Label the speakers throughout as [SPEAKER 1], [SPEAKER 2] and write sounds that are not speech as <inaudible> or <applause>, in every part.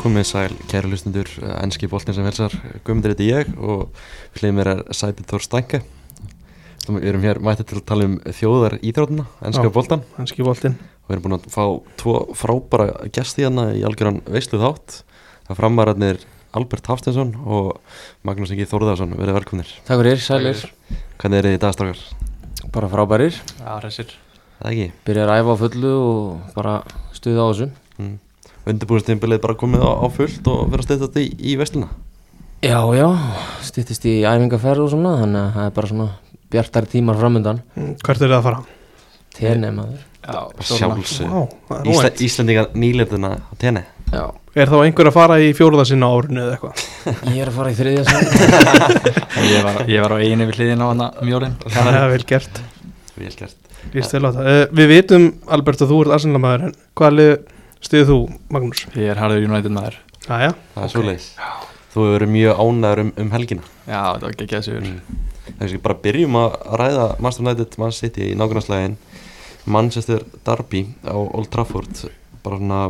[SPEAKER 1] komið sæl, kæru hlustundur, ennski bóltin sem helsar, Guðmundur heiti ég og við hlýðum mér er Sæbjörn Þór Stænke. Við erum hér mættið til að tala um þjóðar íþrótuna, ennska
[SPEAKER 2] Já.
[SPEAKER 1] bóltan
[SPEAKER 2] Hanski Voltin
[SPEAKER 1] og við erum búin að fá tvo frábæra gesti hérna í algjöran veislu þátt. Það framararnir Albert Hafstinsson og Magnús Ingi Þórðarsson, verið velkomnir.
[SPEAKER 3] Takk fyrir, sælir,
[SPEAKER 1] Hvernig er þið í dagstrákar?
[SPEAKER 3] bara frábærir,
[SPEAKER 4] Já, hressir.
[SPEAKER 1] Það ekki?
[SPEAKER 3] byrjar að æfa á fullu og bara stuða á þessu.
[SPEAKER 1] Mm. Undirbúinnstímbilið bara komið á, á fullt og verið að steyta þetta í, í vesluna?
[SPEAKER 3] Já, já, stýttist í æfingarferð og svona, þannig að það er bara svona bjartari tímar framöndan.
[SPEAKER 2] Hvert eru það að fara?
[SPEAKER 3] Tene maður.
[SPEAKER 4] Já,
[SPEAKER 1] Sjálfsög.
[SPEAKER 2] Vá, það er
[SPEAKER 1] Ísla,
[SPEAKER 2] óvænt
[SPEAKER 1] Íslendingar nýlefðina á tenni
[SPEAKER 3] Já,
[SPEAKER 2] Er þá einhver að fara í fjórðarsinn á árinu eða eitthvað?
[SPEAKER 3] ég er að fara í þriðja sem.
[SPEAKER 4] Ég var, ég var á einu við hliðin á hana mjólin.
[SPEAKER 2] <laughs> Það er vel gert
[SPEAKER 1] Vel gert
[SPEAKER 2] Líst vel á það uh, Við vitum, Albert, að þú ert arsenalmaður en hvaða lið stuðið þú, Magnús?
[SPEAKER 4] Ég er harður United maður.
[SPEAKER 2] Jæja,
[SPEAKER 1] Það er okay. Þú hefur verið mjög ánæður um, um helgina
[SPEAKER 4] Já, það var ekki ekki að sigur.
[SPEAKER 1] Mm. Það er bara byrjum að ræða Master United, Man City í nágrunnslægin Manchester Derby á Old Trafford bara svona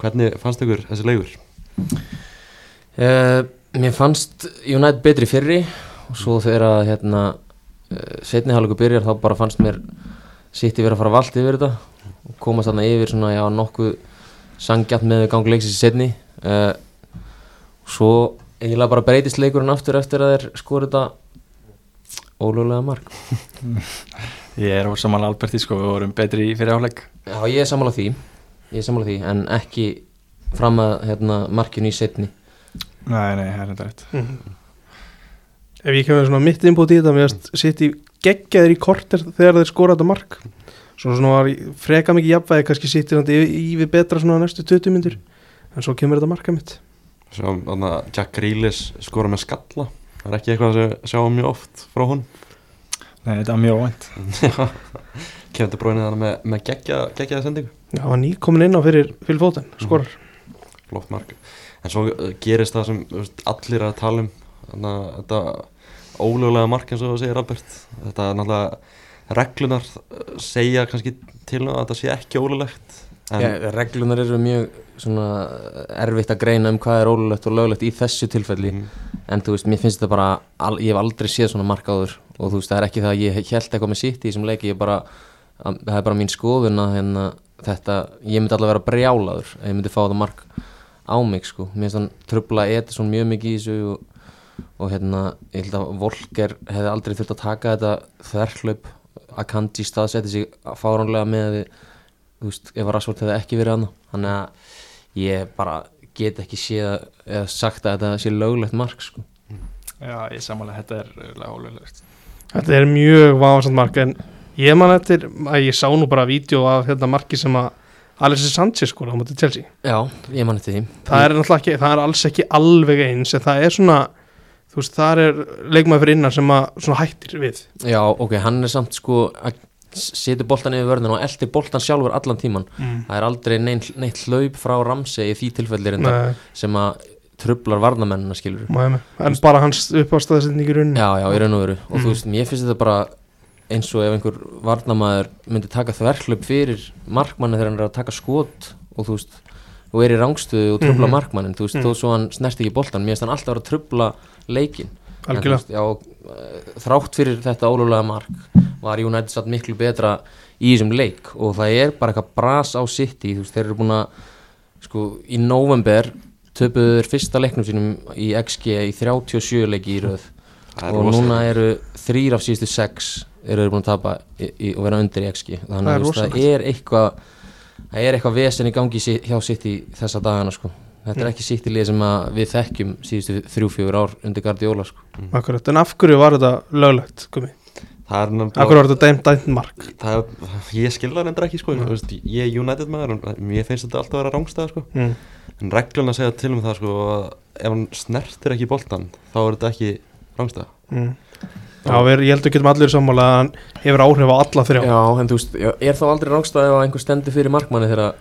[SPEAKER 1] hvernig fannst ykkur þessi leigur?
[SPEAKER 3] Uh, mér fannst United betri í fyrri og svo þegar að hérna, uh, setni hálfleiku byrjar þá bara fannst mér City verið að fara vald yfir þetta og komast þarna yfir svona, já, nokkuð sangjart með gangleiksins í setni. Uh, svo eiginlega bara breytist leikurinn aftur eftir að þeir skoru þetta ólöglega mark.
[SPEAKER 4] Ég er á saman Alberti, sko, við vorum betri í fyrir áleik.
[SPEAKER 3] Já, ég er sammála því, ég er sammála því, en ekki fram að hérna, markinu í setni.
[SPEAKER 4] Nei, nei, það er þetta rétt.
[SPEAKER 2] Mhm. ef ég kemur svona mitt innbúið í þetta Mér erst sitt í geggjaður í korter þegar þeir skora þetta mark Svo svona var ég- freka mikið jafnvæði kannski sittir hann yfir yfir betra svona næstu 20 myndir En svo kemur þetta marka mitt
[SPEAKER 1] Sjáum þarna Jack Grealish skora með skalla Það er ekki eitthvað að sjá- sjáum mjög oft frá hún
[SPEAKER 4] Nei, þetta var mjög óvænt.
[SPEAKER 1] Kefndi bróinni þarna með, með geggja, geggjaða sendingu
[SPEAKER 2] Já, hann nýkomin inn á fyrir, fyrir fótinn, skorar
[SPEAKER 1] flott mark en svo uh, gerist það sem þú veist, allir að tala um þannig að þetta ólögulega mark eins og þú segir Albert þetta er náttúrulega reglunar uh, segja kannski til og að þetta sé ekki ólöglegt en
[SPEAKER 3] Já, reglunar eru mjög svona erfitt að greina um hvað er ólulegt og löglegt í þessu tilfelli
[SPEAKER 1] Mhm.
[SPEAKER 3] en þú veist, mér finnst þetta bara al, ég hef aldrei séð svona mark áður og þú veist, það er ekki það að ég held eitthvað með sitt í þessum leiki, ég bara að, það er bara mín skoðun að hérna, þetta ég myndi allavega vera brjálaður að ég myndi fá það mark á mig sko mér finnst þann trubla Edison mjög mikið í þessu og, og hérna, ég held að Volker hefði aldrei þurft að taka þetta þverklaup að Kandi staðsetti sig fáránlega með að við þú veist, ef Rashford hefði ekki verið hann þannig að ég bara get ekki séð að- eða sagt að þetta sé löglegt mark sko.
[SPEAKER 4] Já, ég samanlega, þetta er eiginlega ólöglegt.
[SPEAKER 2] Þetta er mjög vafasamt mark en ég man eftir að ég sá nú bara vídeo af þetta marki sem að Alexis Sanchez skora á móti Chelsea
[SPEAKER 3] Já, ég man eftir því
[SPEAKER 2] það er náttúrulega ekki, það er alls ekki alveg eins en það er svona þú veist, það er leikmaður fyrir innan sem að svona hættir við
[SPEAKER 3] Já, ok, hann er samt sko að setja boltan yfir vörðin og eldir boltan sjálfur allan tíman
[SPEAKER 2] mm.
[SPEAKER 3] það er aldrei neitt, neitt hlaup frá Ramsey í því tilfelli reynda
[SPEAKER 2] Nei,
[SPEAKER 3] sem að trublar varnamennina skilur
[SPEAKER 2] má ég með. en bara hans uppástaðsending í rauninni
[SPEAKER 3] Já, já, í raun og veru og
[SPEAKER 2] Mhm.
[SPEAKER 3] þú veist, mér finnst þetta bara eins og ef einhver varnamaður myndi taka þverklöp fyrir markmanni þegar hann er að taka skot og þú veist, og er í rangstöðu og trubla
[SPEAKER 2] Mhm.
[SPEAKER 3] markmannin, þú veist,
[SPEAKER 2] Mhm.
[SPEAKER 3] þó svo hann snert ekki boltan, mér finnst hann alltaf að vera að trubla leikin, En þú
[SPEAKER 2] algjörlega
[SPEAKER 3] veist, já, eh, þrátt fyrir þetta ólulega mark var United satt miklu betra í þessum leik og það er bara eitthvað bras á City, þú veist, þeir eru búin að sko, í november töpuðu þeir fyrsta leiknum sínum í XG í 37 leiki í röð
[SPEAKER 1] það er
[SPEAKER 3] og
[SPEAKER 1] rosa-
[SPEAKER 3] núna eru þrýr af síðustu sex eru þeir búin að tapa í, í, og vera undir í XG þannig
[SPEAKER 2] Það er
[SPEAKER 3] að þú veist, það
[SPEAKER 2] rosalegt.
[SPEAKER 3] er eitthvað það er eitthvað vesen í gangi sí- hjá sitt í þessa dagana sko. þetta
[SPEAKER 2] Mm.
[SPEAKER 3] er ekki sitt í lið sem að við þekkjum síðustu þrjú-fjögur ár undir Guardiola sko.
[SPEAKER 2] Akkurat. en af hverju var þetta löglegt Gumi?
[SPEAKER 1] það er
[SPEAKER 2] af
[SPEAKER 1] nefnilega
[SPEAKER 2] hverju var þetta dæmt dæmt mark
[SPEAKER 1] það, ég skilða reyndar ekki sko þú veist, ég er United maður en mér finnst þetta alltaf að vera rángstæða sko
[SPEAKER 2] mm.
[SPEAKER 1] en regluna segja til um það sko að ef hann snertir ekki boltan þá er þetta ekki rángstæða
[SPEAKER 2] Mm. já, við, ég held að getum allir sammála að hann hefur áhrif á alla þrjá
[SPEAKER 3] já, en þú veist, já, er þá aldrei rángstæði að einhver stendur fyrir markmanni þegar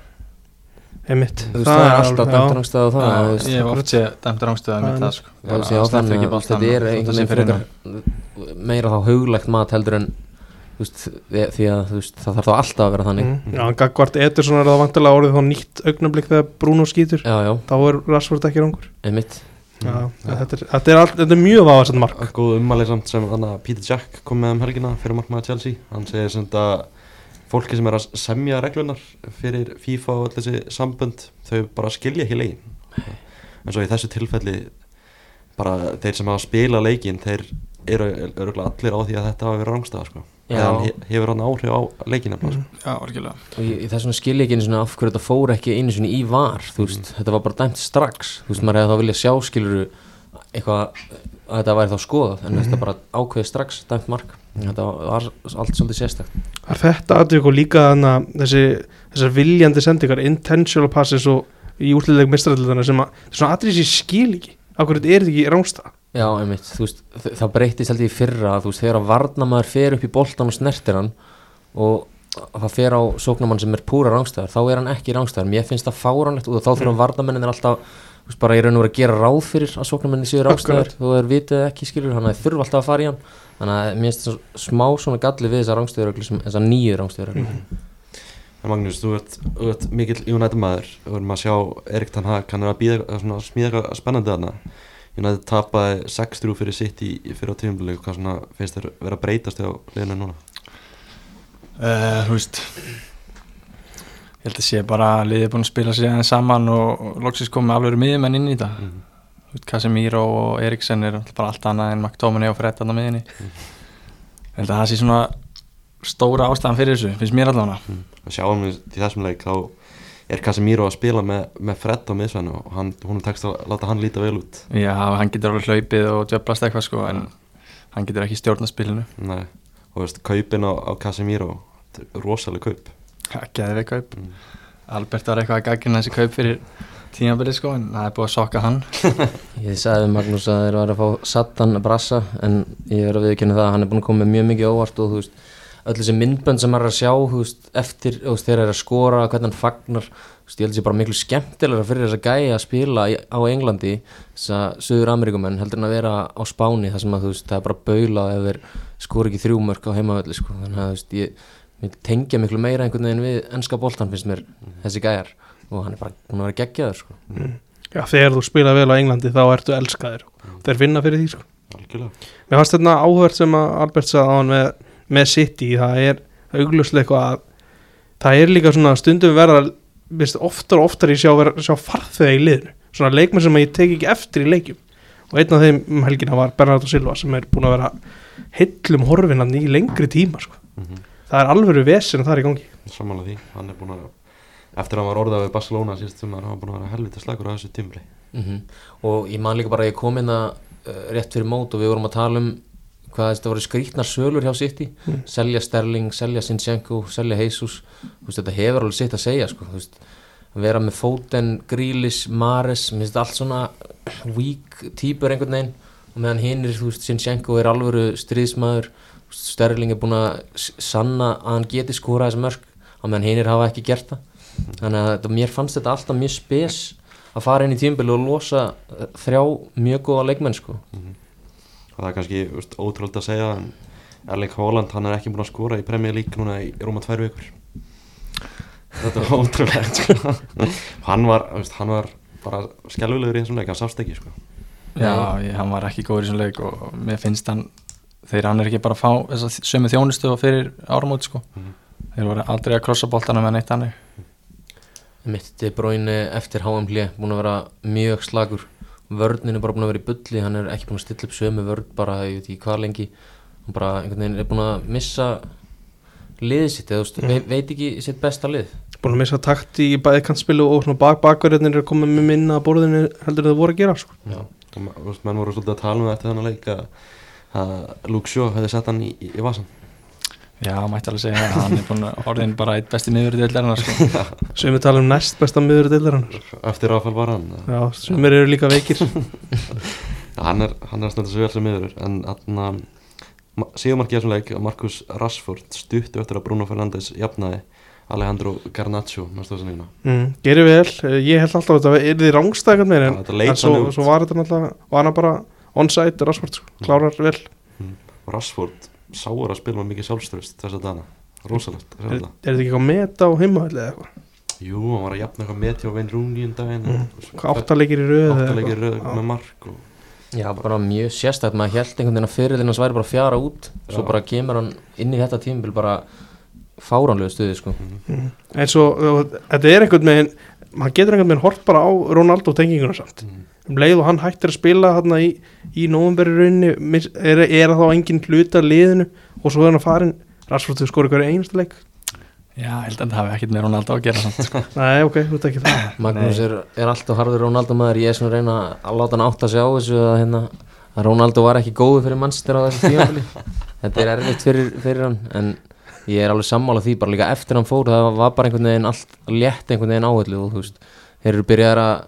[SPEAKER 2] einmitt
[SPEAKER 3] þú veist, það er alltaf
[SPEAKER 2] já.
[SPEAKER 3] dæmt rángstæði og það þú veist.
[SPEAKER 4] ég hef oft séð dæmt rángstöða með það, sko.
[SPEAKER 3] Já, já, þannig að þetta er einhvern veginn frekar meira þá huglægt mat heldur en þú veist, e- því að þú veist, það þarf þá alltaf að vera þannig
[SPEAKER 2] Mm. Já, en gagvart Ederson er það vantilega orðið þá nýtt augnablík þegar Bruno skýtur
[SPEAKER 3] já, já,
[SPEAKER 2] þá er Rashford ekki rangur
[SPEAKER 3] einmitt
[SPEAKER 2] Mm, Já, þetta, er, þetta, er all, þetta er mjög váðasend mark
[SPEAKER 1] Góð ummæli samt sem þannig að Peter Jack kom með um helgina fyrir markmaða Chelsea hann segir sem þetta fólki sem er að semja reglunar fyrir FIFA og öll þessi sambönd þau bara skilja ekki leikin en svo í þessu tilfelli bara þeir sem hafa spila leikin þeir eru öruglega allir á því að þetta hafa verið rángstæða sko.
[SPEAKER 3] Já.
[SPEAKER 1] eða hann he- hefur hann áhrif á leikina mm.
[SPEAKER 4] Já, orkilega
[SPEAKER 3] og ég, ég- þess vegna skil ég ekki einu sinni af hverju þetta fór ekki einu sinni í var þú veist, þetta var bara dæmt strax þú veist, maður hefði þá viljað sjá skiluru eitthvað að þetta væri þá skoðað en þetta bara ákveði strax dæmt mark þetta var allt svolítið sérstakt
[SPEAKER 2] Það er þetta aðvik og líka þannig að þessi, þessar viljandi sendingar intentional passes og í útliðleg mistræðlutana sem að þetta er svona aðrið sér skil ekki akkur þetta er þetta ekki rángsta
[SPEAKER 3] já, einmitt, þú veist, þ- það breytist held ég í fyrra þú veist, þegar að varnamaður fer upp í boltan og snertir hann og það fer á sóknamann sem er púra rángstæðar þá er hann ekki rángstæðar, mér finnst það fáránlegt og þá þurfa mm. varnamennin alltaf þú veist, bara í raun og vera að gera ráð fyrir að sóknamennin séu rángstæðar þú er vitið eða ekki skilur, þannig að þeir þurfa alltaf að fara í hann þannig að mér finnst það smá svona galli við þessar rángstæðaröglu sem þessar nýju rángstæðaröglu
[SPEAKER 1] En Magnús, þú ert, þú ert mikill United maður og erum að sjá Erik Tann Hag hann er að, býða, að svona, smíða eitthvað spennandi þarna United tapaði 6-3 fyrir sitt í, í fyrra tímulegu hvað svona finnst þér vera að breytast á liðinu núna?
[SPEAKER 4] Eh, Þú veist Ég held að sé bara að liðið er búin að spila sér aðeins saman og og loksins komið alveg miðjumenn inn í þetta
[SPEAKER 1] Mhm.
[SPEAKER 4] Þú veist, Casemiro og Eriksen er náttúrulega bara allt annað en McTominay og Fred annað miðinni Ég held að það sé svona stóra ástæðan fyrir þessu, finnst mér allavega
[SPEAKER 1] mm. Að sjáum við til þessum leik þá er Casemiro að spila með, með Fred á miðsvæðinu og hann, hún tekst að láta hann líta vel út
[SPEAKER 4] Já, hann getur alveg hlaupið og djöblast eitthvað sko en hann getur ekki stjórna spilinu
[SPEAKER 1] Nei. og veist, kaupin á, á Casemiro þetta er rosaleg kaup
[SPEAKER 4] Gæði við kaup
[SPEAKER 1] Mm.
[SPEAKER 4] Albert var eitthvað að gagna þessi kaup fyrir tímabilið sko en það er búið að sokka hann
[SPEAKER 3] Ég sagði við Magnús að þeir var að fá Satan Brassa en ég verður að viðkynna það að hann er búin að koma með mjög mikið á óvart og þú veist öll þessi myndbönd sem maður er að sjá þú veist, eftir þú veist, þegar er að skora, hvernig hann fagnar þú veist, ég held að sé bara miklu skemmtilega fyrir þess að gæja að spila í, á Englandi þess að söður Ameríkumenn heldur en að vera á Spáni þar sem að þú veist það er bara baula ef þeir skora ekki þrjú mörk á heimavöldi sko. þannig að þú veist ég mér tengja miklu meira einhvern veginn við ennska boltan finnst mér þessi gæjar og hann er bara búin að vera geggjaður sko.
[SPEAKER 2] Já, þegar þú spila vel á Englandi þá ertu elskaðir þeir finna fyrir því sko
[SPEAKER 1] algjörlega
[SPEAKER 2] Mér fannst þetta áhvert sem að Albert sagði á hann með, með City það er augljóslega eitthvað að það er líka svona stundum verða veist, oftar og oftar ég sjá, vera- sjá farþega í liðinu svona leikmenn sem ég tek ekki eftir í leikjum og einn af þeim um helgina var Bernardo Silva sem er búin að vera hillum horfinan í lengri tíma sko.
[SPEAKER 1] mm -hmm.
[SPEAKER 2] það er alvöru vesen þar í gangi
[SPEAKER 1] samanlega því, hann er búin að eftir að hann var orðað við Barcelona síðast sumar, hann var búin að vera helviti slagur á þessu tímli
[SPEAKER 3] Mm Og ég man líka bara að ég kom inn að rétt fyrir mót og við vorum að tala um hvað þetta voru skrítnar sölur hjá City selja Sterling, selja Sinchenko selja Jesus, þú veist, þetta hefur alveg sitt að segja sko, þú veist, að vera með Foden, Grealish, Mares mér finnst þetta allt svona weak týpur einhvern veginn og meðan hinir þú veist, Sinchenko er alvöru stríðsmaður þú veist, Sterling er búin að s- sanna að hann geti skorað þessi mörk á meðan hinir hafa ekki gert það þannig að þetta- mér fannst þetta alltaf mjög spes að fara inn í tímbili og losa eh, þrjá mjög góða leikmenn sko.
[SPEAKER 1] og það er kannski úst, ótrúld að segja en Erling Haaland hann er ekki búin að skora í Premier League núna í rúma tvær vikur þetta er <laughs> ótrúlegt sko. hann var úst, hann var bara skelvilegur í þessum leik hann sást ekki sko.
[SPEAKER 4] Já, ég, hann var ekki góður í þessum leik og mér finnst hann þegar hann er ekki bara að fá þess að sömu þjónustu og fyrir áramót sko þeir voru aldrei að krossa boltana með neitt annir
[SPEAKER 3] mitt De Bruyne eftir HML búin að vera mjög slagur vörnin er bara búin að vera í bulli hann er ekki búin að stilla upp sömu vörn bara ég veit ekki hvað lengi hann bara einhvern veginn er búin að missa liðið sitt eða þú veist, veit, veit ekki sitt besta lið
[SPEAKER 2] búin að missa takt í bæði kantspilu og svona bak bakverðinir er komið með minna að borðinu heldur en það voru að gera sko.
[SPEAKER 3] Já.
[SPEAKER 1] og ma- úst, menn voru svolítið að tala um það eftir þennan leik að, að Luke Shaw hefði sett hann í, í, í vasan
[SPEAKER 4] Já, mætti alveg segja að hann er búin að orðin bara eitt besti miður í deildarinn sko.
[SPEAKER 2] sem við tala um næst besta miður deildarann
[SPEAKER 1] eftir Rafael Varan
[SPEAKER 2] Já, sem eru líka veikir
[SPEAKER 1] hann er, hann er að snönda svo vel sem miður en hann að síðumarki þessum leik að Marcus Rashford stuttu eftir að Bruno Fernandes jafnaði Alejandro Garnacho næstu þessum lína
[SPEAKER 2] Mm, gerir vel, Eh, ég held alltaf að þetta er því rángstæð en,
[SPEAKER 1] Já, þetta
[SPEAKER 2] en,
[SPEAKER 1] leit
[SPEAKER 2] en svo,
[SPEAKER 1] þannig út.
[SPEAKER 2] sko.
[SPEAKER 1] Mm.
[SPEAKER 2] svo var þetta náttúrulega var hann bara on-site, rasvart, klárar vel
[SPEAKER 1] Rashford sáur að spila með mikið sjálfströst þess að dana, rosalegt að sjá
[SPEAKER 2] Er, er
[SPEAKER 1] þetta.
[SPEAKER 2] þetta ekki eitthvað met á heimahalli eða eitthvað?
[SPEAKER 1] Jú, hann var að jafna eitthvað með hjá Vein Rúni um daginn
[SPEAKER 2] Mm.
[SPEAKER 1] og-
[SPEAKER 2] Hvað, Áttalegir í röð eða
[SPEAKER 1] áttalegir
[SPEAKER 2] eitthvað?
[SPEAKER 1] röð með mark og
[SPEAKER 3] Já, bara mjög sérstætt, maður held einhvern veginn að fyrirlinn hans væri bara að fjara út svo
[SPEAKER 1] Já.
[SPEAKER 3] bara kemur hann inn í þetta tímabil bara fáránlegu stuði sko.
[SPEAKER 2] Já. Mm. En svo, og þetta er einhvern veginn maður getur einhvern veginn hort bara á Ronaldo tenginguna samt
[SPEAKER 1] Mhm.
[SPEAKER 2] um leið og hann hættir að spila hérna í, í novemberi rauninni mis- er, er þá engin hluta liðinu og svo er hann að farin Rashford þú skori hverju einasta leik
[SPEAKER 4] Já, ég held að það hafi ekkert með Ronaldo að gera samt sko.
[SPEAKER 2] Nei, ok, þú ert ekki það
[SPEAKER 3] Magnús er, er alltaf harður Rónaldó maður ég er svona að reyna að láta hann átta sig á þessu að, hérna, að Rónaldó var ekki góðu fyrir mannstæra á þessu tímabili þetta er erfitt fyrir, fyrir hann en ég er alveg sammála því bara líka eftir hann fór það var bara einhvern veginn allt létt einhvern veginn áhullu og þú veist þeir eru byrjaðar að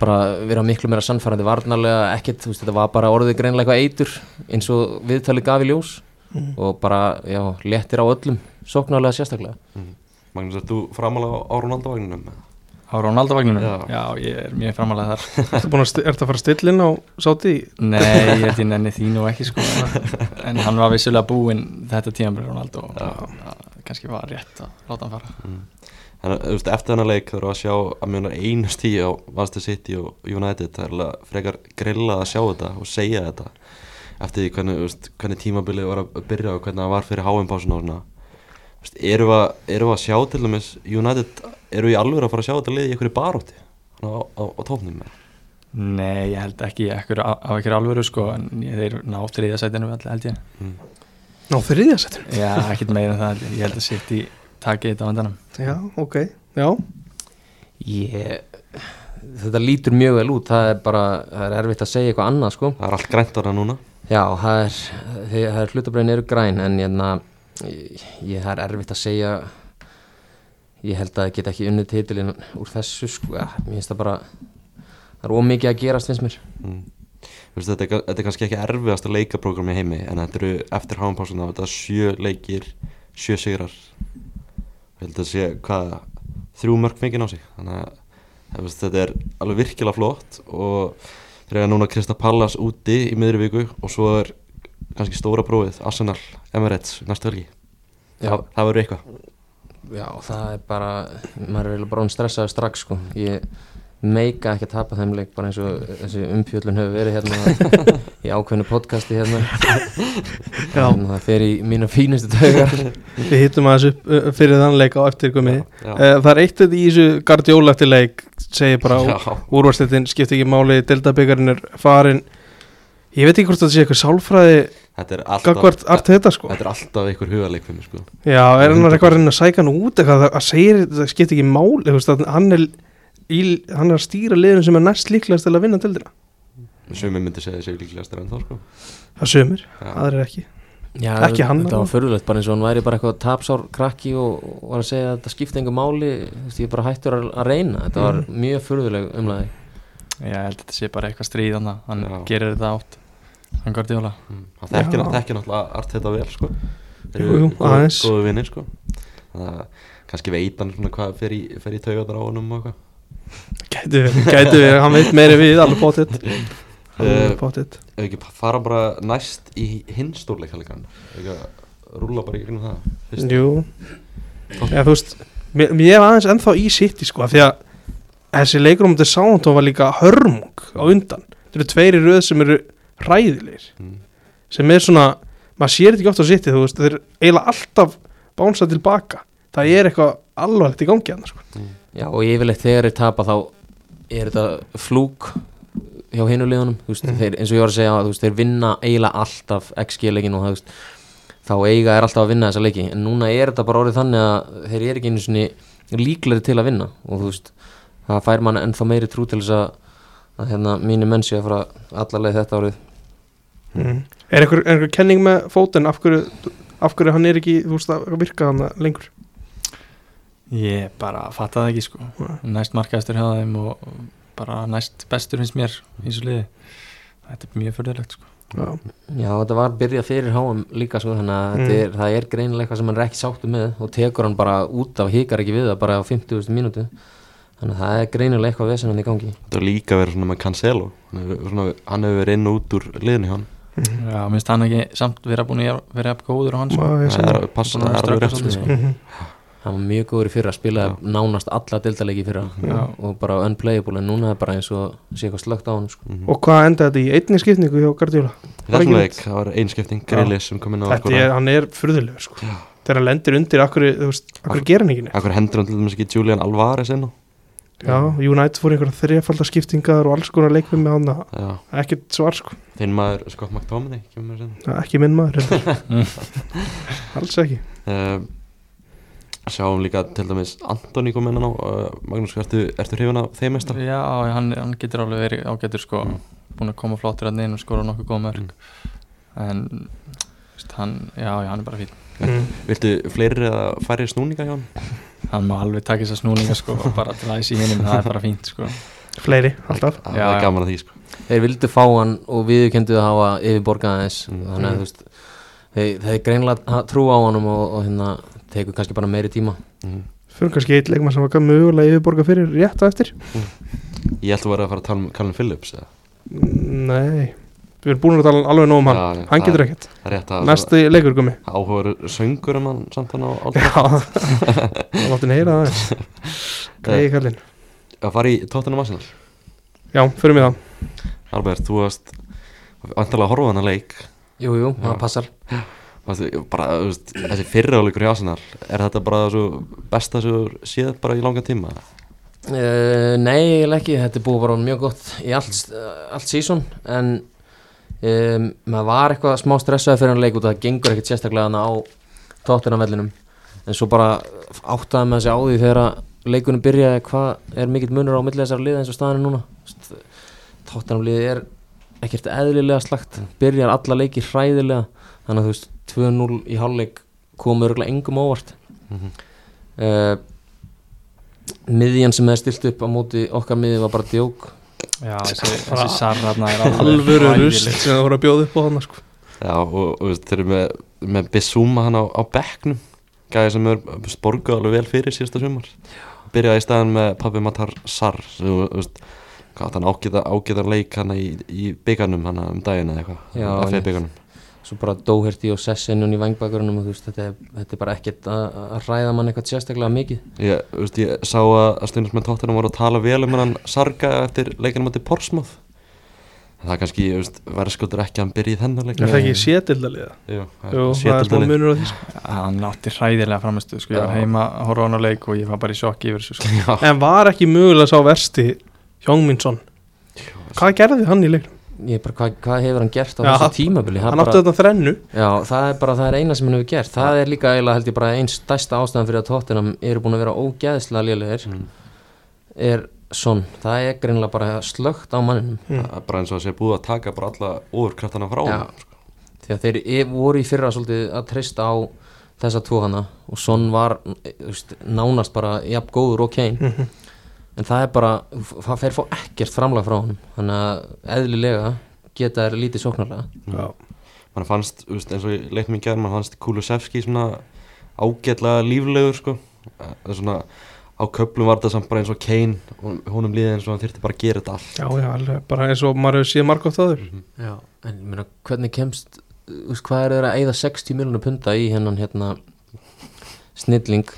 [SPEAKER 3] bara vera miklu meira sannfærandi varnarlega ekkert, þú veist, þetta var bara orðið greinlega eitthvað eitur eins og viðtalið gaf í ljós og bara, já, léttir á öllum sóknarlega sérstaklega
[SPEAKER 1] Magnús, ert þú framalega á Rónaldavagninum?
[SPEAKER 4] á Ronaldo vagninu.
[SPEAKER 1] Já.
[SPEAKER 4] Já, ég er mjög framalega þar.
[SPEAKER 2] Ertu búin að, st- ertu að fara stillin á sáti
[SPEAKER 4] Nei, ég held ég nenni því nú ekki sko En hann var vissulega búinn þetta tímanbyrði Ronaldo og það kannski var rétt að láta hann fara
[SPEAKER 1] En þú veist, eftir hennar leik þurfum við að sjá að mjög einu stíð á Manchester City og United það er alveg frekar grillað að sjá þetta og segja þetta eftir því hvernig, þú veist, hvernig tímabilið var að byrja og hvernig það var fyrir háinnbásuna og svona Þú veist, erum við, að- erum við að sjá til dæmis United, erum við í alveg að fara að sjá þetta liðið í einhverju baróti á, á, á tóknum
[SPEAKER 4] Nei, ég held ekki ekkur, á ekkur alvöru sko en ég, þeir ná þriðasætinu held ég
[SPEAKER 2] Ná, þriðjasettur
[SPEAKER 4] Já, ekkert meira en það held ég Ég held að sitt í takið þetta á endanum
[SPEAKER 2] Já, ok, já
[SPEAKER 3] Ég, þetta lítur mjög vel út, það er bara, það er erfitt að segja eitthvað annað sko.
[SPEAKER 1] það er allt grænt ára núna
[SPEAKER 3] Já, það er, þið, það er hlutabræðin eru græn en ég, ég, ég, það er erfitt að segja, ég held að það get ekki unnið titilinn úr þessu sko, ja, mér finnst það bara, það er ómikið að gerast finnst mér.
[SPEAKER 1] mm. Þú veist, þetta, er, ka- þetta er kannski ekki erfiðasta leikaprógram í heimi en þetta eru eftir háinnbásuna þetta er sjö leikir, sjö sigrar ég held að sé hvað þrjú mörg fengið á sig þannig að þú veist, þetta er alveg virkilega flott og þegar núna Krista Pallas úti í miðri viku og svo er kannski stóra prófið Arsenal, Emirates, næstu helgi
[SPEAKER 3] Já.
[SPEAKER 1] það, það verður eitthvað
[SPEAKER 3] Já, það er bara, maður er eiginlega bara um stressaði strax sko, ég meika ekki að tapa þeim leik bara eins og þessi umpjöllun hefur verið hérna í ákveðnu podcasti hérna,
[SPEAKER 2] Já,
[SPEAKER 3] en það fer í mína fínustu dagar.
[SPEAKER 2] við hittum aðeins upp uh, fyrir þann leik á eftir komið
[SPEAKER 1] Já, já.
[SPEAKER 2] Eh, Það er eitt þetta í þessu gardjóla eftir leik segir bara
[SPEAKER 1] <laughs> Já.
[SPEAKER 2] úrvarstættin skipti ekki máli, deltabyggarinn er farin ég veit ekki hvort þetta sé eitthvað sálfræði
[SPEAKER 1] þetta er
[SPEAKER 2] gagvart
[SPEAKER 1] alltaf,
[SPEAKER 2] art þetta sko
[SPEAKER 1] þetta er alltaf einhver hugarleik fyrir mig sko
[SPEAKER 2] já, er hann eitthvað að reyna að sæka hann út eitthvað að segja þetta skipti ekki máli þú veist, að hann, er í, hann er að stýra liðinu sem er næst líklegast til að vinna deildina
[SPEAKER 1] sumir myndi segja þessi líklegast er enn þá sko
[SPEAKER 2] það sömur,
[SPEAKER 1] Já.
[SPEAKER 2] aðrir ekki
[SPEAKER 3] Já,
[SPEAKER 2] Ekki hann,
[SPEAKER 3] þetta var
[SPEAKER 2] allavega.
[SPEAKER 3] förðulegt bara eins og hann væri bara eitthvað tapsár krakki og og var að segja að þetta skipti engu máli þú veist, ég er bara hættur að, að reyna þetta
[SPEAKER 2] Mm.
[SPEAKER 3] var mjög förðuleg umlæði
[SPEAKER 4] Já, ég held að þetta sé bara eitthvað stríð hann Hann
[SPEAKER 1] Já.
[SPEAKER 4] gerir þetta átt Hann Guardiola
[SPEAKER 1] Mm, hann þekkir,
[SPEAKER 2] Já.
[SPEAKER 1] þekkir náttúrulega allt þetta vel sko Þeir
[SPEAKER 2] Jú, jú,
[SPEAKER 1] eru góð-
[SPEAKER 2] aðeins.
[SPEAKER 1] góðu vinnir sko þannig að kannski veit hann svona hvað fer í, fer í taugatar á honum og eitthvað
[SPEAKER 2] gætu verið, gætu verið, hann veit meiri við alveg bóttið
[SPEAKER 1] Eh,
[SPEAKER 2] alveg bóttið
[SPEAKER 1] ef ekki fara bara næst í hinn stórleikalikan ekki að rúla bara í gegnum það fyrst
[SPEAKER 2] Jú Já, þú veist, mér, mér er aðeins ennþá í sitt sko, af því að þessi leikur um þetta sántón var líka hörmung á undan, þetta eru tveiri röð sem eru hræðilegir,
[SPEAKER 1] mm.
[SPEAKER 2] sem er svona maður sér þetta ekki oft á sitt, þú veist þeir eiginlega alltaf bánsa tilbaka það er eitthvað alvarlegt í gangi hann sko.
[SPEAKER 3] Já, og yfirleitt þegar þeir tapa þá er þetta flúk hjá hinu liðunum þú
[SPEAKER 2] Mm.
[SPEAKER 3] veist, þeir, eins og ég var að segja, þú veist, þeir vinna eiginlega alltaf XG-leikin og það, þú veist, þá eiga er alltaf að vinna þessa leiki en núna er þetta bara orðið þannig að þeir eru ekki einu sinni líklegri til að vinna og þú veist, það fær mann ennþá meiri trú til þess að, að hérna, mínir menn séu að fara allarleið þetta árið
[SPEAKER 1] Mhm.
[SPEAKER 2] er einhver, er einhver kenning með fótinn af hverju, af hverju hann er ekki þú veist að virka hann lengur
[SPEAKER 4] Ég bara fatta það ekki sko Næst markaðastur hjá þeim og bara næst bestur finnst mér í þessu liði Þetta er mjög förðulegt sko
[SPEAKER 2] Já.
[SPEAKER 3] Já, þetta var byrjað fyrir háum líka svo þannig að þetta
[SPEAKER 2] Mm.
[SPEAKER 3] er, það er greinilega eitthvað sem hann er ekki sáttu með og tekur hann bara út af, hikar ekki við það bara á 50. mínútu þannig að það er greinilega eitthvað vesenandi í gangi
[SPEAKER 1] þetta er líka verið svona með Cancelo hann hefur, svona, hann hefur verið inn og út úr liðinu hjá hann
[SPEAKER 4] Já, minnst hann ekki samt vera búin að vera jafn góður á sko. hans
[SPEAKER 2] Má ég
[SPEAKER 1] það
[SPEAKER 2] segja
[SPEAKER 1] er passa,
[SPEAKER 4] Búin
[SPEAKER 1] það er alveg
[SPEAKER 4] að ströggla
[SPEAKER 1] rétt
[SPEAKER 4] svolítið,
[SPEAKER 1] sko.
[SPEAKER 2] Mhm.
[SPEAKER 3] hann var mjög góður í fyrra, spilaði
[SPEAKER 1] Já.
[SPEAKER 3] nánast alla deildalegi fyrra
[SPEAKER 4] Já.
[SPEAKER 3] og bara unplayable en núna er bara eins og sé eitthvað slögt á hann sko.
[SPEAKER 1] Mhm.
[SPEAKER 2] Og hvað endaði þetta í einni skipningu hjá Gardiola?
[SPEAKER 1] Í þessum leik, það var einskipting, Grillis sem kom inn á að
[SPEAKER 2] Þetta
[SPEAKER 1] skora.
[SPEAKER 2] er, hann er furðulegur sko
[SPEAKER 1] Já.
[SPEAKER 2] Þegar hann lendir undir, akkur, þú veist, akkur
[SPEAKER 1] Akkur-
[SPEAKER 2] gera hann ekki neitt
[SPEAKER 1] Akkur hendur hann til dæmis ekki Julian Alvarez inn á
[SPEAKER 2] Já, United fór einhverja þrefaldarskiptingar og alls konar leikfum með hann
[SPEAKER 1] Já,
[SPEAKER 2] Ekkert svar sko,
[SPEAKER 1] þinn maður Scott McTominay kemur mér sinna
[SPEAKER 2] ekki minn maður <laughs> reyndar.
[SPEAKER 4] Mm.
[SPEAKER 2] Alls ekki
[SPEAKER 1] uh, Sjáum líka til dæmis Antoni kom inn á uh, Magnús, ertu, ertu hrifin af þeim mesta?
[SPEAKER 4] Já, hann, hann getur alveg verið ágætur sko,
[SPEAKER 1] Mm.
[SPEAKER 4] búin að koma flottur að neina og skora nokkuð góð mörg
[SPEAKER 1] Mm.
[SPEAKER 4] en veist, hann, já, já, hann er bara fín
[SPEAKER 2] mm.
[SPEAKER 1] Viltu fleiri eða færri snúninga hjá hann?
[SPEAKER 4] hann má alveg taka þess að snúninga sko, og bara til aðeins í hinum, það er bara fínt sko.
[SPEAKER 2] Fleiri, alltaf
[SPEAKER 1] Það
[SPEAKER 4] Já,
[SPEAKER 1] er
[SPEAKER 4] já.
[SPEAKER 1] gaman að því sko
[SPEAKER 3] þeir vildu fá hann og við kendu að hafa yfirborgað aðeins
[SPEAKER 1] Mm.
[SPEAKER 3] þannig að þú veist þeir, þeir greinlega ha- trú á honum og, og hérna tekur kannski bara meiri tíma
[SPEAKER 1] mm.
[SPEAKER 2] Fyrir kannski eitt leikmann sem var gaf mögulega yfirborga fyrir rétt á eftir
[SPEAKER 1] Ég ætla að vera að fara að tala um Callum Phillips eða?
[SPEAKER 2] Nei, við erum búin að tala alveg nóg um hann
[SPEAKER 1] Já, já,
[SPEAKER 2] Hann
[SPEAKER 1] það-
[SPEAKER 2] getur ekkert,
[SPEAKER 1] Það er rétt að
[SPEAKER 2] næsti leikur komi
[SPEAKER 1] áhugaður söngur um hann samt hann á
[SPEAKER 2] Já,
[SPEAKER 1] áldur
[SPEAKER 2] <laughs> það láttu neyra það aðeins Greiði kallinn
[SPEAKER 1] Eh, Að fara í Tottenham Arsenal
[SPEAKER 2] Já, fyrir mig það
[SPEAKER 1] Albert, þú varst vantarlega að horfa á hann að leik
[SPEAKER 3] Jú, jú,
[SPEAKER 1] Já.
[SPEAKER 3] það passar
[SPEAKER 1] Varstu- bara, þú veist, þessi fyrraáleikur hjá Arsenal er þetta bara svo besta sem þú séð bara í langan tíma
[SPEAKER 3] uh, Nei, eiginlega ekki, þetta er búið bara mjög gott í allt, eh, allt sísón en um, maður var eitthvað smá stressaði fyrir hann leik út að það gengur ekkert sérstaklega hann á tóttunarvellinum en svo bara áttaði maður sig á því þegar að leikunum byrjaði hvað er mikill munur á milli þessar liða eins og staðan er núna tóttunarliði er ekkert eðlilega slagt byrjar alla leiki hræðilega þannig að þú veist 2-0 í hálfleik kom örgulega engum á óvart
[SPEAKER 1] Mhm.
[SPEAKER 3] uh, miðjan sem hefði stilt upp á móti okkar miði var bara djók
[SPEAKER 4] já, þessi, þessi sarra þarna er alveg
[SPEAKER 2] Alvöru
[SPEAKER 4] hræðileg.
[SPEAKER 2] rust sem það voru að bjóða upp á hann sko.
[SPEAKER 1] Já, og og, þú veist, þeir eru með, með Bissúma hann á, á bekknum gæði sem er borguð alveg vel fyrir síðasta sumar byrjaði í staðan með pabbi Matar Sar sem, þú veist, hvað átti hann ágæta, ágæta leik hann í, í byggarnum hann um daginn eða
[SPEAKER 3] Já,
[SPEAKER 1] eitthvað að fyrir
[SPEAKER 3] einmitt.
[SPEAKER 1] byggarnum
[SPEAKER 3] svo bara dóherti og sessinun í vangbakurinnum og þú veist, þetta er, þetta er bara ekkert að, að ræða mann eitthvað sérstaklega mikið
[SPEAKER 1] ég, þú veist, ég sá að, að stundins með tóttunum voru að tala vel um hann Sarga eftir leikinum átti Porsmóð það er kannski þú veist, verðskuldur ekki að hann byrja í þennan leik
[SPEAKER 2] Er það ekki sétildaliða?
[SPEAKER 1] Jú, það
[SPEAKER 2] Jú,
[SPEAKER 1] er
[SPEAKER 2] það er smá
[SPEAKER 1] sétildalið.
[SPEAKER 2] munur á því sko.
[SPEAKER 4] hann átti hræðilega framistu sko. ég var
[SPEAKER 1] Já.
[SPEAKER 4] heima að horfa á hann á leik og ég var bara í sjokki yfir þessu sko.
[SPEAKER 1] Já,
[SPEAKER 2] En var ekki mögulega sá versti Hjóngminsson Hvað gerði hann í leiknum?
[SPEAKER 3] ég er bara, hvað, hvað hefur hann gert á
[SPEAKER 2] Já,
[SPEAKER 3] þessu tímabili Það
[SPEAKER 2] Hann
[SPEAKER 3] er
[SPEAKER 2] átti
[SPEAKER 3] bara,
[SPEAKER 2] þetta þrennu
[SPEAKER 3] já, það er bara það er eina sem hann hefur gert, það er líka eiginlega held ég bara einn stærsta ástæðan fyrir að tóttinam eru búin að vera ógeðslega lélegir
[SPEAKER 1] Mm.
[SPEAKER 3] er svon, það er greinlega bara slögt á manninum
[SPEAKER 2] Mm.
[SPEAKER 1] það er bara eins og það sé búið að taka bara alla ofurkraftana frá
[SPEAKER 3] Já.
[SPEAKER 1] honum, sko.
[SPEAKER 3] því að þeir e- voru í fyrra svolítið að treysta á þessa tvo hana og Son var e, þú veist, nánast bara jafn góður og Kane en það er bara, það fer fá ekkert framlag frá honum þannig að eðlilega geta þær lítið sóknarlega
[SPEAKER 2] Já,
[SPEAKER 1] mann fannst, þú veist, eins og í leiknum í gerð mann fannst Kulusevski svona ágætlega líflegur sko. Það er svona, á köplum var þetta samt bara eins og Kane og honum liði eins og hann þyrfti bara að gera þetta allt
[SPEAKER 2] já, já alveg, bara eins og maður hefur séð margótt áður
[SPEAKER 3] Já, en ég meina, hvernig kemst þú veist, hvað er þeir að eigða 60 miljónu punta í hennan hérna snilling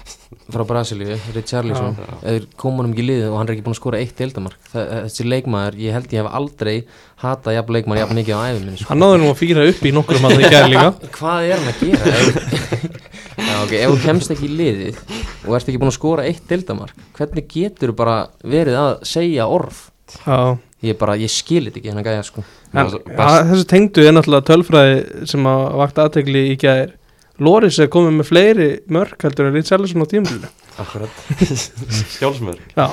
[SPEAKER 3] frá Brasilíu Richarlison, eða koma hann ekki í liðið og hann er ekki búin að skora eitt deildamark Þa- þessi leikmaður, ég held ég hef aldrei hatað jafn leikmaður jafn mikið á æfum minni sko.
[SPEAKER 2] Hann náði nú að fýra upp í nokkrum að það í gæði líka
[SPEAKER 3] <laughs> hvað er hann að gera <laughs> Já, ok, ef þú kemst ekki í liðið og ert ekki búin að skora eitt dildamark hvernig getur þú bara verið að segja orð
[SPEAKER 2] Já,
[SPEAKER 3] ég bara, ég skil þetta ekki hennar gæja sko
[SPEAKER 2] en
[SPEAKER 1] Það er
[SPEAKER 2] að- þessu tengdu er náttúrulega tölfræði sem að vakta aðtegli í gæðir Loris er komið með fleiri mörk heldur en Richarlison á tímulinu <laughs>
[SPEAKER 3] akkurat
[SPEAKER 1] best sjálfsmeður
[SPEAKER 2] Já,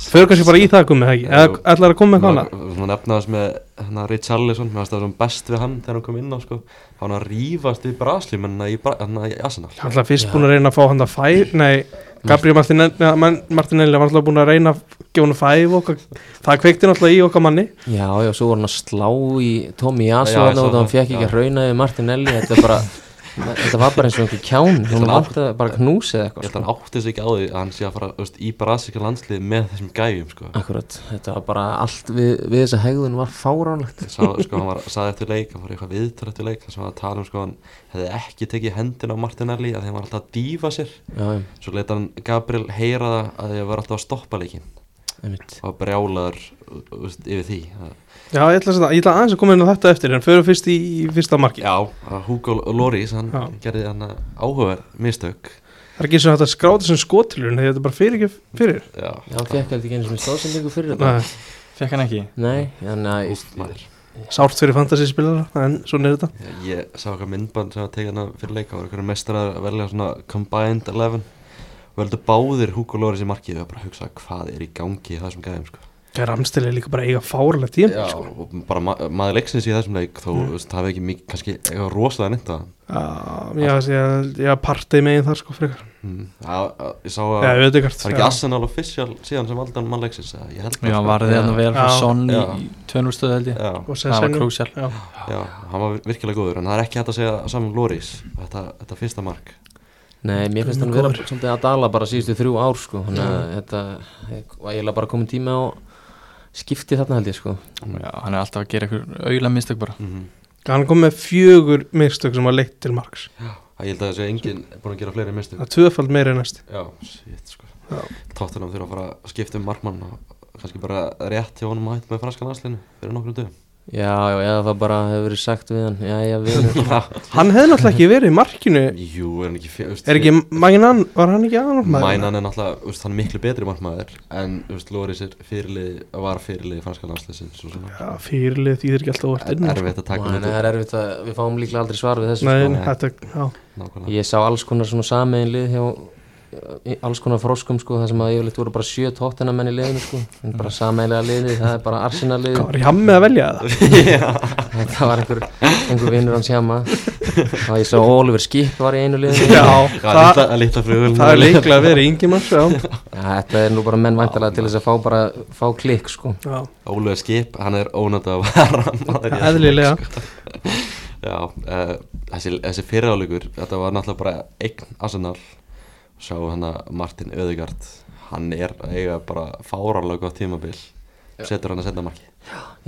[SPEAKER 2] fyrir kannski bara í það komið það ekki Eða ætlar að koma með hana
[SPEAKER 1] Svona nefnaðast með hérna Richarlison, mér fannst það svona best við hann þegar hann kom inn á sko, þá hann að rífast við braslímennina í, Bra- hérna í Arsenal
[SPEAKER 2] Hann ætlaði fyrst
[SPEAKER 3] Já.
[SPEAKER 2] búin að reyna að fá hann að fæ Nei, Gabriel Martinelli, ja, Man- Martinelli var alltaf búin að reyna að gefa hann að fæ okkar, Það kveikti náttúrulega í okkar manni
[SPEAKER 3] já, já, svo var hann að slá í Tommy Jasso
[SPEAKER 1] Já, ég
[SPEAKER 3] þannig
[SPEAKER 1] sá
[SPEAKER 3] að hann
[SPEAKER 1] það,
[SPEAKER 3] fekk ekki
[SPEAKER 1] já. <laughs>
[SPEAKER 3] að rauna við Martinelli þetta er bara þetta var bara eins og einhver kján
[SPEAKER 1] ætla
[SPEAKER 3] hún
[SPEAKER 1] að-
[SPEAKER 3] vant að bara knúsi
[SPEAKER 1] Ég
[SPEAKER 3] eða eitthvað
[SPEAKER 1] held að
[SPEAKER 3] sko.
[SPEAKER 1] hann átti sig ekki á því að hann sé að fara þú veist, í brasilíska landsliði með þessum gæjum sko.
[SPEAKER 3] akkurat, þetta var bara allt við, við þessa hegðun var fáránlegt
[SPEAKER 1] Sá, sko, hann var, saði eftir leik, hann var í eitthvað viðtöl eftir leik þar sem hann var að tala um sko, hann hefði ekki tekið hendina á Martinelli að þeim var alltaf að dýfa sér
[SPEAKER 3] já, já,
[SPEAKER 1] svo leta hann Gabriel heyra það að þið var alltaf að stoppa leikinn
[SPEAKER 3] einmitt
[SPEAKER 1] og brjálaður þú veist, yfir því Það-
[SPEAKER 2] Já, ég ætla, að, setja- ég ætla aðeins að koma inn á þetta eftir en förum fyrst í, í fyrsta marki
[SPEAKER 1] Já, að Hugo Loris, hann
[SPEAKER 2] Já.
[SPEAKER 1] gerði hann áhugaverð mistök
[SPEAKER 2] Það er ekki sem þetta skráta sem skotilur en þetta er bara fyrir ekki fyrir
[SPEAKER 1] Já,
[SPEAKER 3] já, hann fekk held ekki einu sem stóðsendingu fyrir þetta
[SPEAKER 2] Nei,
[SPEAKER 4] Fekk hann ekki?
[SPEAKER 3] nei, þannig að
[SPEAKER 1] Úff, maður.
[SPEAKER 2] Sárt fyrir fantasyspilara en svona er þetta
[SPEAKER 1] Já, Ég sá eitthvað myndband sem var tekið hana fyrir leika og eitthvað mestar að velja svona combined 11 og heldur báðir Hugo Loris í markið og ég var bara að hugsa hvað er í gangi í þessum gæðum sko.
[SPEAKER 2] Það er amstilega líka bara að eiga fárlega tíma sko.
[SPEAKER 1] og bara ma maður leiksins í þessum leik þó mm. það hefði ekki mikið, kannski eitthvað rosalega nýtt að
[SPEAKER 2] Já, ég- ég- ég partið megin þar sko frekar
[SPEAKER 1] mm. Já, já, ég sá að
[SPEAKER 2] Já,
[SPEAKER 1] það
[SPEAKER 2] auðvitað
[SPEAKER 1] er ekki Arsenal official síðan sem valdan mann leiksins eða ég held sko.
[SPEAKER 4] Já, hann varði
[SPEAKER 3] Já.
[SPEAKER 4] hann hérna vel
[SPEAKER 2] Já.
[SPEAKER 4] fyrir Son í
[SPEAKER 1] Já.
[SPEAKER 4] tvönumstöðu held ég
[SPEAKER 1] Já,
[SPEAKER 4] Það var krúsjál
[SPEAKER 2] Já.
[SPEAKER 1] já, hann var virkilega góður en það er ekki hægt að segja saman Loris þetta, þetta fyrsta mark
[SPEAKER 3] Nei, mér finnst hann vera svolítið að dala bara síðustu þrjú ár sko, þannig að þetta var eiginlega bara komin tíma á skipti þarna held ég sko
[SPEAKER 4] Já, hann er alltaf að gera einhver auðlega mistök bara
[SPEAKER 1] mm -hmm.
[SPEAKER 2] Hann kom með fjögur mistök sem var leitt til marks
[SPEAKER 1] Ég held að þessi enginn er búin að gera fleiri mistum
[SPEAKER 2] Það er tvöfald meira en næst
[SPEAKER 1] Já, shit sko
[SPEAKER 2] Já.
[SPEAKER 1] Tottenham þurfa að fara að skipta um markmann og kannski bara rétt hjá honum að hætta með franska landslinu fyrir nokkrum dögum
[SPEAKER 3] Já, já, eða það bara hefur verið sagt við hann Já, já, vinur
[SPEAKER 2] Hann hefði náttúrulega ekki verið í markinu
[SPEAKER 1] Jú, er hann ekki fjö,
[SPEAKER 2] Er ekki Magnan, var hann ekki aðanvarmæður?
[SPEAKER 1] Mænan er náttúrulega, veist, hann er miklu betri markmaður en veist, Loris er fyrirlið var fyrirlið franska landslisins og svona
[SPEAKER 2] Já, fyrirlið þýðir ekki alltaf vart inn
[SPEAKER 1] er,
[SPEAKER 2] sko.
[SPEAKER 1] erfitt að taka
[SPEAKER 3] Þannig að
[SPEAKER 1] hann
[SPEAKER 3] það er erfitt að við fáum líklega aldrei svar við þessu
[SPEAKER 2] Nei,
[SPEAKER 3] sko.
[SPEAKER 2] nei, þetta, já
[SPEAKER 1] nákvæmlega
[SPEAKER 3] Ég sá alls konar svona sameinlið hjá í alls konar froskum sko, það sem að yfirleitt voru bara sjö tóttinamenn í liðinu sko, en bara sameinlega liðið, það er bara Arsenal liðið
[SPEAKER 2] Hvað
[SPEAKER 3] <laughs>
[SPEAKER 2] var ég hann með að velja það?
[SPEAKER 3] þetta var einhver, einhver vinnur hans hjá maður og ég sá Oliver Skip var í einu liðinu
[SPEAKER 2] Já,
[SPEAKER 1] Já,
[SPEAKER 2] það,
[SPEAKER 1] litla- litla frugul
[SPEAKER 2] það er líklega að vera Ingimars, já,
[SPEAKER 3] Já, þetta er nú bara menn væntalega til þess að fá bara fá klikk sko
[SPEAKER 2] já.
[SPEAKER 1] Ólega skip, hann er ónætt að vara maður í þessum
[SPEAKER 2] <laughs> Eðlilega
[SPEAKER 1] Já, uh, þessi, þessi fyriráleikur, þetta var náttúrulega bara eign Arsenal Sjá hann að Martin Öðegard, hann er að eiga bara fáralega gott tímabil Setur hann að senda marki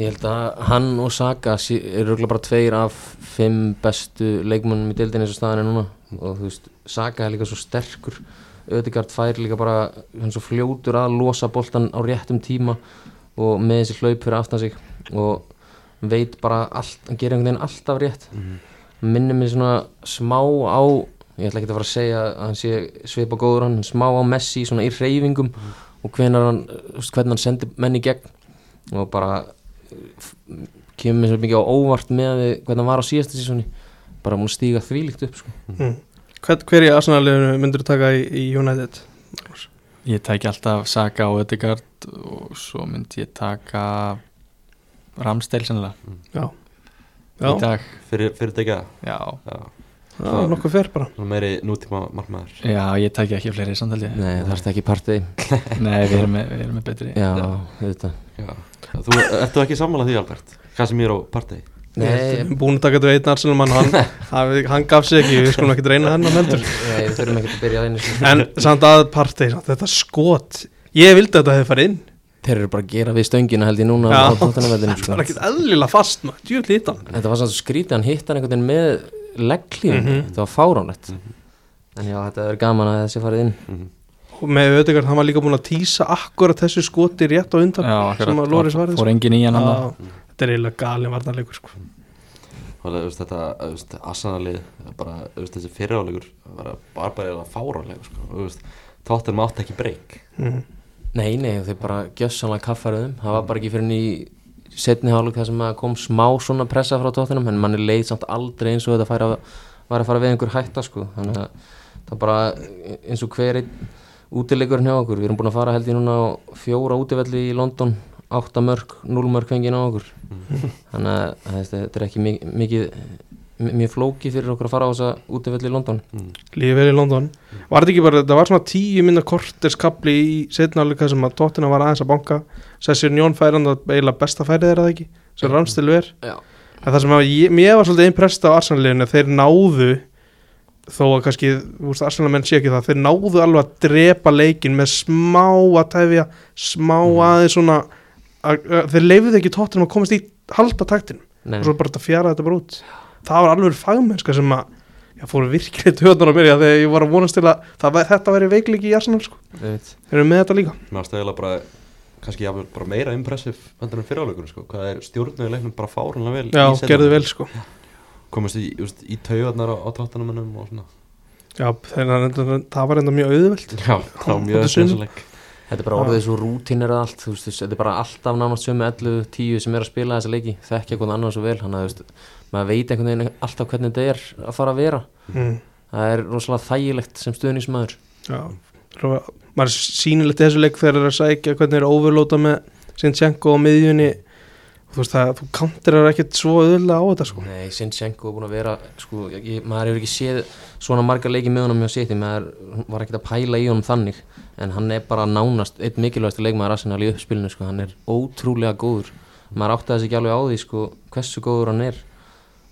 [SPEAKER 3] Ég held að hann og Saka sé- eru örugglega bara tveir af fimm bestu leikmönnum í deildinni eins og staðan er núna og þú veist, Saka er líka svo sterkur Ödegard fær líka bara hann er svo fljótur að losa boltan á réttum tíma og með þessi hlaup fyrir aftan sig og veit bara allt, hann gerir einhvern veginn alltaf rétt
[SPEAKER 2] Mhm.
[SPEAKER 3] minnir mig svona smá á ég ætla ekki að fara að segja að hann sé svipa góður hann, en smá á Messi svona í reyfingum og hvenar hann, þú veist, hvernig hann sendir menn í gegn og bara eh, f- kemur mér svo mikið á óvart með að við, hvernig hann var á síðasta sísoni bara múin stíga þvílíkt upp sko.
[SPEAKER 2] mm. Hver, hver í Arsenalinu myndur þú taka í, í United?
[SPEAKER 4] Ég tæki alltaf Saka og Ödegard og svo myndi ég taka Ramsteil sennilega í
[SPEAKER 2] Já,
[SPEAKER 4] dag
[SPEAKER 1] Fyrir, fyrir degja,
[SPEAKER 4] Já,
[SPEAKER 1] já,
[SPEAKER 2] já nokkuð fer bara
[SPEAKER 1] svona meiri nútíma markmaður
[SPEAKER 4] já ég tæki ekki fleiri samt held ég
[SPEAKER 3] Nei, það er ekki partið
[SPEAKER 4] Nei, við erum með, við erum með betri
[SPEAKER 3] Já, auðvitað
[SPEAKER 1] Já, þú, ertu ekki sammála því Albert? Casemiro Partey
[SPEAKER 3] Nei,
[SPEAKER 2] Búin að taka þetta við einn Arsenal mann hann, hann, hann gaf sig ekki, við skulum ekki reyna hennan heldur
[SPEAKER 3] nei, við þurfum ekki að byrja að einu sinni.
[SPEAKER 2] En samt að partey, samt þetta skot Ég vildi að þetta hefði farið inn
[SPEAKER 3] Þeir eru bara að gera við stöngina held ég núna
[SPEAKER 2] Já.
[SPEAKER 3] á tóttanavellinu
[SPEAKER 2] Það
[SPEAKER 3] sko.
[SPEAKER 2] var ekkert eðlilega fast maður, djúvill hitt hann
[SPEAKER 3] Þetta var samt svo skrítið, hann hitt hann einhvern veginn með legglífum, þetta var fáránlegt En já, þetta er gaman að þessi farið inn
[SPEAKER 2] Og með auðvitað, hann var líka búin að týsa akkurat þessu skoti rétt á undan
[SPEAKER 4] Já,
[SPEAKER 2] sem að
[SPEAKER 4] akkurat,
[SPEAKER 2] Lóris varði
[SPEAKER 4] fór
[SPEAKER 2] sko.
[SPEAKER 4] engin í hann hann
[SPEAKER 2] Já, Þetta er eiginlega galin varnarleikur sko.
[SPEAKER 1] Og það, þú veist, þetta, þú veist, Arsenalið, bara, þú veist, þessi fyriráleikur var bara bara fáralega, sko og, Þú veist, Tottenham átti ekki breyk
[SPEAKER 2] mm.
[SPEAKER 3] Nei, nei, þeir bara gjössanlega kaffaruðum Það var bara ekki fyrir í setni hálug þar sem að kom smá svona pressa frá tóttinum en manni leið samt aldrei eins og þetta færi að, var að fara við einhver hætta sko þannig að það bara eins og hver einn útileikurinn hjá okkur við erum búin að fara held ég núna á fjóra útivelli í London, átta mörg, núl mörg fengið á okkur þannig að þetta þetta er ekki mi- mikið mi- mjög flókið fyrir okkur að fara á þessa útivelli í London
[SPEAKER 1] Mm.
[SPEAKER 2] Lífið vel í London Var þetta ekki bara, það var svona tíu minna korterskabli í setnáleika sem að tóttina var aðeins að banka Sessir Njón færi hann að eiginlega besta færið er það ekki sem Ramstil ver
[SPEAKER 3] Já,
[SPEAKER 2] En það sem að ég, mér var svolítið impressed á Arsenal-liðinu þeir náðu þó að kannski, þú veist, Arsenal menn sé ekki það þeir náðu alveg að drepa leikin með smá að tefja smá
[SPEAKER 3] Mm.
[SPEAKER 2] aðeins svona að, að, þeir leifuðu ekki tóttinum að komast í halda taktinum
[SPEAKER 3] Nei.
[SPEAKER 2] og svo bara þetta fjara þetta bara út það var alveg fagmennska sem að ég fór virkilega töðunar á mér já, þegar ég var að vonast til að það, væri- þetta væri veikleiki í Arsenal sko.
[SPEAKER 3] einmitt.
[SPEAKER 2] þeir eru með þetta líka
[SPEAKER 1] Mér varst eiginlega bara kannski jafnvel bara meira impressiv endur en fyrirháleikunum sko, hvað er stjórnum í leiknum bara fárunlega vel
[SPEAKER 2] já,
[SPEAKER 1] í seinni
[SPEAKER 2] gerðu
[SPEAKER 1] hálfleik.
[SPEAKER 2] vel sko
[SPEAKER 1] komast í, just, í taugarnar á, á tóttanumennum og svona
[SPEAKER 2] já, þeir, það var enda mjög auðvelt
[SPEAKER 1] Já, það var mjög
[SPEAKER 2] Þetta er sund.
[SPEAKER 1] sensuleik
[SPEAKER 3] Þetta er bara orðið svo rútinir að allt þú veist, þetta er bara alltaf nánast sömu 11, 10 sem er að spila þessa leiki, þekkja hvernig annar svo vel þannig að þú veist, maður veit einhvern veginn alltaf hvernig þetta er að fara að vera
[SPEAKER 2] mm.
[SPEAKER 3] það er rosalega þægilegt sem stuðningsmaður
[SPEAKER 2] já, Rófa, maður er sýnilegt í þessu leik þegar þeir eru að sækja hvernig þeir eru að overlóta með Sinchenko á miðjunni þú veist það, þú kantirar ekkert svo auðvitað á þetta sko
[SPEAKER 3] Nei, Sinchenko er búin að vera sko, ég, maður hefur ekki séð svona marga leiki með honum hjá City, maður var ekkert að pæla í honum þannig, en hann er bara nánast eitt mikilvægasti leikmaður Arsenal í uppspilinu sko, hann er ótrúlega góður maður áttaði sig ekki alveg á því sko, hversu góður hann er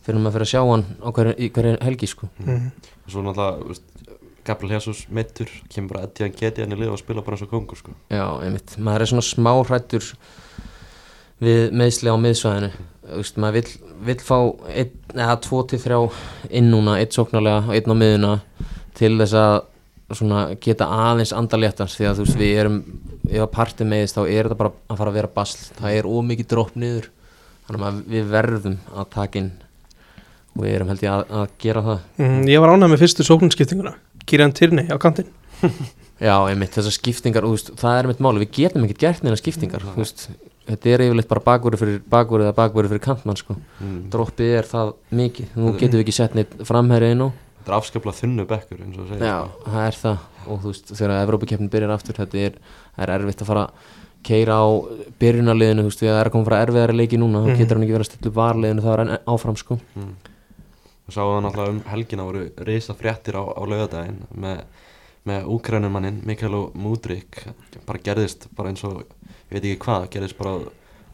[SPEAKER 3] fyrir maður fyrir að sjá hann á hverju, í hverju helgi sko.
[SPEAKER 2] mm.
[SPEAKER 1] og svo náttúrulega þú veist, Gabriel Jesus meittur kemur bara Etian Ketian í lið og spila bara eins og kongur sko.
[SPEAKER 3] Já, einmitt, maður er svona smá hrættur við meðsli á miðsvæðinu Þú veist, maður vill, vill fá einn, eða tvo til þrjá inn núna, einn sóknarlega og einn á miðuna til þess að svona geta aðeins andaléttans því að þú veist við erum, ef að parti meðist þá er þetta bara að fara að vera basl það er ómikið dropp niður þannig að við verðum að taka inn og við erum held ég að, að gera það
[SPEAKER 2] Mm, ég var ánægð með fyrstu sóknarskiptinguna Kieran Tierney á kantinn
[SPEAKER 3] Já, einmitt, þessar skiptingar, þú veist, það er einmitt máli, við getum ekkert gert neina skiptingar, þú veist, þetta er yfirleitt bara bakverði fyrir bakverði eða bakverði fyrir kantmann, sko,
[SPEAKER 1] mm.
[SPEAKER 3] droppið er það mikið, nú getum við ekki sett neitt framherri inn á,
[SPEAKER 1] þetta er afskaplega þunnu bekkur eins og segja
[SPEAKER 3] já, það er það, og þú veist, þegar Evrópikeppnin byrjar aftur, þetta er, það er erfitt að fara að keira á byrjunarliðinu, þú veist, við erum að koma frá erfiðari leiki núna, þá getur hann ekki verið að stilla upp varliðinu, það er enn áfram, sko,
[SPEAKER 1] og sá það náttúrulega um helgina voru reysa fréttir á, á laugardaginn með, með úkrænumanninn Mikael og Mudrik bara gerðist bara eins og ég veit ekki hvað gerðist bara á,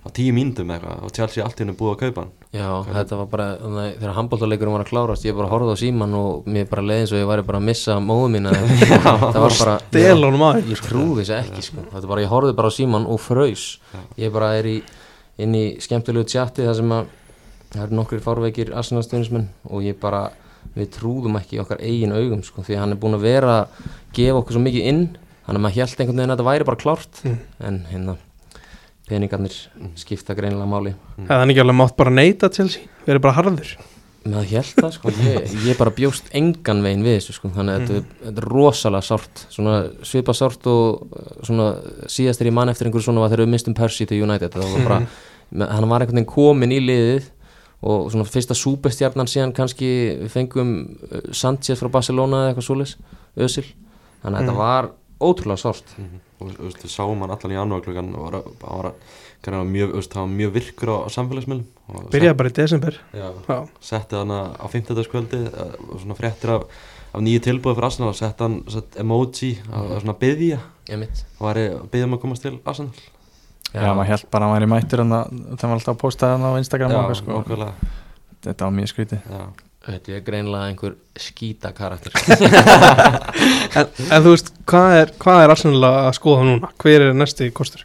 [SPEAKER 1] á tíu mínutum eitthvað og Chelsea allt í hennu búið að kaupa hann
[SPEAKER 3] Já, þetta var bara, þannig, að þegar handbóltaleikurum var að klárast, ég bara horfði á síman og mér bara leiði eins og ég væri bara að missa móðu mín það var bara,
[SPEAKER 2] Del honum aðeins
[SPEAKER 3] ég trúi þessu ekki sko. þetta er bara, ég horfði bara á síman og fraus ég bara er í, inn í skemmtilegu tjatti þar sem að það eru nokkrir fárveikir arsenalstunismenn og ég bara, við trúðum ekki í okkar eigin augum sko, því að hann er búin að vera að gefa okkur svo mikið inn þannig að maður held einhvern veginn að þetta væri bara klárt en hérna, peningarnir skipta greinilega máli
[SPEAKER 2] Það er ekki alveg mátt bara neita til sí Við erum bara harður
[SPEAKER 3] maður held það sko, ég, ég bara bjóst engan veginn við þessu sko, þannig að þetta, þetta er rosalega sárt, svona svipa sárt og eh, svona síðast er ég mann eftir einhverju svona var þegar við mistum Percy til United, það var bara, mm. hann var einhvern veginn komin í liðið og svona fyrsta súbestjarnan síðan kannski við fengum eh, Sanchez frá Barcelona eða eitthvað svoleiðis, Özil, þannig að þetta var ótrúlega sárt.
[SPEAKER 1] og þú veist, við sáum hann allan í janúar klukkan og var, að- hann var, var, mjög, þú veist, hann var mjög virkur á, á samfélagsmiðlum og
[SPEAKER 2] Byrjaði bara í desember
[SPEAKER 1] sett- já,
[SPEAKER 2] Já,
[SPEAKER 1] setti hann að- á 50-dagskvöldi og svona fréttir af, af nýju tilbúið fyrir Arsenal og setti hann sett emoji að svona byðja
[SPEAKER 3] Ég mitt.
[SPEAKER 1] og var að byðja um að komast til Arsenal
[SPEAKER 4] Já, maður held bara að maður er mættur en það var alltaf að posta það á Instagram og eitthvað, sko.
[SPEAKER 1] okkarlega
[SPEAKER 4] Þetta var mjög skrítið
[SPEAKER 1] já.
[SPEAKER 3] Þetta er greinlega einhver skýta karakter.
[SPEAKER 2] en, en þú veist, hvað er, hvað er Arsenal að skoða núna? Hver er næsti kostur?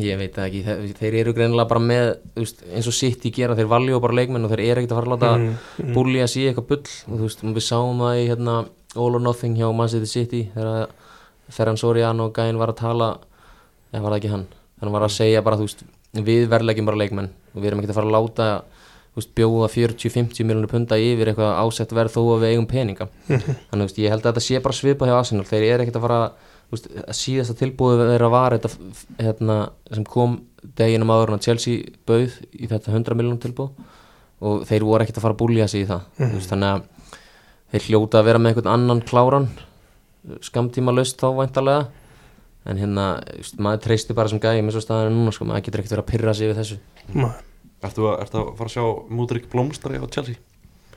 [SPEAKER 3] Ég veit það ekki, þeir, þeir eru greinilega bara með þú veist, eins og sitt í gera, þeir valjú bara leikmenn og þeir eru ekkert að fara að láta mm, mm. búli að sé eitthvað bull og þú veist, við sáum það í hérna, All or Nothing hjá Man City City þegar Ferran Soriano og Gæinn var að tala eða var það ekki hann, hann var að segja bara þú veist, við verðlegjum bara leikmenn og við erum ekkert að fara að láta þú veist, bjóða 40-50 miljonir punta yfir eitthvað ásett verð þó að við eigum peninga þannig þú veist, ég held að þetta sé bara svipa hjá Arsenal þeir eru ekkert að fara þú veist, að síðasta tilbúið þeirra var þetta f- f- hérna, sem kom deginum áður en að Chelsea bauð í þetta 100 miljonum tilbúið og þeir voru ekkert að fara að búlja sig í það mm. veist, þannig að þeir hljóta að vera með einhvern annan kláran skamtíma laust þá væntalega en hérna, þú veist, maður treysti bara sem gæði með svo staðinu núna, sko, maður getur ekkert verið að pyrra sig yfir þessu
[SPEAKER 2] Nei.
[SPEAKER 1] Ertu, að, ertu að fara að sjá Múdrik blómstari á Chelsea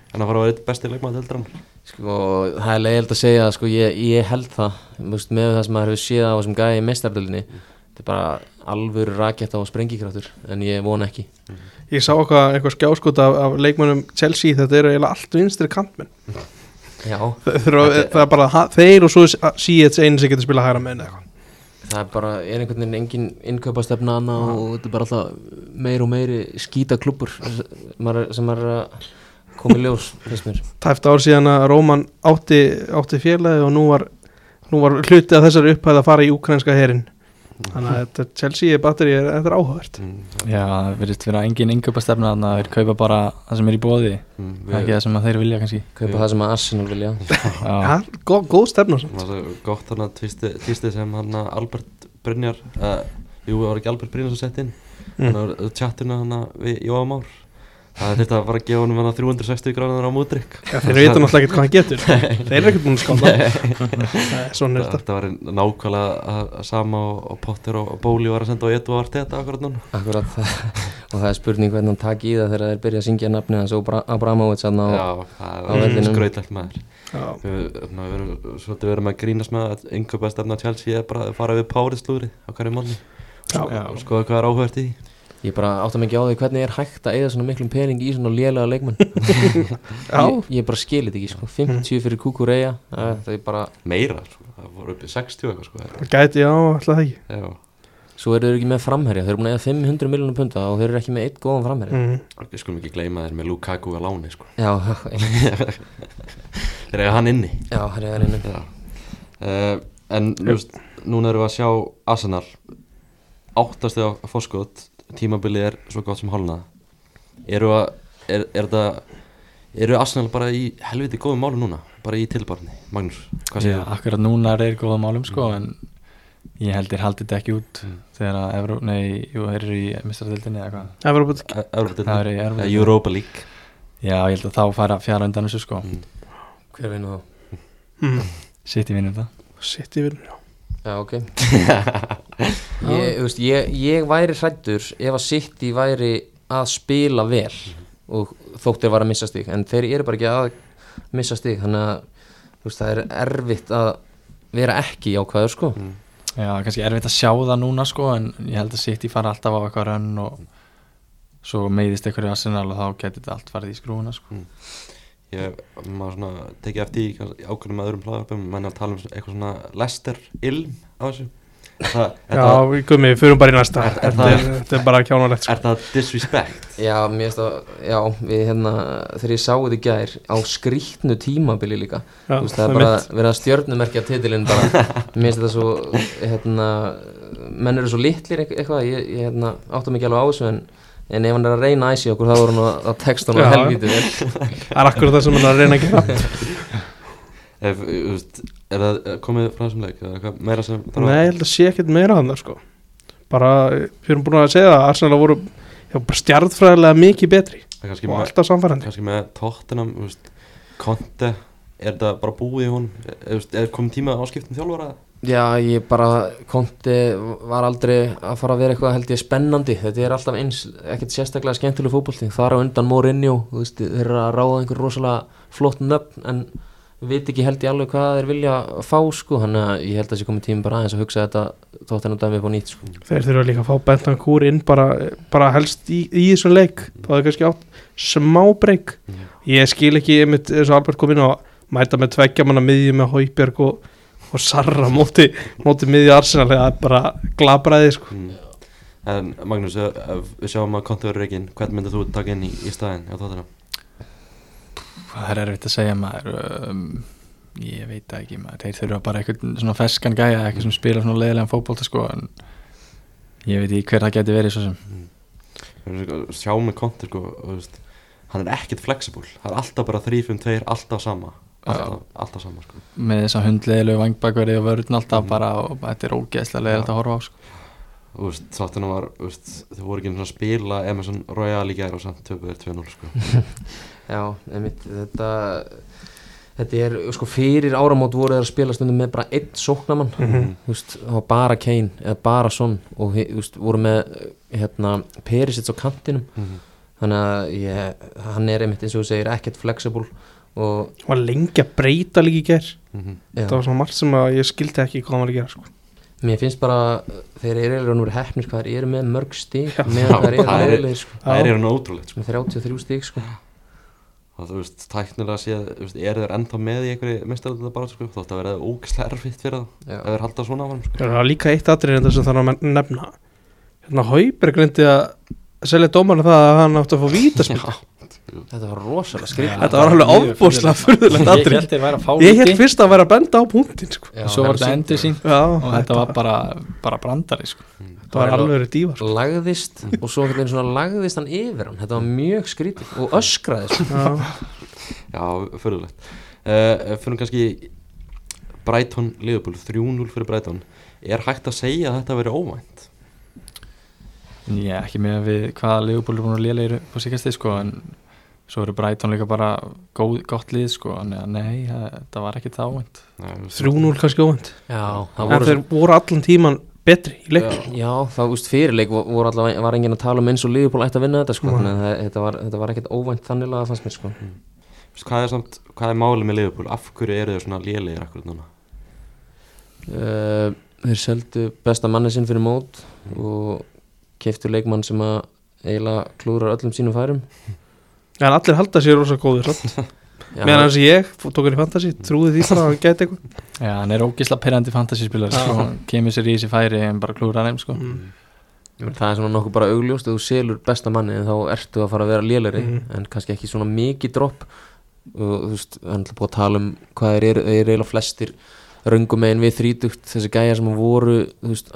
[SPEAKER 1] en að fara að vera eitt besti leikmaði til dramar
[SPEAKER 3] Sko, það er leiðild að segja það, sko, ég, ég held það, þú veist, með það sem maður hefur séð á þessum gæði í meistardölinni, þetta er bara alvöru raketta og sprengikraftur, en ég von ekki.
[SPEAKER 2] Ég sá eitthvað, eitthvað skjáskot af, af leikmönnum Chelsea Þetta eru eiginlega allt vinstri kantmenn
[SPEAKER 3] já,
[SPEAKER 2] Þurfa,
[SPEAKER 3] Þetta er-
[SPEAKER 2] það er bara ha- þeir og svo síðan einu sem getur spilað hægra með eitthvað
[SPEAKER 3] það er bara er einhvern veginn engin innkaupastefna hana og þetta er bara alltaf meir og meiri skýta klubur sem er að koma í ljós finnst mér
[SPEAKER 2] tæft ár síðan að Róman átti, átti félagi og nú var, nú var hluti að þessari upphæð að fara í ukrainska herin þannig að þetta Chelsea batteri er, þetta er áhugavert
[SPEAKER 1] Mm,
[SPEAKER 4] Já, það verðist vera engin yngjöpastefna þannig að þeir kaupa bara það sem er í bóði
[SPEAKER 1] mm,
[SPEAKER 4] ekki það sem að þeir vilja kannski
[SPEAKER 3] kaupa
[SPEAKER 1] Já.
[SPEAKER 3] það sem að Arsenal vilja
[SPEAKER 4] Já,
[SPEAKER 2] ja, góð, góð stefnur
[SPEAKER 1] Það var svo gott hann að tvisti sem hann að Albert Brynjar uh, Jú, það var ekki Albert Brynjar sem sett inn
[SPEAKER 2] Mm.
[SPEAKER 1] mm. Hann var tjattina hann að við Jóa Már Það þurfti að fara að gefa honum hann 360 gráðunar á mútrykk
[SPEAKER 2] þeir veitum náttúrulega ekkert hvað hann
[SPEAKER 3] <laughs>
[SPEAKER 2] getur þeir eru ekkert búin að skála Nei, <laughs> svona er þetta
[SPEAKER 1] Þetta var nákvæmlega að- að sama og, og Potter og, og Bóli var að senda á Edu og Arteta akkurat núna
[SPEAKER 3] Akkurat <laughs> það og það er spurning hvernig hann takk í það þegar þeir byrja að syngja nafnið hans Obra- Abramovits hann á
[SPEAKER 1] Já, það
[SPEAKER 3] á
[SPEAKER 1] var
[SPEAKER 2] Mm.
[SPEAKER 3] vellinum.
[SPEAKER 1] skrautlegt maður
[SPEAKER 2] Já.
[SPEAKER 1] Við svona, við erum svolítið verið með að grínast með að yngöpa stefna Chelsea er bara að fara við párið slúri á hverju málni
[SPEAKER 2] Já.
[SPEAKER 1] og skoða hvað er áhvert í því.
[SPEAKER 3] ég bara átta mikið á því hvernig er hægt að eigða svona miklum pening í svona lélega <laughs> leikmenn
[SPEAKER 2] Já.
[SPEAKER 3] ég, ég bara skilir þetta ekki sko 50 fyrir Kukureya það er bara
[SPEAKER 1] meira, sko. það voru upp í 60 eitthvað sko.
[SPEAKER 2] Það gæti, já, alltaf það ekki
[SPEAKER 1] Já.
[SPEAKER 3] svo eru þeir ekki með framherja þeir eru búin að eða 500 miljónum punda og þeir eru ekki með eitt góðan framherja
[SPEAKER 2] mm.
[SPEAKER 1] og við skulum ekki gleyma þér með Lukaku að láni sko.
[SPEAKER 3] já,
[SPEAKER 1] <laughs>
[SPEAKER 3] <laughs>
[SPEAKER 1] þeir eiga hann inni
[SPEAKER 3] já, það er einu
[SPEAKER 1] Já. Uh, en þú veist, núna erum við að sjá Arsenal áttast á fórskot, tímabilið er svo gott sem hálna eru að, er, er þetta eru Arsenal bara í helviti góðum málum núna bara í tilbarni, Magnús hvað
[SPEAKER 4] Já,
[SPEAKER 1] segir þú? Mm.
[SPEAKER 4] akkurat núna er þeir góða málum sko en ég held þeir haldið þetta ekki út þegar að Evró, nei, jú, þeir eru í mistradeildinni eða hvað
[SPEAKER 2] Evrópa-
[SPEAKER 1] E- Evrópudeildin?
[SPEAKER 4] Það eru í Evrópudeildinni.
[SPEAKER 1] Eða Europa League
[SPEAKER 4] Já, ég held að þá fara fjara undan þessu sko
[SPEAKER 1] Mm.
[SPEAKER 3] hver veginn þá?
[SPEAKER 2] mm.
[SPEAKER 4] Sitt í vinnum það
[SPEAKER 2] Sitt í vinnur, já
[SPEAKER 3] já, <laughs> ok ég, þú veist, ég, ég væri hrættur ef að City væri að spila vel og þótt þeir var að missa stík en þeir eru bara ekki að missa stík þannig að þú veist, það er erfitt að vera ekki jákvæður sko
[SPEAKER 4] Já, kannski erfitt að sjá það núna sko en ég held að sitt í fara alltaf á eitthvað rönn og svo meiðist einhverju arsenal og þá getur þetta allt farið í skrúna sko
[SPEAKER 1] ég maður svona tekið eftir í kannski ákveðnum öðrum hlaðarpum menn að tala um svona- eitthvað svona lester ilm á þessu það, er, það,
[SPEAKER 2] Já, gummi, við förum bara í næsta
[SPEAKER 1] Er- er
[SPEAKER 2] Þetta er, þetta er bara kjánulegt sko.
[SPEAKER 1] er það disrespect
[SPEAKER 3] já, mér finnst að, já, við hérna þegar ég sá þetta í gær á skrýtnu tímabili líka
[SPEAKER 2] Já,
[SPEAKER 3] þú veist, það
[SPEAKER 2] það
[SPEAKER 3] er
[SPEAKER 2] er
[SPEAKER 3] bara
[SPEAKER 2] mitt.
[SPEAKER 3] verið að stjörnumerkja
[SPEAKER 2] <laughs>
[SPEAKER 3] titilinn bara, mér finnst þetta svo hérna, menn eru svo litlir eit- eitthvað, ég, ég hérna, áttum ekki alveg á þessu en, en ef hann er að reyna æsi okkur þá voru hann að- að texta hann
[SPEAKER 2] Já.
[SPEAKER 3] að helvítu vel
[SPEAKER 2] Það er akkur það sem hann er að reyna að
[SPEAKER 3] <laughs>
[SPEAKER 2] gera
[SPEAKER 1] ef, þú veist, er það er komið frá þessum leik eða eitthvað meira sem þarf að-
[SPEAKER 2] Nei, ég held að sé ekkert meira hann sko. bara, við erum búin að segja það Arsenal voru já, bara stjartfræðilega mikið betri
[SPEAKER 1] það er kannski
[SPEAKER 2] og
[SPEAKER 1] með,
[SPEAKER 2] alltaf samfærandi
[SPEAKER 1] kannski með tóttinam veist, konti er þetta bara búið í hún er, er, er komið tíma á skiptum um þjálfara
[SPEAKER 3] Já, ég bara, Konti var aldrei að fara að vera eitthvað held ég spennandi, þetta er alltaf eins, ekkert sérstaklega skemmtileg fótbolti, þar á undan Mourinho, þú veist, þeir eru að ráða einhver rosalega flott nöfn, en veit ekki held ég alveg hvað þeir vilja fá, sko, hann að ég held að þessi komið tími bara aðeins að hugsa þetta tóttan og dæmi upp á nýtt, sko.
[SPEAKER 2] þeir þurfa líka að fá Bentan Kúr inn bara, bara helst í, í þessum leik þá er kannski átt smá breyk ég skil ekki einmitt eins og Albert kom inn og mæta með tveggja manna miðjum með Hauberg og, og Sarra móti, móti miðju Arsenal það er bara glabraði sko.
[SPEAKER 1] mm. en Magnús, ef, ef við sjáum að konti verður reygin hvern myndir þú taka inn í, í staðin á tóttinam?
[SPEAKER 4] Það er erfitt að segja maður um, Ég veit það ekki maður Þeir þurfa bara eitthvað svona feskan gæja eitthvað sem spila svona leiðilegan fótbolta sko en ég veit ekki hver það geti verið svo sem
[SPEAKER 1] sjáum með konti sko, og, veist, hann er ekkert flexible það er alltaf bara 3-5-2 alltaf sama alltaf, alltaf sama sko.
[SPEAKER 4] með þess að hundleiðilegu vangbakveri og vörðn alltaf bara og þetta er ógeðslega leiðilegt að horfa á sko
[SPEAKER 1] og þú veist, tóttinam var þú veist, þau voru ekki einu sinni að spila Emerson Royal í gær og samt töpuður 2-0 sko.
[SPEAKER 3] Já, einmitt, þetta, þetta er, sko, fyrir áramót voru þeir að spila stundum með bara einn sóknamann, þú veist, það var bara Kane eða bara Son og, hi- þú veist, voru með, hérna, Perisic á kantinum,
[SPEAKER 1] Mhm.
[SPEAKER 3] þannig að ég, hann er einmitt eins og þú segir ekkert flexible og
[SPEAKER 2] var lengi að breyta líka í ger
[SPEAKER 1] Mhm.
[SPEAKER 3] já,
[SPEAKER 2] það var svona margt sem að ég skildi ekki hvað hann var að gera sko.
[SPEAKER 3] mér finnst bara uh, þeir eru eiginlega núri hefnir hvað þeir eru með mörg stík
[SPEAKER 2] Já.
[SPEAKER 3] meðan þeir
[SPEAKER 1] það
[SPEAKER 3] eru
[SPEAKER 1] er-
[SPEAKER 3] náðilegir sko,
[SPEAKER 1] það er hérna ótrúlegt sko.
[SPEAKER 3] með 33 stík sko.
[SPEAKER 1] og þú veist, tæknilega séð, þú veist, eru þeir ennþá með í einhverju mestarölda bara, sko, þótt að vera ógislega erfitt fyrir þá,
[SPEAKER 3] Já.
[SPEAKER 1] ef þeir halda svona áfram, sko.
[SPEAKER 2] Það er líka eitt atrið en það sem þarf að men- nefna Hérna Hauberg reyndi að selja dómarna það að hann átti að fá
[SPEAKER 1] sko.
[SPEAKER 2] vítaspildu
[SPEAKER 3] Þetta var rosalega skrifað
[SPEAKER 2] Þetta var alveg ofbúslega furðulegt
[SPEAKER 4] Ég
[SPEAKER 2] atrið
[SPEAKER 4] held þeir væri að fá
[SPEAKER 2] Ég held
[SPEAKER 4] víti
[SPEAKER 2] fyrst að vera að benda á punktin sko.
[SPEAKER 3] Já,
[SPEAKER 4] Svo var þetta
[SPEAKER 3] sýnt.
[SPEAKER 4] endur sínt
[SPEAKER 2] Já,
[SPEAKER 4] og þetta var bara, bara brandari sko.
[SPEAKER 2] þetta var alveg verið
[SPEAKER 3] sko.
[SPEAKER 2] dívar
[SPEAKER 3] lagðist og svo einhvern veginn svona lagðist hann yfir hann þetta var mjög skrítið og öskraði sko.
[SPEAKER 1] <laughs> Já, fyrirlegt. Uh, fyrir kannski Brighton Liverpool, 3-0 fyrir Brighton. Er hægt að segja að þetta veri óvænt?
[SPEAKER 4] Já, ekki með við hvaða Leopold er búin að lélega eru på síkastið sko, en svo eru Brighton líka bara góð, gott lið sko, en nei, það- þetta var ekki það ávend.
[SPEAKER 1] Nei, Eh, þú veist,
[SPEAKER 2] 3-0 kannski óvænt
[SPEAKER 3] já, það
[SPEAKER 2] En
[SPEAKER 3] voru
[SPEAKER 2] þeir voru allan tíman betri í leik
[SPEAKER 3] já, það úst fyrirleik vo- voru allavega var enginn að tala um eins og Liverpool ætti að vinna þetta sko.
[SPEAKER 2] Nei.
[SPEAKER 3] þannig að það- þetta var, þetta var ekkert óvænt þannig að fannst mér sko.
[SPEAKER 1] Þú veist, hvað er samt, hvað er málið með Liverpool? Af hverju eru þau svona lélegir akkur núna?
[SPEAKER 3] uh, þeir seldu besta manni sinn fyrir mót og keiftu leikmann sem að eiginlega klúrar öllum sínum færum
[SPEAKER 2] En allir halda sér rosa góðir samt.
[SPEAKER 3] Já,
[SPEAKER 2] Meðan hans ég, tók hann í fantasy Trúði því bara að hann gæti eitthvað
[SPEAKER 4] Já, hann er ógisla perandi fantasyspilar sko, hann kemur sér í þessi færi en bara klúrar þeim sko.
[SPEAKER 2] Mm.
[SPEAKER 3] það er svona nokkuð bara augljóst ef þú selur besta manni þá ertu að fara að vera léleri
[SPEAKER 2] Mhm.
[SPEAKER 3] en kannski ekki svona mikið dropp og þú veist, hann er búið að tala um hvað þeir eru, þeir eru eiginlega flestir röngum megin við þrítugt, þessi gæjar sem voru þú veist,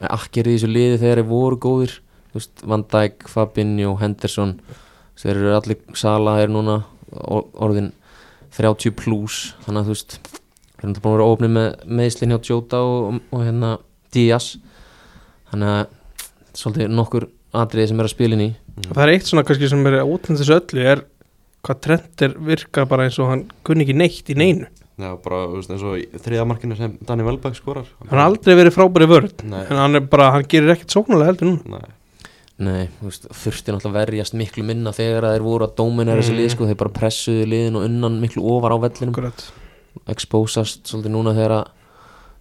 [SPEAKER 3] akkir í þessu liði þegar þeir voru góðir, þú veist, Van Dijk Fabinho, Henderson þú veist, þeir eru allir, Sala er núna or- orðin 30 plus þannig að þú veist, þeir eru búin að vera ofnið með meðslinn hjá Jota og, og hérna Díaz þannig að svolítið nokkur atriði sem er að spila inn í
[SPEAKER 2] Það er eitt svona kannski sem er ótend þessu öllu Er hvað trendir virka bara eins og hann kunni ekki neitt í neinu
[SPEAKER 1] Já, bara, þú veist, eins og í þriðja markinu sem Danny Welbeck skorar.
[SPEAKER 2] Hann har aldrei verið frábæri vörð
[SPEAKER 1] Nei.
[SPEAKER 2] En hann er bara, hann gerir ekkert sóknulega heldur núna
[SPEAKER 1] Nei,
[SPEAKER 3] Nei, þú veist, þurfti náttúrulega að verjast miklu minna þegar að þeir voru að dóminera þessi
[SPEAKER 2] Mm.
[SPEAKER 3] lið sko, þeir bara pressuðu liðin og unnan miklu ofar á vellinum
[SPEAKER 2] Akkurat.
[SPEAKER 3] expósast svolítið núna þegar að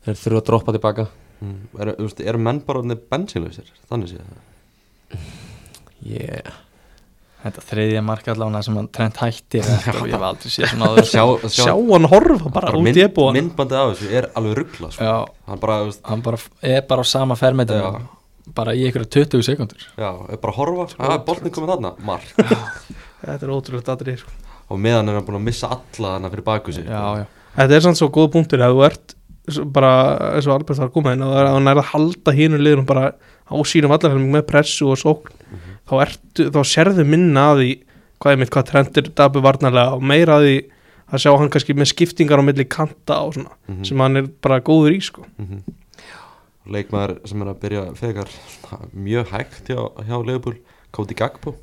[SPEAKER 3] þeir þurfa að droppa tilbaka
[SPEAKER 1] mm. eru, þú veist, eru menn bara orðinir bensinlausir? Þannig séð það.
[SPEAKER 3] yeah.
[SPEAKER 4] Þetta þriðja marka allavega sem hann trent hætti þetta og ég hef aldrei séð svona áður.
[SPEAKER 1] Sjá,
[SPEAKER 2] Sjá hann horfa bara
[SPEAKER 1] bara
[SPEAKER 2] út
[SPEAKER 1] mynd,
[SPEAKER 2] í ebúan
[SPEAKER 1] myndbandið af þessu er alveg ruggla, sko.
[SPEAKER 4] Já,
[SPEAKER 1] Hann bara, þú veist,
[SPEAKER 4] hann bara er bara á sama fermetum,
[SPEAKER 1] Já.
[SPEAKER 4] bara í einhverja 20 sekundur.
[SPEAKER 1] já, er bara að horfa, sko. að boltin komið þarna, mark.
[SPEAKER 2] Þetta er ótrúlegt atrið sko.
[SPEAKER 1] og meðan er hann búin að missa alla þarna fyrir baku sig.
[SPEAKER 4] Já, já.
[SPEAKER 2] Þetta er samt svo góð punktur að þú ert s- bara eins og Albert var að koma inn að hann er að halda hínu liðunum bara á sínum allarfælum með pressu og sókn
[SPEAKER 1] Mhm.
[SPEAKER 2] þá, ertu, þá sérðu minna að því hvað er mitt, hvað trendir dabu varnarlega og meira að því að sjá hann kannski með skiptingar á milli kanta og svona
[SPEAKER 1] Mhm.
[SPEAKER 2] sem hann er bara góður í sko
[SPEAKER 1] Mhm. Og leikmaður sem er að byrja fekar svona mjög hægt hjá, hjá Leopold, Cody Gagbo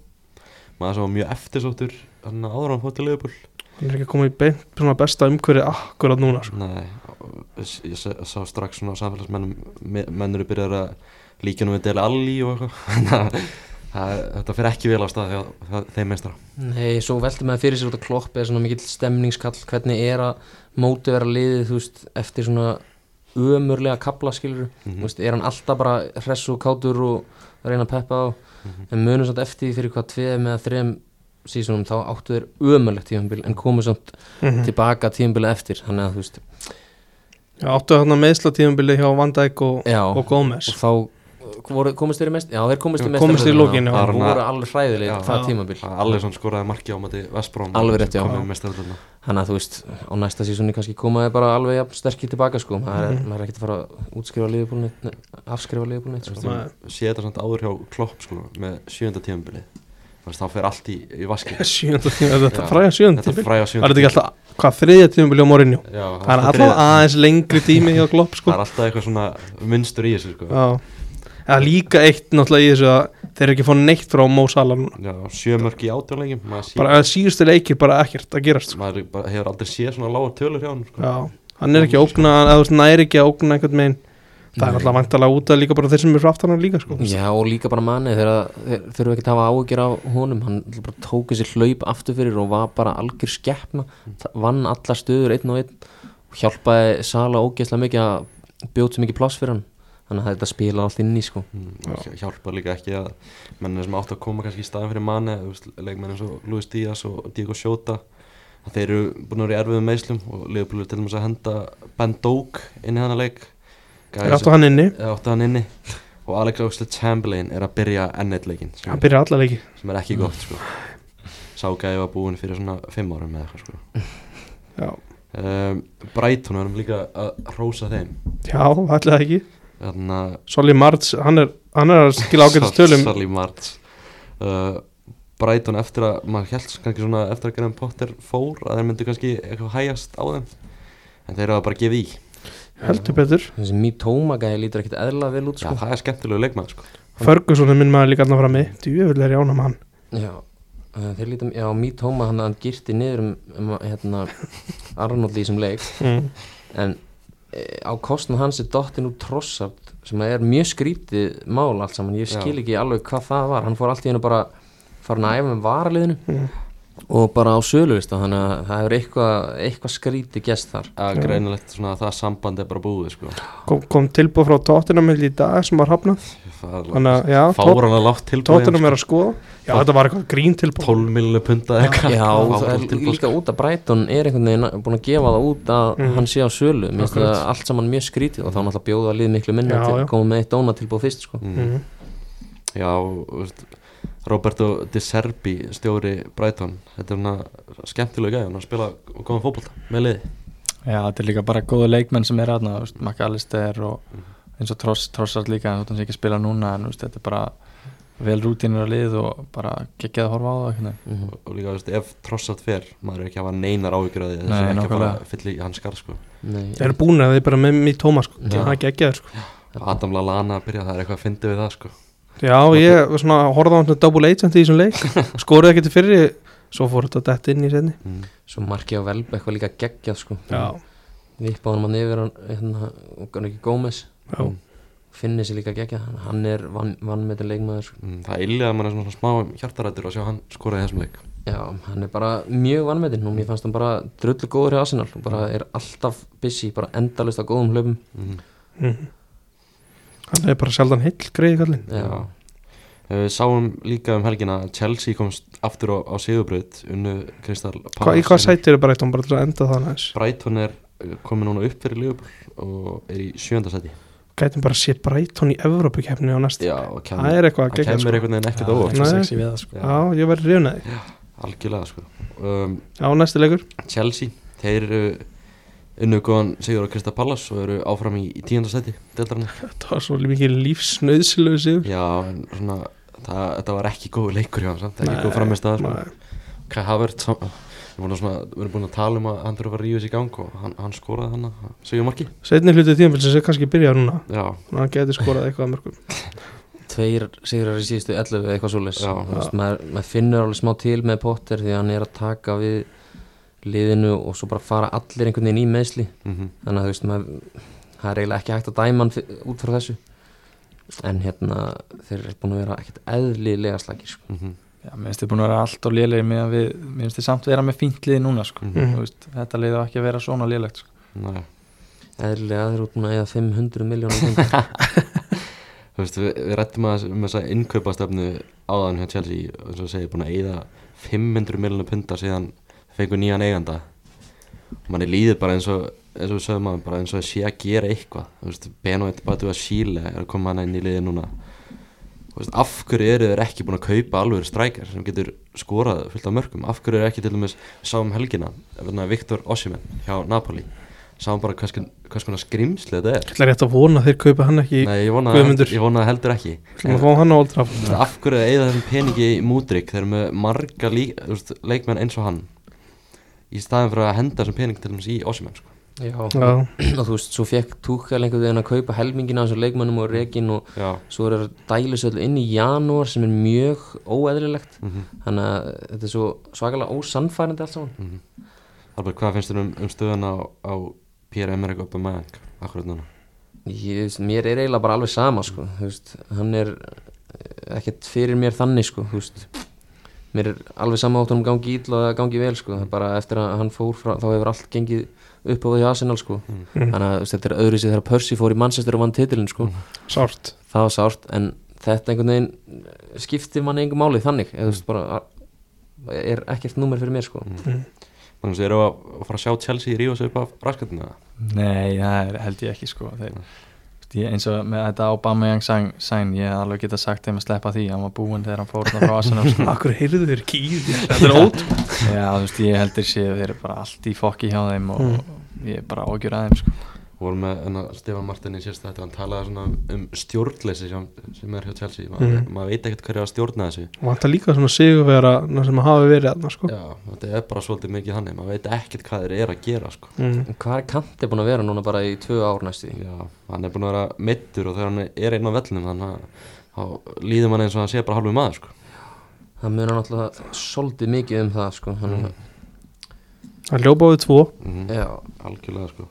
[SPEAKER 1] maður sem var mjög eftirsóttur hann áður en hann fótt til Leopold
[SPEAKER 2] hann er ekki að koma í beint svona besta umhverfið akkurat núna sko.
[SPEAKER 1] Nei, og s- ég s- sá strax svona á samfélagsmennum me- menn eru byrjar að líka nú við Dele Alli og eitthvað <laughs> Þannig að það- þetta fer ekki vel af stað hjá, hjá þeim meistra
[SPEAKER 3] Nei, svo velti maður fyrir sér út að klopp er svona mikill stemningskall, hvernig er að móti vera liðið, þú veist, eftir svona ömurlega kaplaskilur
[SPEAKER 1] Mhm.
[SPEAKER 3] þú veist, er hann alltaf bara hress og kátur og reyna að peppa á
[SPEAKER 2] Mhm.
[SPEAKER 3] en munum samt eftir því fyrir hvað tveim eða þreim sísunum þá áttu þeir ömurlegt tíðanbíl en komu samt
[SPEAKER 2] Mhm.
[SPEAKER 3] tilbaka tíðanbíla eftir þannig að þú veist,
[SPEAKER 2] Já, áttu hann að meðsla tíðumbili hjá Van Dijk og,
[SPEAKER 3] já
[SPEAKER 2] og Gómez
[SPEAKER 3] og þá eh, voru, komist þeir í mest já þeir komist í mest
[SPEAKER 2] Komust í lokin, já.
[SPEAKER 3] það
[SPEAKER 1] Þarna-
[SPEAKER 3] voru alveg hræðileg
[SPEAKER 1] Já.
[SPEAKER 3] það
[SPEAKER 2] Já.
[SPEAKER 3] tímabil
[SPEAKER 1] Allir svona skoraði marki á mati Vestbróm
[SPEAKER 3] Alveg rétt, já.
[SPEAKER 1] komið meistra þarna
[SPEAKER 3] þannig að þú veist á næsta sísunni kannski komaði bara alveg jafn sterkir tilbaka sko maður
[SPEAKER 2] Mhm.
[SPEAKER 3] er, maður er ekkert að fara að útskrifa liðbúlni afskrifa liðbúlni sko.
[SPEAKER 2] Nei.
[SPEAKER 1] sé þetta samt áður hjá Klopp sko, með sjönda tíðanbili þá fer allt í, í vaski
[SPEAKER 2] <laughs> sjönda tíðumbili, þetta
[SPEAKER 1] Já.
[SPEAKER 2] fræða sjönda
[SPEAKER 1] þetta fræga
[SPEAKER 2] tíðumbili var
[SPEAKER 1] sjönda
[SPEAKER 2] þetta ekki alltaf, hvað þriðja tíðumbili á Mourinho
[SPEAKER 1] Já,
[SPEAKER 2] Það er
[SPEAKER 1] alltaf
[SPEAKER 2] alltaf
[SPEAKER 1] þriðja.
[SPEAKER 2] aðeins lengri tími hjá Glopp sko.
[SPEAKER 1] <laughs> Það er alltaf eitthvað svona munstur í þessu sko.
[SPEAKER 2] Já Það er líka eitt náttúrulega í þessu að þeir eru ekki fór neitt frá Mó Sala núna
[SPEAKER 1] Já, sjömörk í átjónleikjum maður, sé,
[SPEAKER 2] bara að síðustu leikir bara ekkert að gerast sko.
[SPEAKER 1] maður er bara, hefur aldrei séð svona lágar tölur hjá hann sko.
[SPEAKER 2] Já, hann er ekki að ógna eða þú veist, næri ekki að ógna einhvern megin Það er
[SPEAKER 3] Nei.
[SPEAKER 2] náttúrulega vantalega út að líka bara þeir sem eru frá aftan hann líka sko.
[SPEAKER 3] já og líka bara manni þegar þeir þurfa ekki að hafa áhyggjur á honum hann bara tók þessi hlaup aftur fyrir og var bara algjör skeppna Það- vann alla stöður einn og einn og hjálpaði Sala ógeðslega mikið að bjóta mikið pláss fyrir hann þannig að þetta spila allt inn í sko
[SPEAKER 1] Mm, og hjálpar líka ekki að mennir sem átt að koma kannski í staðan fyrir manni leikmenn eins og Luis Díaz og Diego Sjóta að þeir eru búin að vera í erfiðum meðslum og Leopold er til dæmis að henda Ben Doak inn í hana leik
[SPEAKER 2] er aftur hann inni
[SPEAKER 1] eða áttu hann inni og Alex Oxlade-Chamberlain er að byrja ennættleikin sem,
[SPEAKER 2] hann byrjar alla leiki
[SPEAKER 1] sko. sem er ekki gott sko. Ságæði var búinn fyrir svona fimm árum eða eitthvað sko.
[SPEAKER 2] já,
[SPEAKER 1] um, Brighton varum líka að rósa þeim
[SPEAKER 2] já allir það ekki
[SPEAKER 1] þannig að
[SPEAKER 2] Solly Marts, hann er, hann er að skila ágætast tölum
[SPEAKER 1] Sally March uh, Brighton eftir að maður held kannski svona eftir að Graham Potter fór að þeir myndu kannski eitthvað hægast á þeim en þeir eru að bara gefa í
[SPEAKER 2] heldur betur
[SPEAKER 3] þessi mjög tómagæði lítur ekkit eðla vel út
[SPEAKER 1] Já,
[SPEAKER 3] sko
[SPEAKER 1] það er skemmtilegu leikmað sko.
[SPEAKER 2] Ferguson er minn maður líka allan frammi djúvel er ég ánum hann
[SPEAKER 3] Já, uh, þeir lítum, já, Meat Homa hann hann girti niður um, um hérna, Arnold í þessum leik
[SPEAKER 2] mm.
[SPEAKER 3] en e, á kostnum hans er dottin úr trossart sem er mjög skrítið mál allt saman, ég skil
[SPEAKER 1] Já.
[SPEAKER 3] ekki alveg hvað það var hann fór allt í hennu bara farin að æfa með varaliðinu
[SPEAKER 2] Mm.
[SPEAKER 3] og bara á söluvista þannig að það er eitthvað eitthvað skrítið gest þar
[SPEAKER 1] að greinilegt svona að það samband er bara búið sko.
[SPEAKER 2] kom, kom tilbúð frá Tottenham held ég í dag sem var hafnað þannig að já, Tot-
[SPEAKER 1] fáran að látt tilbúið
[SPEAKER 2] Tottenham er að skoða já, þetta var eitthvað grín tilbúð
[SPEAKER 1] 12 miljónu punta eða eitthvað
[SPEAKER 3] Já, og það
[SPEAKER 1] Fáránlegt
[SPEAKER 3] er
[SPEAKER 1] tilboð, sko.
[SPEAKER 3] líka út að Brighton er einhvern veginn búin að gefa það út að
[SPEAKER 2] Mhm.
[SPEAKER 3] hann sé á sölu, mér finnst það
[SPEAKER 2] Akkurat.
[SPEAKER 3] allt saman mjög skrítið og þá náttúrulega bjóða lið miklu minna
[SPEAKER 2] Já,
[SPEAKER 3] til
[SPEAKER 2] já.
[SPEAKER 3] að koma með eitt dóna tilbúð fyrst sko.
[SPEAKER 1] mm.
[SPEAKER 2] mm.
[SPEAKER 1] Já, og, veist, Roberto Di Serbi stjóri Brighton þetta er svona skemmtilegu gæði hann að spila og góðan fótbolta með liði
[SPEAKER 4] Já, þetta er líka bara góða leikmenn sem er aðna, McAllister og eins og Tross, Trossard líka, þótt hann sé ekki að spila núna en þú veist, þetta er bara vel rútínur að lið og bara geggjað að horfa á það einhvern veginn.
[SPEAKER 3] mm
[SPEAKER 1] og og líka, veist, ef trossat fer maður er ekki að hafa neinar áhyggjur að því þess
[SPEAKER 4] Nei,
[SPEAKER 1] að ekki að fara
[SPEAKER 4] nákvæmlega.
[SPEAKER 1] að fylla í hans skar sko.
[SPEAKER 3] Nei,
[SPEAKER 2] þeir eru búin að þeir bara með mér tóma sko.
[SPEAKER 3] Já.
[SPEAKER 2] það er ekki ekki sko.
[SPEAKER 1] Adam Lallana að byrja, það er eitthvað að fyndi við það sko.
[SPEAKER 2] já, ég var svona horfði á hann svona double agent í þessum <laughs> leik skoruði ekki til fyrri svo fór þetta dætt inn í senni
[SPEAKER 1] mm.
[SPEAKER 3] svo markið á Velbe eitthvað líka geggjað sko.
[SPEAKER 2] já,
[SPEAKER 3] Vipa honum að yfir hann, hérna, Gunnar Gómez
[SPEAKER 2] já,
[SPEAKER 3] finnir sér líka geggjað, hann- hann er vann, vannmetin leikmaður sko.
[SPEAKER 1] Mm, það illiða mann er svona smá hjartarættur að sjá hann skoraði í þessum leik
[SPEAKER 3] Já, hann er bara mjög vannmetin og mér fannst hann bara drullu góður í Arsenal og bara er alltaf busy, bara endalist á góðum hlöfum
[SPEAKER 1] mm.
[SPEAKER 2] mm. hann er bara sjaldan heill greið kallinn
[SPEAKER 3] Já,
[SPEAKER 1] Eh, Við sáum líka um helgina að Chelsea komst aftur á, á sigurbröð unnu Kristal
[SPEAKER 2] Hva, í hvað sæti eru bara eitt, hann bara til að enda það næst
[SPEAKER 1] Brighton er eh, komið núna upp fyrir Liverpool og er í sjönda seti
[SPEAKER 2] gætum bara að sé Brighton í Evrópukefni á næst
[SPEAKER 1] Já, og
[SPEAKER 2] það
[SPEAKER 1] kemur,
[SPEAKER 2] er eitthvað
[SPEAKER 1] hann
[SPEAKER 2] að gegja
[SPEAKER 1] kemur
[SPEAKER 2] sko.
[SPEAKER 1] einhvern veginn ekkert
[SPEAKER 4] Já,
[SPEAKER 1] óvart
[SPEAKER 4] eitthvað
[SPEAKER 2] Nei.
[SPEAKER 4] sexy við það sko.
[SPEAKER 1] Já,
[SPEAKER 2] já, ég verði reynaði
[SPEAKER 1] algjörlega sko. um,
[SPEAKER 2] já, næsti leikur
[SPEAKER 1] Chelsea, þeir eru unnu góðan Sigur og Krista Pallas og eru áfram í, í tíundasæti deildarinn.
[SPEAKER 2] <laughs> þetta var svo mikið lífsnauðsilegu sigur
[SPEAKER 1] Já, en svona það, þetta var ekki góð leikur hjá hann samt, ekki
[SPEAKER 2] Nei,
[SPEAKER 1] góð framist að
[SPEAKER 2] nei.
[SPEAKER 1] Kai Havert sam- við vorum svona- við erum búin að tala um að hann þurfa að ríða sér í gang og hann, hann skoraði hann að segja marki
[SPEAKER 2] Setni hlutu tíðanfélsins er kannski byrjað núna
[SPEAKER 1] Já,
[SPEAKER 2] Þannig að hann geti skorað eitthvað að mörgum
[SPEAKER 3] tveir sigrar í síðustu 11 eða eitthvað svoleiðis
[SPEAKER 1] Já.
[SPEAKER 3] Þú veist, maður, maður finnur alveg smá til með Potter því að hann er að taka við liðinu og svo bara fara allir einhvern veginn í meðsli
[SPEAKER 1] mm
[SPEAKER 3] þannig að þú veist maður, það er eiginlega ekki hægt að dæma hann fyr- út frá þessu en hérna þeir eru búin að vera ekkert eðlilega slagir
[SPEAKER 1] mhm,
[SPEAKER 3] sko.
[SPEAKER 4] Já, mér finnst þið búin að vera allt og lélegir meðan við, mér finnst þið samt vera með fínt lið núna sko.
[SPEAKER 1] Mhm.
[SPEAKER 4] Þú veist, þetta lið á ekki að vera svona lélegt sko.
[SPEAKER 1] Næja
[SPEAKER 3] eðlilega þeir eru búin að eða 500 miljónum
[SPEAKER 1] Þú veist, við, við rættum að um þessa innkaupastöfnu áðan hjá Chelsea eins og segir búin að eyða 500 miljonar punta síðan þeir fengu nýjan eiganda manni líður bara eins og eins og við sögum að bara eins og það sé að gera eitthvað þú veist, Benoit Batu að Chile er að koma hann inn í liðið núna þú veist, af hverju eru þeir ekki búin að kaupa alvegur strækar sem getur skorað fullt af mörgum af hverju eru ekki til dæmis, við sáum um helgina vegna Viktor Ossimen hjá Napoli sáum bara hvers, kon- hvers konar skrimsli þetta er
[SPEAKER 2] Ætlar rétt að vona að þeir kaupa hann ekki
[SPEAKER 1] Nei, ég vona,
[SPEAKER 2] Guðmundur.
[SPEAKER 1] ég vona það heldur ekki
[SPEAKER 2] Þannig að fá hann á Old Trafford
[SPEAKER 1] Þú veist, af hverju að eigða þessum peningi í mútrík þeir eru með marga lí, þú veist, leikmenn eins og hann í staðin fyrir að henda þessum pening til dæmis í Osimenn sko.
[SPEAKER 3] Já.
[SPEAKER 2] Já,
[SPEAKER 3] og þú veist, svo fekk Túkal einhvern veginn að kaupa helmingina af þessum leikmönnum og rekin og
[SPEAKER 1] já,
[SPEAKER 3] svo er það dælisöld inn í janúar sem er mjög óeðlilegt
[SPEAKER 1] Mhm,
[SPEAKER 3] þannig að þetta er svo svakalega ósannfærandi allt saman
[SPEAKER 1] mhm. Albert, hvað finnst þér um, um stöðuna á, á Pierre-Emerick Aubameyang akkurat um núna?
[SPEAKER 3] ég, þú veist, mér er eiginlega bara alveg sama sko, þú veist, hann er eh, ekkert fyrir mér þannig sko, þú veist mér er alveg sama átt honum gangi ítla að gangi vel sko, það er bara eftir að hann fór frá, þá hefur allt gengið upp á því Arsenal sko, þannig að þú veist, þetta er öðru sér þegar Percy fór í Manchester og vann titilin sko,
[SPEAKER 2] sárt
[SPEAKER 3] það var sárt en þetta einhvern veginn skiptir manni einhver máli þannig, eða þú veist bara er ekkert númer fyrir mér sko
[SPEAKER 1] Þannig að eru að að fara að sjá Chelsea rífa sig upp af raskatina
[SPEAKER 4] Nei, það er, held ég ekki sko þeir, ég, eins og með þetta Obama Young Sign, sign ég hef alveg geta sagt þeim að sleppa því, hann var búinn þegar hann fór þarna frá Arsenal
[SPEAKER 1] Mhm.
[SPEAKER 4] sko. <laughs>
[SPEAKER 2] Akkur heyrðu þér ekki
[SPEAKER 1] <laughs>
[SPEAKER 2] í þér Þetta er ótt
[SPEAKER 4] Já, þú veist, ég heldur sé að þeir eru bara allt í fokki hjá þeim og ég er bara ágjur að þeim sko.
[SPEAKER 1] og voru með enna, Stefán Martin í sérst þetta hann talaði svona um- um stjórnleysi sem, sem er hjá Chelsea Ma, maður veit ekkert hverju að stjórna þessu
[SPEAKER 2] Vanta líka svona sigurvera sem hafa verið aðna sko
[SPEAKER 1] Já, þetta er bara svolítið mikið þannig maður veit ekkert hvað þeir eru að gera sko.
[SPEAKER 2] mm.
[SPEAKER 3] En Hvað er Kanti búin að vera núna bara í tvö ár næstu því?
[SPEAKER 1] Já, hann er búin að vera meittur og þegar hann er einn á vellunum þannig að þá líður mann eins og hann sé bara halvu maður sko.
[SPEAKER 3] Það munar náttúrulega svolítið mikið um það sko, þannig að
[SPEAKER 2] Hann ljópa á við tvo
[SPEAKER 1] mm
[SPEAKER 3] já,
[SPEAKER 1] algjörlega sko.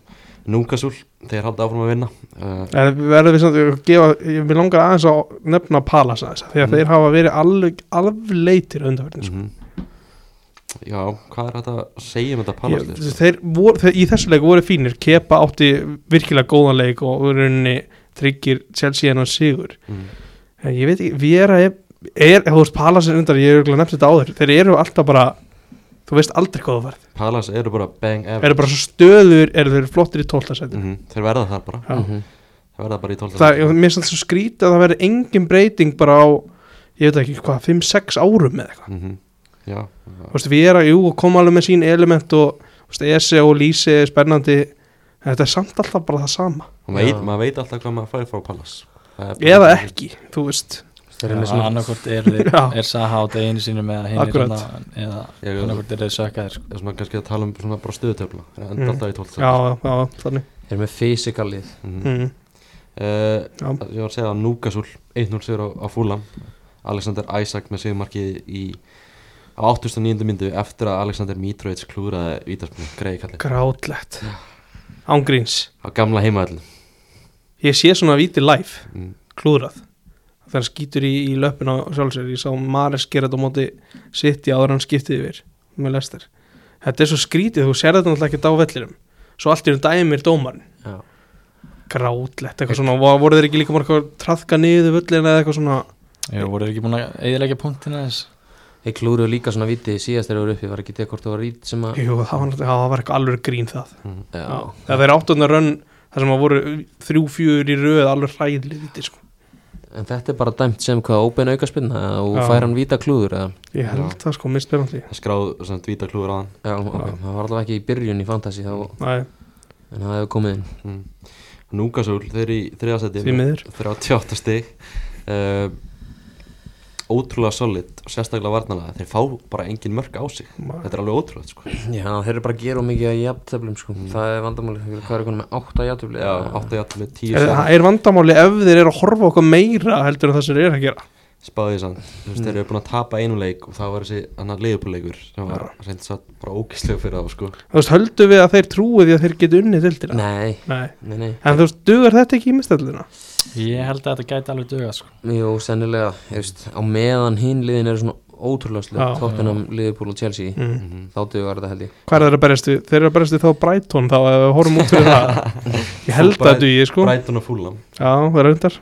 [SPEAKER 1] Núkasúl, þeir halda áfram að vinna uh,
[SPEAKER 2] En verður við samt að gefa Ég vil langar aðeins að nefna Palas aðeins Því að
[SPEAKER 1] Mm.
[SPEAKER 2] þeir hafa verið alveg afleitir undanverðin sko.
[SPEAKER 1] mm Já, hvað er þetta að segja um þetta
[SPEAKER 2] Ég-
[SPEAKER 1] palastlið? sko?
[SPEAKER 2] þeir, vor, þeir í þessu leik voru fínir Kepa átti virkilega góðan leik og í rauninni tryggir Chelsea hennar sigur
[SPEAKER 1] Mm.
[SPEAKER 2] en ég veit ekki, Vera er, er þú veist Palasin undar, ég er örugglega nefnt þetta áður þeir eru alltaf bara, þú veist aldrei hvað þú verð
[SPEAKER 1] Palas eru bara bang ever
[SPEAKER 2] eru bara svo stöður, eru þeir flottir í 12.
[SPEAKER 1] mm
[SPEAKER 2] sæti
[SPEAKER 1] Þeir verða þar bara
[SPEAKER 2] Já.
[SPEAKER 3] mhm.
[SPEAKER 1] Þeir verða bara í 12.
[SPEAKER 2] það, ég- mér finnst alltaf svo skrítið að það verði engin breyting bara á, ég veit ekki hvað 5-6 árum eða eitthvað
[SPEAKER 1] mm Já,
[SPEAKER 2] þú veist, Vera, jú, kom alveg með sín element og, þú veist, ESE og Lise er spennandi, en þetta er samt alltaf bara það sama
[SPEAKER 1] og maður
[SPEAKER 3] Já.
[SPEAKER 1] veit, maður veit alltaf hvað maður fær frá Palas
[SPEAKER 2] eða ekki, þú veist
[SPEAKER 3] Þeir
[SPEAKER 4] Já,
[SPEAKER 3] eru með svona-
[SPEAKER 4] annarkort er, þeir,
[SPEAKER 2] Já.
[SPEAKER 4] er Saha á deginu sínum eða hinn
[SPEAKER 2] Akkurat.
[SPEAKER 4] hérna, eða
[SPEAKER 1] Ég-
[SPEAKER 4] annarkort er þeir sökkaðir sko.
[SPEAKER 1] Það sem maður kannski að tala um svona bara stöðutöfla Það enda
[SPEAKER 2] Mm.
[SPEAKER 1] alltaf í 12.
[SPEAKER 2] já, já, já, þannig
[SPEAKER 3] Þeir eru með fysikalið
[SPEAKER 1] mm.
[SPEAKER 2] mm.
[SPEAKER 1] uh,
[SPEAKER 2] já.
[SPEAKER 1] Ég var að segja að Núkasúl 1-0 sigur á, á Fúlam Alexander Isaac með sigurmarkið í á 89. myndu eftir að Alexander Mitrovic klúraði vítarspunni, greiði kallið
[SPEAKER 2] grátlegt ángríns
[SPEAKER 1] á gamla heimaðallin
[SPEAKER 2] Ég sé svona víti live,
[SPEAKER 1] mm.
[SPEAKER 2] klúðrað Þegar hann skýtur í, í löppin á sjálfsögur Ég sá Mares gera þetta á móti sitt í áður en hann skiptið yfir með lestir Þetta er svo skrítið, þú sér þetta náttúrulega ekki á vellinum Svo allt í hún dæmir dómarinn
[SPEAKER 3] Já.
[SPEAKER 2] Grátlegt, eitthvað svona vo- Voru þeir ekki líka marga að traðka niður völlin eða eitthvað svona
[SPEAKER 4] Jú, voru þeir ekki búin að eðilegja punktina þess
[SPEAKER 3] Þeir klúruðu líka svona viti síðast þegar þeir eru uppi Var ekki dekort og rít sem að
[SPEAKER 2] Jú, það var, náttúrulega- það var eitthvað alveg grín það
[SPEAKER 3] Já,
[SPEAKER 2] Það er áttunar rönn þar sem að voru þrjú, fjúur í röð alveg hræðli víti sko.
[SPEAKER 3] En þetta er bara dæmt sem hvað óbein aukaspinna og
[SPEAKER 2] Já.
[SPEAKER 3] fær hann vita klúður eða?
[SPEAKER 2] Ég held það sko, mist penalti
[SPEAKER 1] Það skráð svona vítaklúður á hann
[SPEAKER 3] Já, ok,
[SPEAKER 2] Já.
[SPEAKER 3] það var allavega ekki í byrjun í Fantasí þá,
[SPEAKER 2] Næ,
[SPEAKER 3] en það hefur komið inn
[SPEAKER 1] mm. Núkasúl, þeir eru í þriðasæti
[SPEAKER 2] Því miður.
[SPEAKER 1] 38 stig uh, Ótrúlega solid og sérstaklega varnalega Þeir fá bara engin mörg á sig Þetta er alveg ótrúlega sko
[SPEAKER 3] Já, þeir eru bara að gera of mikið að jafntöflum sko. Það er vandamáli, Þeir- hvað er konum með 8 jafntöfli
[SPEAKER 1] Mm. Já, 8 játtum með 10
[SPEAKER 2] Er,
[SPEAKER 1] stig.
[SPEAKER 2] er vandamáli ef þeir eru að horfa okkur meira heldur en það sem þeir eru að gera
[SPEAKER 1] spáði því sann þú veist, þeir eru búin að tapa einu leik og það var þessi annar liðbúrleikur sem var reynd satt bara ógæslega fyrir þá sko
[SPEAKER 2] Þú veist, höldu við að þeir trúi því að þeir geti unnið dildina
[SPEAKER 3] Nei,
[SPEAKER 2] Nei.
[SPEAKER 3] nei, nei
[SPEAKER 2] En þú veist, dugar þetta ekki í mistellina?
[SPEAKER 4] Ég held að þetta gæti alveg duga sko.
[SPEAKER 3] Jú, sennilega, ég veist, á meðan hinn liðin eru svona ótrúlega
[SPEAKER 2] Já.
[SPEAKER 3] slið Tottenham, Liverpool og Chelsea
[SPEAKER 2] Mm.
[SPEAKER 1] Mhm.
[SPEAKER 3] Þá dugar þetta held ég
[SPEAKER 2] Hvað er þeir að berjast við? Þeir eru að berjast við þá Brighton þá ef við horfum út fyrir <laughs> það Ég held
[SPEAKER 1] Bright-
[SPEAKER 2] það dugi, sko
[SPEAKER 1] Brighton og Fulham
[SPEAKER 2] Já, það er undar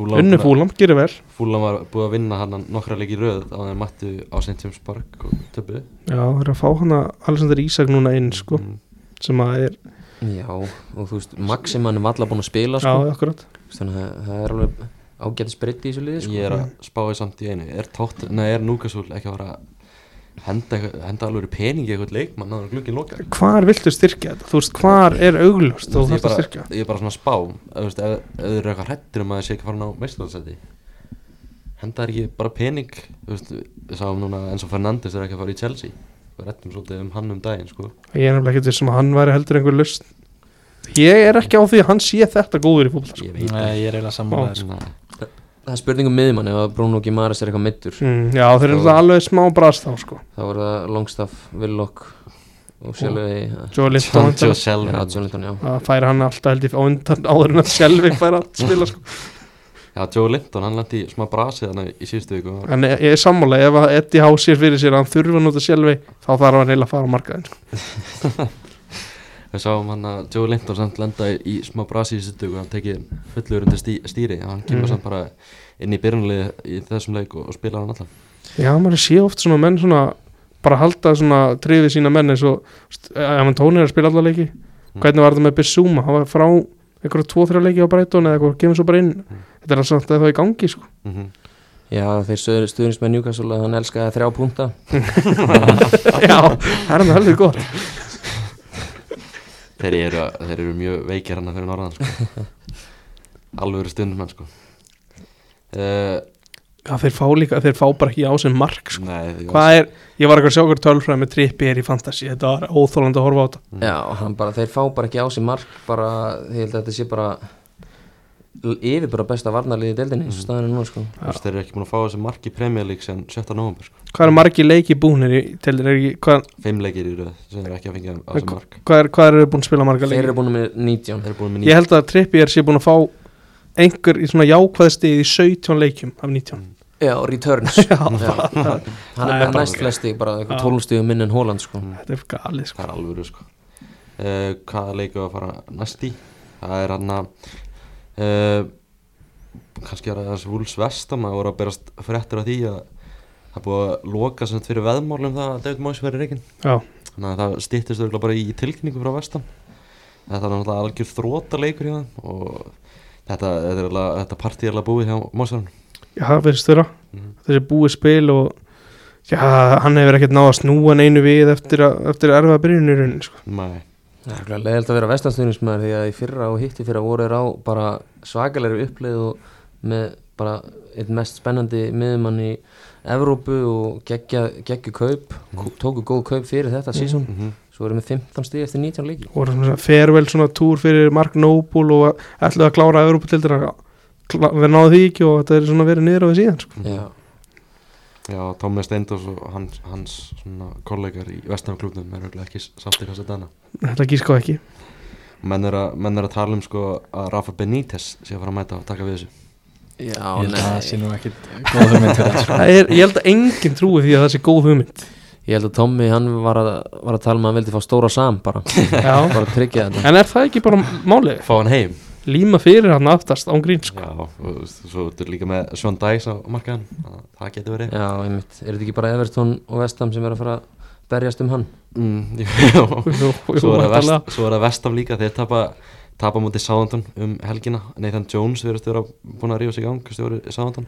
[SPEAKER 1] Fulham,
[SPEAKER 2] Unnu fúlam, gerir vel
[SPEAKER 1] Fulham var búið að vinna hann nokkra leik í röð á þeir mættu á St. James Park og töpu
[SPEAKER 2] Já, þeir eru að fá hana Alexander Ísak núna inn, sko
[SPEAKER 1] mm.
[SPEAKER 2] sem að er,
[SPEAKER 3] Já, og þú veist, Maximann er valla búin að spila
[SPEAKER 2] já,
[SPEAKER 3] sko.
[SPEAKER 2] akkurat
[SPEAKER 3] Þannig að það- það er alveg ágæti spritt í þessu liði sko.
[SPEAKER 1] ég er að spáði samt í einu er, tótt, nei, er Núkasúl ekki að vera að henda, eitthvað- henda alveg peningi í eitthvað leikmann áður en glugginn lokar
[SPEAKER 2] Hvar viltu styrkja þetta? Þú veist, hvar er augljóst og
[SPEAKER 1] Þú
[SPEAKER 2] þú
[SPEAKER 1] veist,
[SPEAKER 2] þarft
[SPEAKER 1] ég,
[SPEAKER 2] að styrkja?
[SPEAKER 1] bara, ég er bara svona að spá Þú veist, ef ef þeir eru eitthvað hrættir um að þeir sé ekki farin á meistarhaldsæti henda þeir ekki bara pening Þú veist, við sáum núna eins og Fernandes er ekki að fara í Chelsea við rættum svolítið um hann um daginn sko.
[SPEAKER 2] Ég er nefnilega ekki þessum að hann væri heldur einhver lausn Ég er ekki á því að hann sé þetta góður í fólkvall sko.
[SPEAKER 1] ég veit
[SPEAKER 4] Nei, Ég er eiginlega sammálaðir sko.
[SPEAKER 1] sko.
[SPEAKER 3] Það er spurning um miðjumann ef að Bruno Gimares er eitthvað middur
[SPEAKER 2] mm, Já, þeir eru náttúrulega alveg smá brast þá sko.
[SPEAKER 3] þá er það Longstaff, Willock og sjálfvegi
[SPEAKER 2] Joe Linton
[SPEAKER 1] John Joe
[SPEAKER 2] Það
[SPEAKER 1] Selvin
[SPEAKER 3] Já,
[SPEAKER 1] já,
[SPEAKER 3] Jonathan, já
[SPEAKER 2] færi hann alltaf held ég á undan áður en að sjálfi færi að spila sko.
[SPEAKER 1] Já, Joe Linton, hann landi í smá brasi þannig í síðustu viku og
[SPEAKER 2] En ég ég er sammála, ef að Eddie Howe sér fyrir sér að hann þurfa að nota sjálfi þá þarf hann eiginlega að fara á markaðin sko.
[SPEAKER 1] við sáum hann að Joe Linton samt lenda í smá brasi í síðustu viku hann tekið fullur undir stí, stýri hann kemur
[SPEAKER 2] Mhm.
[SPEAKER 1] samt bara inn í byrjunlið í þessum leik og, og spila hann allan
[SPEAKER 2] Já, maður sé oft svona menn svona bara halda svona trefið sína menn eins og st- eh, ef hann tónir að spila alla leiki
[SPEAKER 3] Mm.
[SPEAKER 2] hvernig var þetta með Bissúma, hann var frá einhverja tvo-þrjá leiki á breytun eða eitthvað, kemur svo bara inn
[SPEAKER 1] Mm.
[SPEAKER 2] þetta er alltaf það í gangi
[SPEAKER 3] <laughs>
[SPEAKER 2] sko.
[SPEAKER 1] mm -hmm.
[SPEAKER 3] Já, þeir stuðnist með Newcastle að hann elskaði þrjá púnta
[SPEAKER 2] Já, það er hann alveg gott
[SPEAKER 1] þeir, eru, þeir eru mjög veikir hann fyrir norðan sko.
[SPEAKER 2] <laughs>
[SPEAKER 1] alveg eru stundum hann sko. uh,
[SPEAKER 2] Já, þeir fá líka, þeir fá bara ekki á sem mark sko.
[SPEAKER 1] nei,
[SPEAKER 3] Mm.
[SPEAKER 1] því-
[SPEAKER 2] Hvað er, ég var eitthvað að sjá hver tölfræði með trippi er í fantasy, þetta var óþólandi að horfa á þetta
[SPEAKER 1] Mm.
[SPEAKER 3] Já, hann bara, þeir fá bara ekki á sig mark bara, ég held að þetta sé bara l- yfir bara besta varnarliði í deildinni eins og staðan er núna sko
[SPEAKER 1] Þú veist, þeir eru ekki búin að fá þessi mark í Premier League sem 7. november sko.
[SPEAKER 2] Hvað eru margi leiki búnir í, til þeir ekki, hvað,
[SPEAKER 1] fimm leikir í röð sem þeir eru ekki að fengja á þessi mark
[SPEAKER 2] hvað, er, hvað eru þeir búin að spila marga
[SPEAKER 3] Þeir
[SPEAKER 2] leiki?
[SPEAKER 3] eru búin með 19
[SPEAKER 1] þeir eru búin með
[SPEAKER 2] Ég held að trippi er sé búin að fá einhver í svona jákvæðsti í 17 leikjum af 19
[SPEAKER 3] Já, returns <laughs> Já, Hann
[SPEAKER 2] það er
[SPEAKER 3] er bara
[SPEAKER 2] bara-
[SPEAKER 3] næst flesti, bara
[SPEAKER 2] Já.
[SPEAKER 3] eitthvað 12 stíðu minn en Hóland sko
[SPEAKER 2] Þetta er galið sko
[SPEAKER 1] það er alveg sko. uh, hvaða leiku að fara næst í það er hann að uh, kannski er það þessi vúls vestam að voru að berast fréttur af því að það er búið að loka sem sagt fyrir veðmálum það að David Moyes verið reikinn
[SPEAKER 2] Já,
[SPEAKER 1] þannig að það stýttist auðvitað bara í tilkynningu frá vestam þetta er náttúrulega algjör þróta leikur hjá hann og þetta, þetta, er alveg, þetta partí er alveg búið hjá Mósarun
[SPEAKER 2] já, það finnst þeirra
[SPEAKER 1] Mhm.
[SPEAKER 2] Þessi búið spil og Já, hann hefur ekkert náð að snúa neinu við eftir, að, eftir erfa byrjunurinn sko.
[SPEAKER 1] nei,
[SPEAKER 3] Það er örugglega leiðilegt að vera vestanstuðnismæður því að í fyrra og hitti fyrra voru þeir á bara svakalegri uppleið og með bara einn mest spennandi miðumann í Evrópu og geggja, geggju kaup, mm. tóku góð kaup fyrir þetta sísón,
[SPEAKER 1] mm
[SPEAKER 3] svo erum við 15 stíð eftir 19 leiki.
[SPEAKER 2] og svona farewell svona túr fyrir Mark Noble og ætlaði að klára Evropatildina við náðu því ekki og þetta er svona verið niður á við síðan sko.
[SPEAKER 3] Já,
[SPEAKER 1] já, Tómi Steindors og hans, hans svona kollegar í vestam klubnum er auðvitað ekki sátti hvað þetta annað
[SPEAKER 2] þetta gíska ekki
[SPEAKER 1] menn eru að, menn er að tala um sko að Rafa Benítez sé að fara að mæta og taka við þessu
[SPEAKER 3] já,
[SPEAKER 4] Ég held að það sé
[SPEAKER 3] nei.
[SPEAKER 4] nú ekkit góð hugmynd fyrir það sko.
[SPEAKER 2] það er, ég held að enginn trúi því að það sé góð hugmynd
[SPEAKER 3] Ég held að Tommy, hann var að, var að tala um að hann vildi fá stóra sam bara,
[SPEAKER 2] <laughs> já.
[SPEAKER 3] bara að tryggja þetta.
[SPEAKER 2] en er það ekki bara málið
[SPEAKER 1] fá hann heim
[SPEAKER 2] líma fyrir hann aftast án grín sko.
[SPEAKER 1] já, og þú veist, svo þetta er líka með Sean Dice á markaðan það getur verið
[SPEAKER 3] Já, einmitt, er þetta ekki bara Everton og Vestam sem er að fara að berjast um hann?
[SPEAKER 1] mm, <laughs> já,
[SPEAKER 2] Jú, jú,
[SPEAKER 1] svo er, það
[SPEAKER 2] væntanlega.
[SPEAKER 1] vest, svo er það vestam líka þeir tapa, tapa mútið Sáðantón um helgina Nathan Jones verðist vera búin að rífa sig í gang stjóri Sáðantón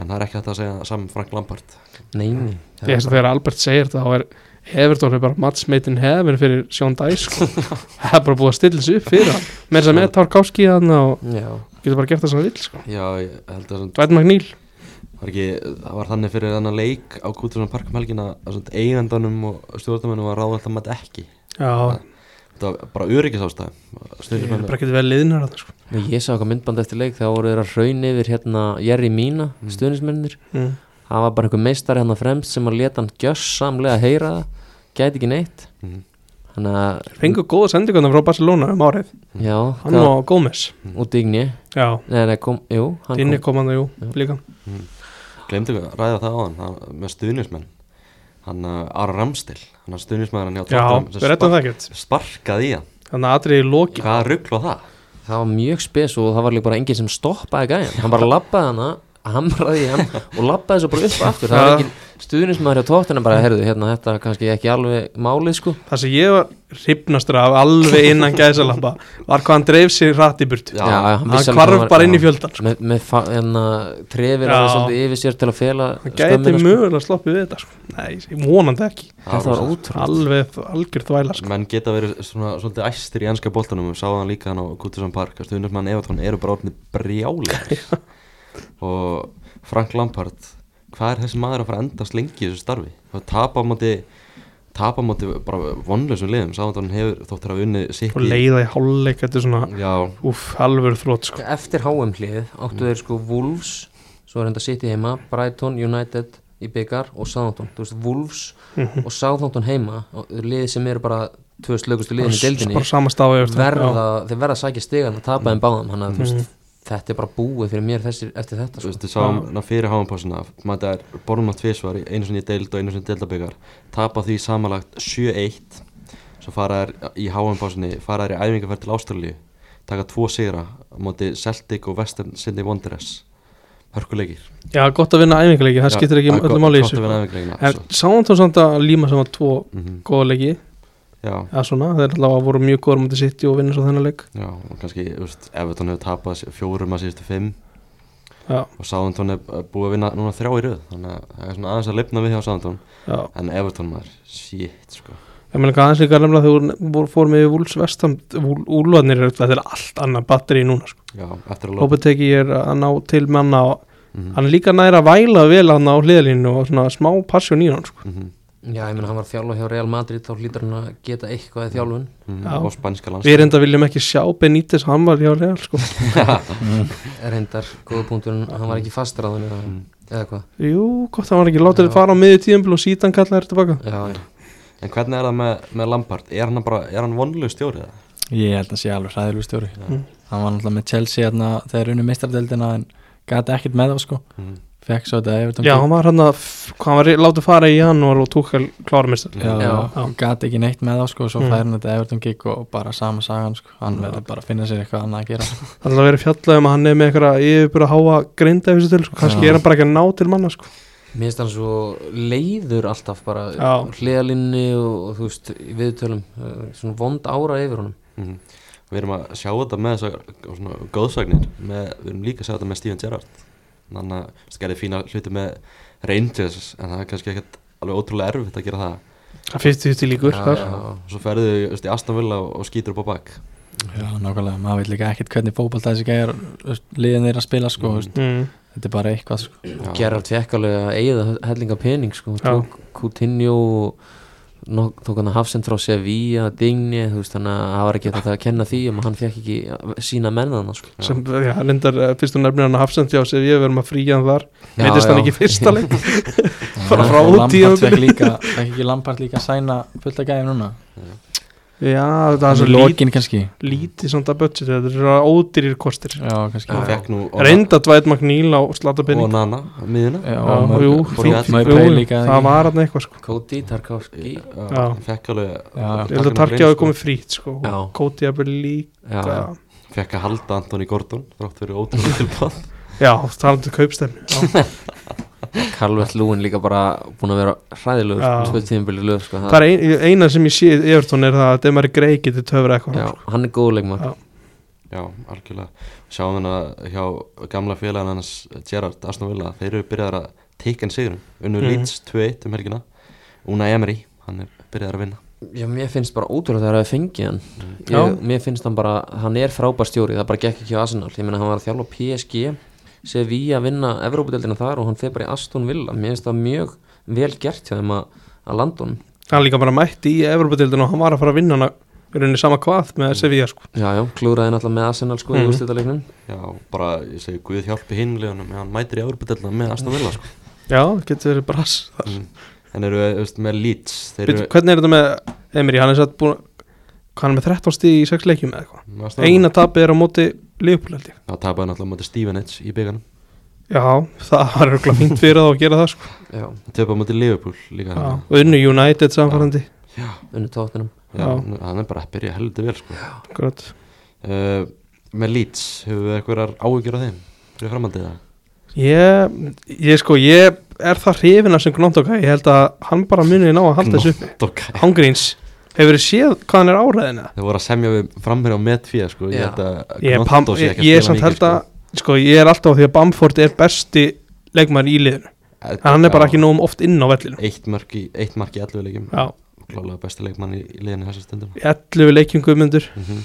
[SPEAKER 1] en það er ekki hægt að segja saman Frank Lampard
[SPEAKER 3] Nei, nei.
[SPEAKER 2] Ég veist að þegar Albert segir þetta þá er Everton er bara match made in heaven fyrir Sean Dice sko. það er bara búið að stilla sig upp fyrir hann með þess að með Tarkovski þannig og
[SPEAKER 3] Já,
[SPEAKER 2] getur bara gert það sem hann vil sko.
[SPEAKER 1] já, ég held að svona,
[SPEAKER 2] Dwight McNeil
[SPEAKER 1] var ekki, það var þannig fyrir þannig leik á Kúturson Park um helgina að svona eigandanum og stjórnumennum var ráðvægt að mæta ekki
[SPEAKER 2] já,
[SPEAKER 1] þetta var bara öryggisástæð
[SPEAKER 2] Þeir eru bara
[SPEAKER 1] stjórnumenn
[SPEAKER 2] ekkert vel liðnar að það sko
[SPEAKER 3] Nei, ég sá eitthvað myndband eftir leik þegar voru þeir að hraun yfir hérna Jerry Mina, mm.
[SPEAKER 2] mm.
[SPEAKER 3] það var bara einhver meistari hérna fremst sem að leta hann gjössamlega heyra það gæti ekki neitt
[SPEAKER 1] Mhm.
[SPEAKER 3] þannig að,
[SPEAKER 2] Fengu góða sendingarna frá Barcelona um árið
[SPEAKER 3] já,
[SPEAKER 2] Hann
[SPEAKER 3] hvað-
[SPEAKER 2] og Gómez
[SPEAKER 3] og Digni
[SPEAKER 2] Já,
[SPEAKER 3] nei, nei, kom, jú, hann
[SPEAKER 2] Dinni
[SPEAKER 3] kom
[SPEAKER 2] kom hann það jú,
[SPEAKER 3] Já.
[SPEAKER 2] líka
[SPEAKER 1] glemdi við að ræða það á hann með stjórnismenn hann uh, Aron Ramstil, hann er stjórnismæður hann hjá
[SPEAKER 2] Já,
[SPEAKER 1] Tottenham
[SPEAKER 2] við rettum það
[SPEAKER 1] sem
[SPEAKER 2] ekkert
[SPEAKER 1] spark- sparkaði í hann
[SPEAKER 2] Þannig að atriði í loki
[SPEAKER 1] Hvað ruggl var það?
[SPEAKER 3] það var mjög spes og það var líka bara enginn sem stoppaði gæjan hann bara labbaði hana, hamraði í hann og labbaði svo bara upp og aftur það var
[SPEAKER 2] Já.
[SPEAKER 3] enginn stuðnismæður hjá tóttina bara, heyrðu, hérna, þetta er kannski ekki alveg málið sko
[SPEAKER 2] Það sem ég var hrifnastur af alveg innan gæsalappa Var hvað hann dreif sér rætt í burtu
[SPEAKER 1] Já,
[SPEAKER 2] Hann
[SPEAKER 3] hann vissi alveg hvað
[SPEAKER 2] kvarf
[SPEAKER 3] var-
[SPEAKER 2] bara inn í
[SPEAKER 3] já.
[SPEAKER 2] fjöldan sko.
[SPEAKER 3] með, með fa- hérna, trefir
[SPEAKER 2] Já.
[SPEAKER 3] að það svolítið yfir sér til að fela
[SPEAKER 2] Hann gæti
[SPEAKER 3] skömmina, sko.
[SPEAKER 2] mögulega sloppið við þetta sko. Nei, ég vonandi ekki
[SPEAKER 1] Það
[SPEAKER 3] þetta var
[SPEAKER 1] rosa.
[SPEAKER 3] ótrúlega
[SPEAKER 2] Alveg algjör þvæla sko.
[SPEAKER 1] Menn geta verið svona svolítið æstir í ennska boltanum og sá hann líka hann á Kuttusan Park að stundismann Evertón eru bara orðinni brjálega og Frank Lampard hvað er þessi maður að fara að endast lengi í þessu starfi? Það tapa á móti tapa á móti bara vonlausum liðum sá hann hefur þóttir að unni sitt
[SPEAKER 2] Og leiða í hálfleik Þetta er svona,
[SPEAKER 1] Já,
[SPEAKER 2] úff, alveg þrótt sko.
[SPEAKER 3] Eftir HM hlið áttu þeir sko Wolves, svo er þetta City heima, Brighton, United í byggar og Southampton. Þú veist, Wolves
[SPEAKER 2] Mhm.
[SPEAKER 3] og Southampton heima, og liði sem eru bara tvö slökustu liðin í
[SPEAKER 2] Bara
[SPEAKER 3] deildinni,
[SPEAKER 2] bara sama stafi
[SPEAKER 3] verða, þeir verða að sækja stigan að tapa þeim báðum, hann að þú veist, þetta er bara búið fyrir mér þessir, eftir þetta
[SPEAKER 1] Þú
[SPEAKER 3] sko.
[SPEAKER 1] veist, við sáum ná, fyrir háanpásina maður er borðum á tvísvar í einu sinni í deild og einu sinni deildabyggar tapa því samanlagt 7-1 svo fara þær í háanpásinni fara þær í æfingarferð til Ástralíu taka tvo sigra á móti Celtic og Western Sydney Wanderers hörkuleikir
[SPEAKER 2] Já, gott að vinna æfingarleiki, það
[SPEAKER 1] Já,
[SPEAKER 2] skiptir ekki
[SPEAKER 1] það er
[SPEAKER 2] öllu
[SPEAKER 1] gott-
[SPEAKER 2] máli í
[SPEAKER 1] gott að
[SPEAKER 2] þessu sko.
[SPEAKER 1] vinna æfingarleikina,
[SPEAKER 2] En
[SPEAKER 1] svo.
[SPEAKER 2] sáum þú samt að líma saman tvo
[SPEAKER 1] Mhm,
[SPEAKER 2] góða leiki
[SPEAKER 1] Já,
[SPEAKER 2] eða svona, þeir allavega voru mjög góður mútið sitt og vinna svo þennan leik
[SPEAKER 1] já, og kannski þú veist, Everton hefur tapað sí- fjórum að síðustu fimm
[SPEAKER 2] Já,
[SPEAKER 1] og Southampton er uh, búið að vinna núna þrjá í röð þannig að það er svona aðeins að lifna við hjá Southampton
[SPEAKER 2] já
[SPEAKER 1] en Everton maður, shit sko
[SPEAKER 2] Ég meina aðeins líka nefnilega þegar þú voru- fór með Vúls Vestam, Úlvarnir er þetta er allt annað batteri núna sko.
[SPEAKER 1] Já, eftir að lopa
[SPEAKER 2] Lopetegi er að ná til manna og
[SPEAKER 1] Mhm.
[SPEAKER 2] hann er líka næra að væla vel hann á hliðalínu og svona smá passjón í hann sko.
[SPEAKER 1] Mhm,
[SPEAKER 3] já, ég meina hann var þjálfa hjá Real Madrid þá hlýtur hann að geta eitthvað í þjálfun
[SPEAKER 1] mhm,
[SPEAKER 2] Já.
[SPEAKER 1] og spænska landslæði
[SPEAKER 2] Við reynda viljum ekki sjá Benítez hann var hjá Real sko.
[SPEAKER 3] reyndar, góða punktur, en hann var ekki fastræðan eða,
[SPEAKER 1] Mm. Mhm.
[SPEAKER 3] eða hvað
[SPEAKER 2] Jú, gott að hann var ekki látið að fara á miðju tíðanbíl og síðan kallaði þér tilbaka
[SPEAKER 3] já, já.
[SPEAKER 1] En hvernig er það með, með Lampard? Er hann bara, er hann vonlug stjórið það?
[SPEAKER 4] Ég held að hann sé alveg hræðilegu stjóri
[SPEAKER 2] Mm.
[SPEAKER 4] Hann var náttúrulega með Chelsea hérna, þegar unni meistardeldina en gæti ekkert með þá sko
[SPEAKER 1] Mhm.
[SPEAKER 4] Fekk svo þetta Everton
[SPEAKER 2] Já, hann var hann að, hvað hann var látið að fara í janúar og túkkel klármestar
[SPEAKER 4] Já,
[SPEAKER 3] Já.
[SPEAKER 4] og gæti ekki neitt með þá sko og svo
[SPEAKER 2] Mm.
[SPEAKER 4] fær hann þetta Everton gig og bara sama sagan sko hann verður bara að finna sér eitthvað annað að gera
[SPEAKER 2] Það er að vera fjallað um að hann er með eitthvað yfirbúra háa grinda þessu til, sko. kannski
[SPEAKER 4] Já.
[SPEAKER 2] er hann bara ekki að ná til manna sko.
[SPEAKER 3] mér finnst hann svo leiður alltaf bara
[SPEAKER 2] Já.
[SPEAKER 3] hliðalinni og, og þú veist í viðtölum, eh, svona vond ára yfir honum
[SPEAKER 1] Mhm. Við erum að sjá þetta með þessar svona góðsagnir með, Við erum líka að sjá þetta með Steven Gerrard Þannig að þú veist, gerði fína hluti með Rangers En það er kannski ekkert alveg ótrúlega erfitt að gera það
[SPEAKER 2] Það fyrst því til líkur
[SPEAKER 3] Já,
[SPEAKER 2] þar.
[SPEAKER 3] já.
[SPEAKER 1] Svo ferðu þú veist, í Aston Villa og, og skýtur upp á bak
[SPEAKER 4] Já, nákvæmlega, maður veit líka ekkert hvernig fótbolt þessi gæjar liðin er að spila sko mm.
[SPEAKER 2] Mm.
[SPEAKER 4] þetta er bara eitthvað sko
[SPEAKER 1] Já.
[SPEAKER 3] Gerard fekk alveg að eigða hellinga pening sko, Hún
[SPEAKER 2] Já.
[SPEAKER 3] tók Coutinho og nok- tók hann að Hafsend frá Sevilla, Digni þú veist, þannig að það var ekki þetta að kenna því um að hann fekk ekki að sína mennðana sko.
[SPEAKER 2] sem, já, reyndar, eh, fyrst hún nefnir hann að Hafsend hjá sér, ég verðum að fríja hann þar
[SPEAKER 3] Já,
[SPEAKER 2] meitist hann
[SPEAKER 3] já.
[SPEAKER 2] ekki í fyrsta leik Bara
[SPEAKER 4] Og
[SPEAKER 2] frá tíu-
[SPEAKER 4] Lampard fekk líka, fekk ekki Lampard líka að sæna fullt að gæja núna
[SPEAKER 2] <laughs> já, það er svo lít,
[SPEAKER 4] Lókin kannski
[SPEAKER 2] lítið samt að budgeti, þetta eru svona ódýrir kostir
[SPEAKER 4] Já, kannski
[SPEAKER 1] Hann fekk nú Ona-
[SPEAKER 2] reynda dvæt Magníl á
[SPEAKER 1] og
[SPEAKER 2] slatabenning
[SPEAKER 1] Nana miðuna
[SPEAKER 2] Já,
[SPEAKER 4] Já, og
[SPEAKER 2] jú,
[SPEAKER 4] mörg-
[SPEAKER 1] fínt,
[SPEAKER 4] mörg
[SPEAKER 1] jú,
[SPEAKER 4] pæl líka
[SPEAKER 2] það var hann eitthvað sko
[SPEAKER 3] Cody Tarkovski já,
[SPEAKER 1] Já, Fekk alveg
[SPEAKER 4] Já, já.
[SPEAKER 2] ég held að Tarkja hafi komið frýtt sko
[SPEAKER 3] Já.
[SPEAKER 2] og Kóti hafi líka
[SPEAKER 3] já.
[SPEAKER 1] Fekk að halda Antoni Gordon Þrátt fyrir ótrúlega tilbáð
[SPEAKER 2] já, talandu kaupstemni já.
[SPEAKER 3] Calvert Lúin líka bara búin að vera hræðilegur
[SPEAKER 2] Já.
[SPEAKER 3] sko, tvö tíðinbili lög sko,
[SPEAKER 2] það er ein, eina sem ég sé í Evertón er það að Demari Grey getur töfra eitthvað
[SPEAKER 3] já, hann er góð leikmann
[SPEAKER 2] Já.
[SPEAKER 1] Já, algjörlega. Sjáum hérna hjá gamla félagin hans Gerard Aston Villa, þeir eru byrjaðar að teika en sigurum. Unnur
[SPEAKER 2] Mhm.
[SPEAKER 1] Leeds 2-1 um helgina. Una Emery, hann er byrjaðar að vinna.
[SPEAKER 3] Já, mér finnst bara ótrúlega þegar það hefði fengið hann
[SPEAKER 2] Já.
[SPEAKER 3] ég, Mér finnst hann bara, hann er frábær stjóri það bara gekk ekki á Arsenal, ég meina hann var að þjálfa PSG Sevilla að vinna Evrópudeldina þar og hann fer bara í Aston Villa Mér finnst það mjög vel gert hjá þeim að, að landa honum
[SPEAKER 2] hann líka bara mætti í Evropadildin og hann var að fara að vinna hann í rauninni sama hvað með Sevilla sko
[SPEAKER 3] Já, já, klúraði náttúrulega með Arsenal sko
[SPEAKER 2] Mhm.
[SPEAKER 3] í úrstættaleiknum
[SPEAKER 1] Já, bara, ég segi, Guð hjálpi hinlegunum, hann mætir í Európa-delna með Aston Villa, <laughs> sko.
[SPEAKER 2] já, getur verið brass þar
[SPEAKER 1] Mm. En eru, þú veist, með Leeds, þeir
[SPEAKER 2] Bíddu,
[SPEAKER 1] eru
[SPEAKER 2] hvernig er þetta með Emery, hann er satt búin hvað hann er með 13 stíð í 6 leikjum eða eitthvað
[SPEAKER 1] með Aston Villa.
[SPEAKER 2] eina tapið er á móti Liverpool held ég
[SPEAKER 1] Það tapaði náttúrulega mútið Stevenage í bygganum.
[SPEAKER 2] já, það var örgulega fínt fyrir þá að gera það sko.
[SPEAKER 3] Já,
[SPEAKER 1] Töpaði mútið Liverpool líka.
[SPEAKER 2] Já.
[SPEAKER 1] þarna.
[SPEAKER 2] og unnu United samfærandi
[SPEAKER 3] unni tóttinum
[SPEAKER 1] Já,
[SPEAKER 2] Já.
[SPEAKER 1] hann er bara að byrja heldur vel, sko.
[SPEAKER 2] Akkurat.
[SPEAKER 1] Uh, með Leeds, hefur við eitthvað áhyggjur á þeim? Fyrir framhaldið það?
[SPEAKER 2] ég, ég sko ég er það hrifin af sem Gnóndoka ég held að hann bara muni ná að halda þessu uppi
[SPEAKER 1] Dokka.
[SPEAKER 2] Hangríns, hefur þið séð hvað hann er áræðina
[SPEAKER 1] Þeir voru að semja við framherja á metfíða sko, ég
[SPEAKER 3] Já.
[SPEAKER 1] held að
[SPEAKER 2] ég, pam,
[SPEAKER 1] Gnotto sé
[SPEAKER 2] ég,
[SPEAKER 1] ekki að
[SPEAKER 2] ég
[SPEAKER 1] spila
[SPEAKER 2] samt
[SPEAKER 1] mikið,
[SPEAKER 2] held að sko, ég er alltaf á því að Bamford er besti leikmann í liðinu,
[SPEAKER 1] Þetta-
[SPEAKER 2] en hann er bara
[SPEAKER 1] já,
[SPEAKER 2] ekki nógum oft inn á vellinu
[SPEAKER 1] Eitt mark í, eitt mark í 11 leikjum,
[SPEAKER 2] já,
[SPEAKER 1] klálega besti leikmann í, í liðinu þessa stundum
[SPEAKER 2] 11 leikjum guðmundur
[SPEAKER 1] mm -hmm.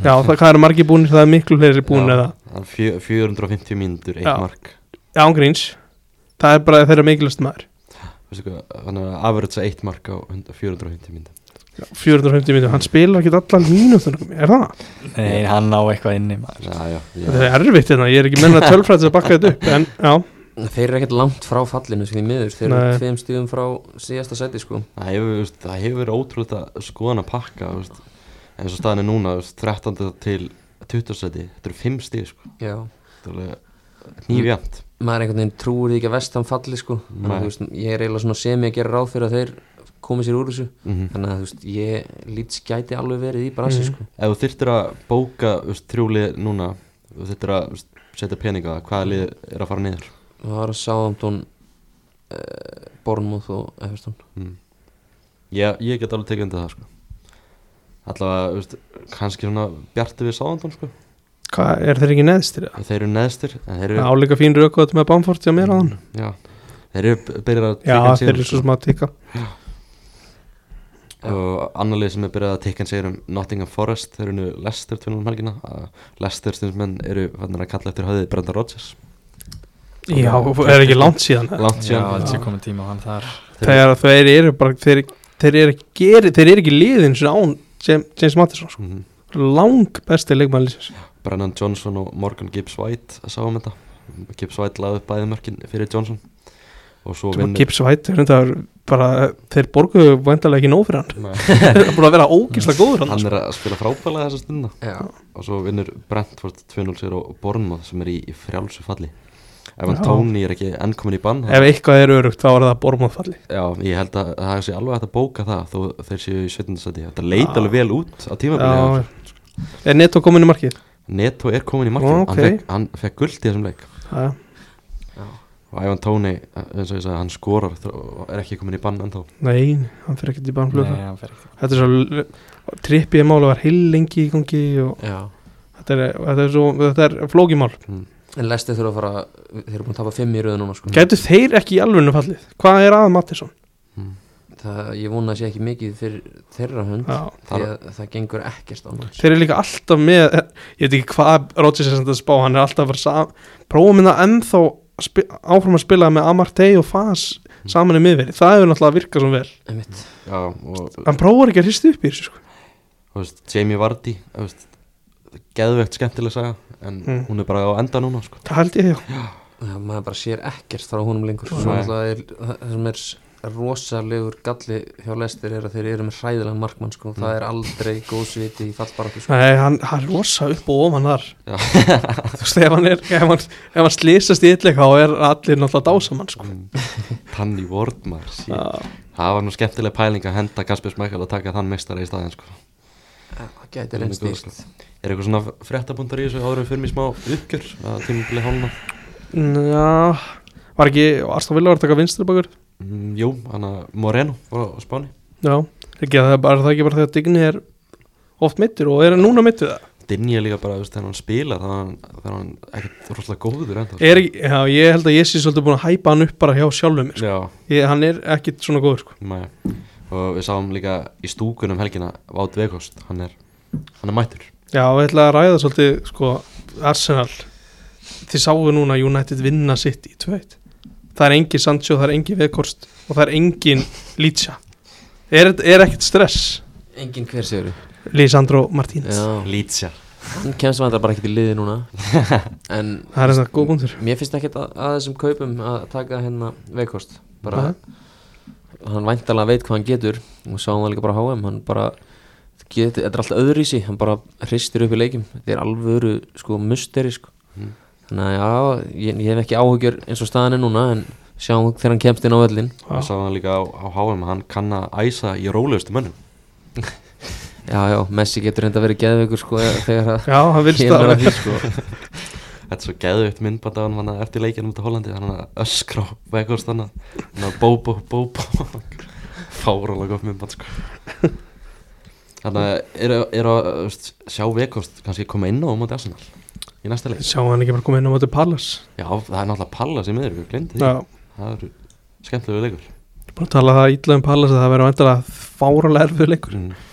[SPEAKER 2] Já, það, hvað eru margir búnir, það er miklu fleiri búnir eða
[SPEAKER 1] Það er fjö, 450 mínútur, eitt
[SPEAKER 2] Já.
[SPEAKER 1] mark
[SPEAKER 2] Já, ángríns, það er bara þeirra mikilvægst maður
[SPEAKER 1] Veistu hvað, hann er að average eitt mark á 100 450 mínútur
[SPEAKER 2] 450 mínútur, hann spilar ekki allan mínútur Er það?
[SPEAKER 4] Nei, hann á eitthvað inni maður
[SPEAKER 1] Já, já,
[SPEAKER 2] Þetta
[SPEAKER 1] já,
[SPEAKER 2] er erfitt hérna, ég er ekki menna tölfræðis að bakka þetta upp En já,
[SPEAKER 3] Þeir eru ekkert langt frá fallinu sem því miður Þeir
[SPEAKER 2] Nei.
[SPEAKER 3] eru tveim stíðum frá síðasta seti sko
[SPEAKER 1] það hefur, veist, það hefur verið ótrúlega skoðan að pakka veist. En svo staðan er núna, veist, 13. til 20 seti, þetta eru 5 stig sko.
[SPEAKER 3] já
[SPEAKER 1] þetta er alveg nýfjönd
[SPEAKER 3] maður einhvern veginn trúir því ekki að vestan falli sko þannig
[SPEAKER 1] Nei.
[SPEAKER 3] að þú veist, ég er eiginlega svona sem ég að gera ráð fyrir að þeir komi sér úr þessu
[SPEAKER 1] mm
[SPEAKER 3] þannig að þú veist, ég lít skæti alveg verið í brasi
[SPEAKER 2] Mhm.
[SPEAKER 3] sko
[SPEAKER 1] ef þú þyrtir að bóka þú veist, þrjúlið núna þú þyrtir að þú veist, setja peninga hvaða lið er að fara niður
[SPEAKER 3] það var að Southampton uh, Bournemouth og Everton
[SPEAKER 1] mm. ég, ég get alveg tekið undir það sko. allavega þú veist, kannski svona bjartu við sáðandón sko.
[SPEAKER 2] Hvað, er þeir ekki neðstir það?
[SPEAKER 1] þeir eru neðstir en þeir eru,
[SPEAKER 2] Áleika fín rökvað með Bamford hjá mér á hann
[SPEAKER 1] já, þeir eru b- byrjar að sko.
[SPEAKER 2] Já,
[SPEAKER 1] tikka inn
[SPEAKER 2] þeir
[SPEAKER 1] sigrum,
[SPEAKER 2] eru svo smá að tikka
[SPEAKER 1] og annar lið sem er byrjað að tikka en segir um Nottingham Forest, þeir eru nú Leicester tvinnum helgina, að Leicester stundsmenn eru fannir að kalla eftir höfðið Brenda Rodgers
[SPEAKER 2] Já, er ekki langt síðan
[SPEAKER 1] langt
[SPEAKER 4] Já,
[SPEAKER 1] síðan,
[SPEAKER 4] þetta sé komin tíma á hann þar
[SPEAKER 2] Þegar þeir eru bara þeir, þeir, eru, ekki- geri, þeir eru ekki liðin sem án James, James Mattisson sko.
[SPEAKER 1] Mhm.
[SPEAKER 2] Lang besti leikmælisins
[SPEAKER 1] Brennan Johnson og Morgan Gibbs White sáum þetta, Gibbs White laði upp bæði mörkin fyrir Johnson og svo
[SPEAKER 2] sem að
[SPEAKER 1] vinnur
[SPEAKER 2] Gibbs White er undar bara, þeir borguðu væntalega ekki nóg fyrir hann <laughs>
[SPEAKER 1] Nei.
[SPEAKER 2] þeir eru búin að vera ógislega góður hann
[SPEAKER 1] hann
[SPEAKER 2] sko.
[SPEAKER 1] er að spila frábælega þessa stundina
[SPEAKER 3] já,
[SPEAKER 1] og svo vinnur Brentford 2-0 sigur og Bournemouth sem er í, í frjálsu falli ef
[SPEAKER 2] Já.
[SPEAKER 1] hann Tony er ekki enn komin í bann
[SPEAKER 2] Ef eitthvað er örugt þá er það bormóðfalli
[SPEAKER 1] já, ég held að það sé alveg hægt að bóka það þó þeir séu í 17. seti þetta leit
[SPEAKER 2] Já.
[SPEAKER 1] alveg vel út á tímabili
[SPEAKER 2] Já, Er Neto komin í markið?
[SPEAKER 1] Neto er komin í markið,
[SPEAKER 2] Ó, ok.
[SPEAKER 1] hann, fekk, hann fekk guld í þessum leik
[SPEAKER 2] Já,
[SPEAKER 1] og Ivan Tony, eh, eins og ég sagði, hann skorar þó- og er ekki komin í bann ennþá
[SPEAKER 2] Nei, hann fyrir ekkert í bannflöka
[SPEAKER 4] Nei, hann fer ekki
[SPEAKER 2] Þetta er svo trippið mál og var heil lengi í gangi og
[SPEAKER 3] já
[SPEAKER 2] þetta er, þetta er, svo, þetta er flókimál
[SPEAKER 3] en Leicester þurfa að fara, þeir eru búin að tapa fimm í röðu núna sko
[SPEAKER 2] Gætu þeir ekki í alvönu fallið? Hvað er að Mattisson?
[SPEAKER 3] það, ég vona að sé ekki mikið fyrir þeirra hund
[SPEAKER 2] Já.
[SPEAKER 3] því að það gengur ekkert annars
[SPEAKER 2] Þeir eru líka alltaf með ég veit ekki hvað Rodgers er sem þetta spá hann er alltaf að fara saman prófa minna hérna ennþá að spi- áfram að spila með Amartey og Fas saman í miðverði, það hefur náttúrulega virkað sem vel
[SPEAKER 3] Einmitt.
[SPEAKER 1] já, og
[SPEAKER 2] hann prófar ekki að hristi upp í þessu sko.
[SPEAKER 1] þú veist, Jamie Vardy þú veist, geðvegt skemmtileg saga en
[SPEAKER 2] Mm.
[SPEAKER 1] hún er bara á enda núna sko.
[SPEAKER 2] það held ég já,
[SPEAKER 3] Já, maður bara sér ekkert frá honum lengur Svo
[SPEAKER 1] Nei.
[SPEAKER 3] náttúrulega er, það sem er s- rosalegur galli hjá lestir er að þeir eru með hræðilega markmann sko. það er aldrei góð sviti í fallbaráttu sko.
[SPEAKER 2] Mm. Nei, hann, hann er rosa upp og ofan þar
[SPEAKER 1] Já.
[SPEAKER 2] <laughs> þú veist, ef hann, er, ef hann, ef hann slýsast í yllega þá er allir náttúrulega dásamann sko.
[SPEAKER 1] Tanni Vordmar
[SPEAKER 2] Já.
[SPEAKER 1] það var nú skemmtileg pæling að henda Kasper Smækjál og taka þann meistara í staðin sko.
[SPEAKER 3] það gæti
[SPEAKER 1] Hann er
[SPEAKER 3] reynst
[SPEAKER 1] góður,
[SPEAKER 3] dýrt
[SPEAKER 2] sko.
[SPEAKER 1] er eitthvað svona fréttabundar í þessu árum fyrir mér smá uppgjör að tímabili hálna
[SPEAKER 2] já, var ekki Arstof Villa var að taka vinstri bakur
[SPEAKER 1] mm, jú, hann að Moreno var á Spáni
[SPEAKER 2] já, ekki, að það er bara, það er ekki bara þegar Digni er oft mittur og er hann núna mittur það
[SPEAKER 1] Dinja líka bara, þú veist, þegar hann spila þá er hann, þá er hann ekkert rosalega góður sko. enda
[SPEAKER 2] er, ekki- já, ég held að ég sé svolítið búin að hæpa hann upp bara hjá sjálfum mér sko.
[SPEAKER 1] Já,
[SPEAKER 2] ég, hann er ekkit svona góður sko.
[SPEAKER 1] mæja og við sáum líka í stúkunum helgina Vátt Vegost, hann er hann er mættur
[SPEAKER 2] já, við ætla að ræða svolítið sko, Arsenal þið sáu núna United vinna sitt í 2-1 það er engin Sancho, það er engin Vekorst og það er engin Lítsja er, er ekkit stress
[SPEAKER 3] engin hver sigur
[SPEAKER 2] Lisandro Martínez
[SPEAKER 3] hann
[SPEAKER 1] Lítsjar
[SPEAKER 3] kemst maður bara ekkert í liði
[SPEAKER 2] <laughs>
[SPEAKER 3] núna en
[SPEAKER 2] það er þetta góð búndur
[SPEAKER 3] mér finnst ekkert að, að þessum kaupum að taka hérna veikost bara, hann væntalega veit hvað hann getur og sáum það líka bara á HM hann bara getur, þetta er alltaf öðru í sig hann bara hristir upp í leikim þetta er alvöru sko musteri sko
[SPEAKER 2] Hmm.
[SPEAKER 1] Mm.
[SPEAKER 3] þannig að já, ég, ég hef ekki áhugjur eins og staðan er núna en sjáum þegar hann kemst inn á öllin
[SPEAKER 1] Við sáum hann líka á, á HM, hann kann að æsa í rólegustu mönnum
[SPEAKER 3] já, já, Messi getur reynda verið geðveikur sko eh, þegar það
[SPEAKER 2] já, hann vilst
[SPEAKER 3] kemur
[SPEAKER 2] það
[SPEAKER 3] að því sko
[SPEAKER 1] Þetta er svo geðvitt myndband af hann hann að eftir leikinu út á Hollandi hann að öskra á vegurst hann að- hann að bóbo, bóbo fárálega gott myndband sko Þannig að er, er að þú veist, sjá vegurst kannski koma inn á móti Arsenal í næsta leik
[SPEAKER 2] sjá hann ekki bara koma inn á móti Pallas
[SPEAKER 1] Já, það er náttúrulega Pallas í miður, við glindi því
[SPEAKER 2] já,
[SPEAKER 1] Það eru skemmtilegu leikur
[SPEAKER 2] búin að tala það ítla um Pallas að það verður vantilega fáralega erfið leikur
[SPEAKER 1] mm.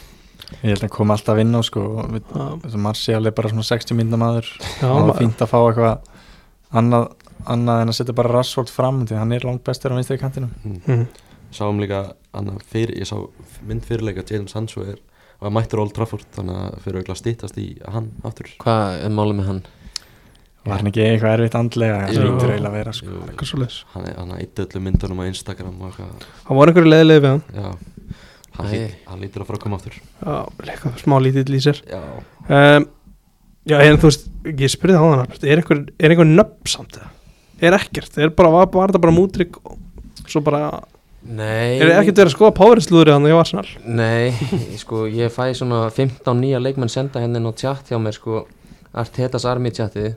[SPEAKER 4] Ég held að hann kom alltaf inn á sko og við-
[SPEAKER 2] já,
[SPEAKER 4] þessi Martial er bara svona 60 mínúna maður
[SPEAKER 2] já,
[SPEAKER 4] Það var
[SPEAKER 2] ma-
[SPEAKER 4] fínt að fá eitthvað annað, annað en að setja bara Rashford fram því að hann er langt bestur á vinstri kantinum
[SPEAKER 2] Mm.
[SPEAKER 1] Sáum líka, annað, fyrir, ég sá mynd fyrirleika Jadon Sancho er og mættur Old Trafford þannig að fyrir auðvitað stýttast í hann aftur
[SPEAKER 3] hvað er málið með hann
[SPEAKER 4] Var hann ekki eitthvað erfitt andlega
[SPEAKER 1] Jú.
[SPEAKER 4] Það lítur eiginlega að vera sko
[SPEAKER 1] Jú,
[SPEAKER 2] eitthvað svo leiðis
[SPEAKER 1] hann, hann eitt öllu myndunum á Instagram og eitthvað
[SPEAKER 2] það voru einhverju leiðilegði við hann
[SPEAKER 1] Já, hann,
[SPEAKER 3] Æ.
[SPEAKER 1] lít, hann lítur að fara að koma aftur
[SPEAKER 2] Já, leika smá lítill í sér
[SPEAKER 1] Já,
[SPEAKER 2] um, Já, en þú veist, ég spurði á þannig er einhver, er einhver nöfn samt það? Er ekkert, er bara, var, var það bara mútrygg og svo bara,
[SPEAKER 3] Nei
[SPEAKER 2] er ekkert verið að skoða páverðslúður þannig að ég var snar
[SPEAKER 3] Nei, <laughs> sko, ég fæ svona 15 nýja leikmenn senda henni á tjátt hjá mér sko Artetas Army tjáttið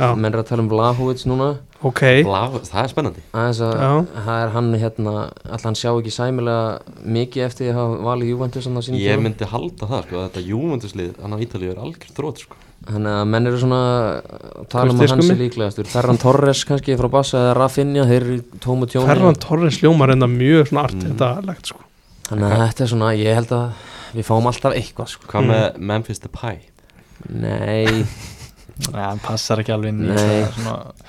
[SPEAKER 2] Já,
[SPEAKER 3] Menn er að tala um Vlahovic núna
[SPEAKER 2] ok,
[SPEAKER 1] Lá, það er spennandi
[SPEAKER 3] Aðeins að
[SPEAKER 2] Já.
[SPEAKER 3] það er hann hérna Alltaf hann sjá ekki sæmilega mikið eftir því að hafa valið Juventus hann á sínum
[SPEAKER 1] Ég
[SPEAKER 3] tíma.
[SPEAKER 1] myndi halda það sko, að þetta Júventuslið, hann á Ítalíu er algjör þrótt sko.
[SPEAKER 3] Þannig að menn eru svona að tala
[SPEAKER 2] Hvert er
[SPEAKER 3] um að hans
[SPEAKER 2] skummi?
[SPEAKER 3] er líklegastur Ferran Torres kannski frá Bassa eða Rafinha Þeir eru í tómu tjóni
[SPEAKER 2] Ferran Torres ljómar enda mjög svona
[SPEAKER 3] Mm.
[SPEAKER 2] art þetta legt sko
[SPEAKER 3] Þannig að þetta er svona, ég held að við fáum alltaf eitthvað sko.
[SPEAKER 4] Mm.
[SPEAKER 1] Hvað með Memphis Depay?
[SPEAKER 2] <laughs>
[SPEAKER 3] Nei,
[SPEAKER 4] Já, hann passar ekki alveg inn í
[SPEAKER 3] Nei.
[SPEAKER 4] það er svona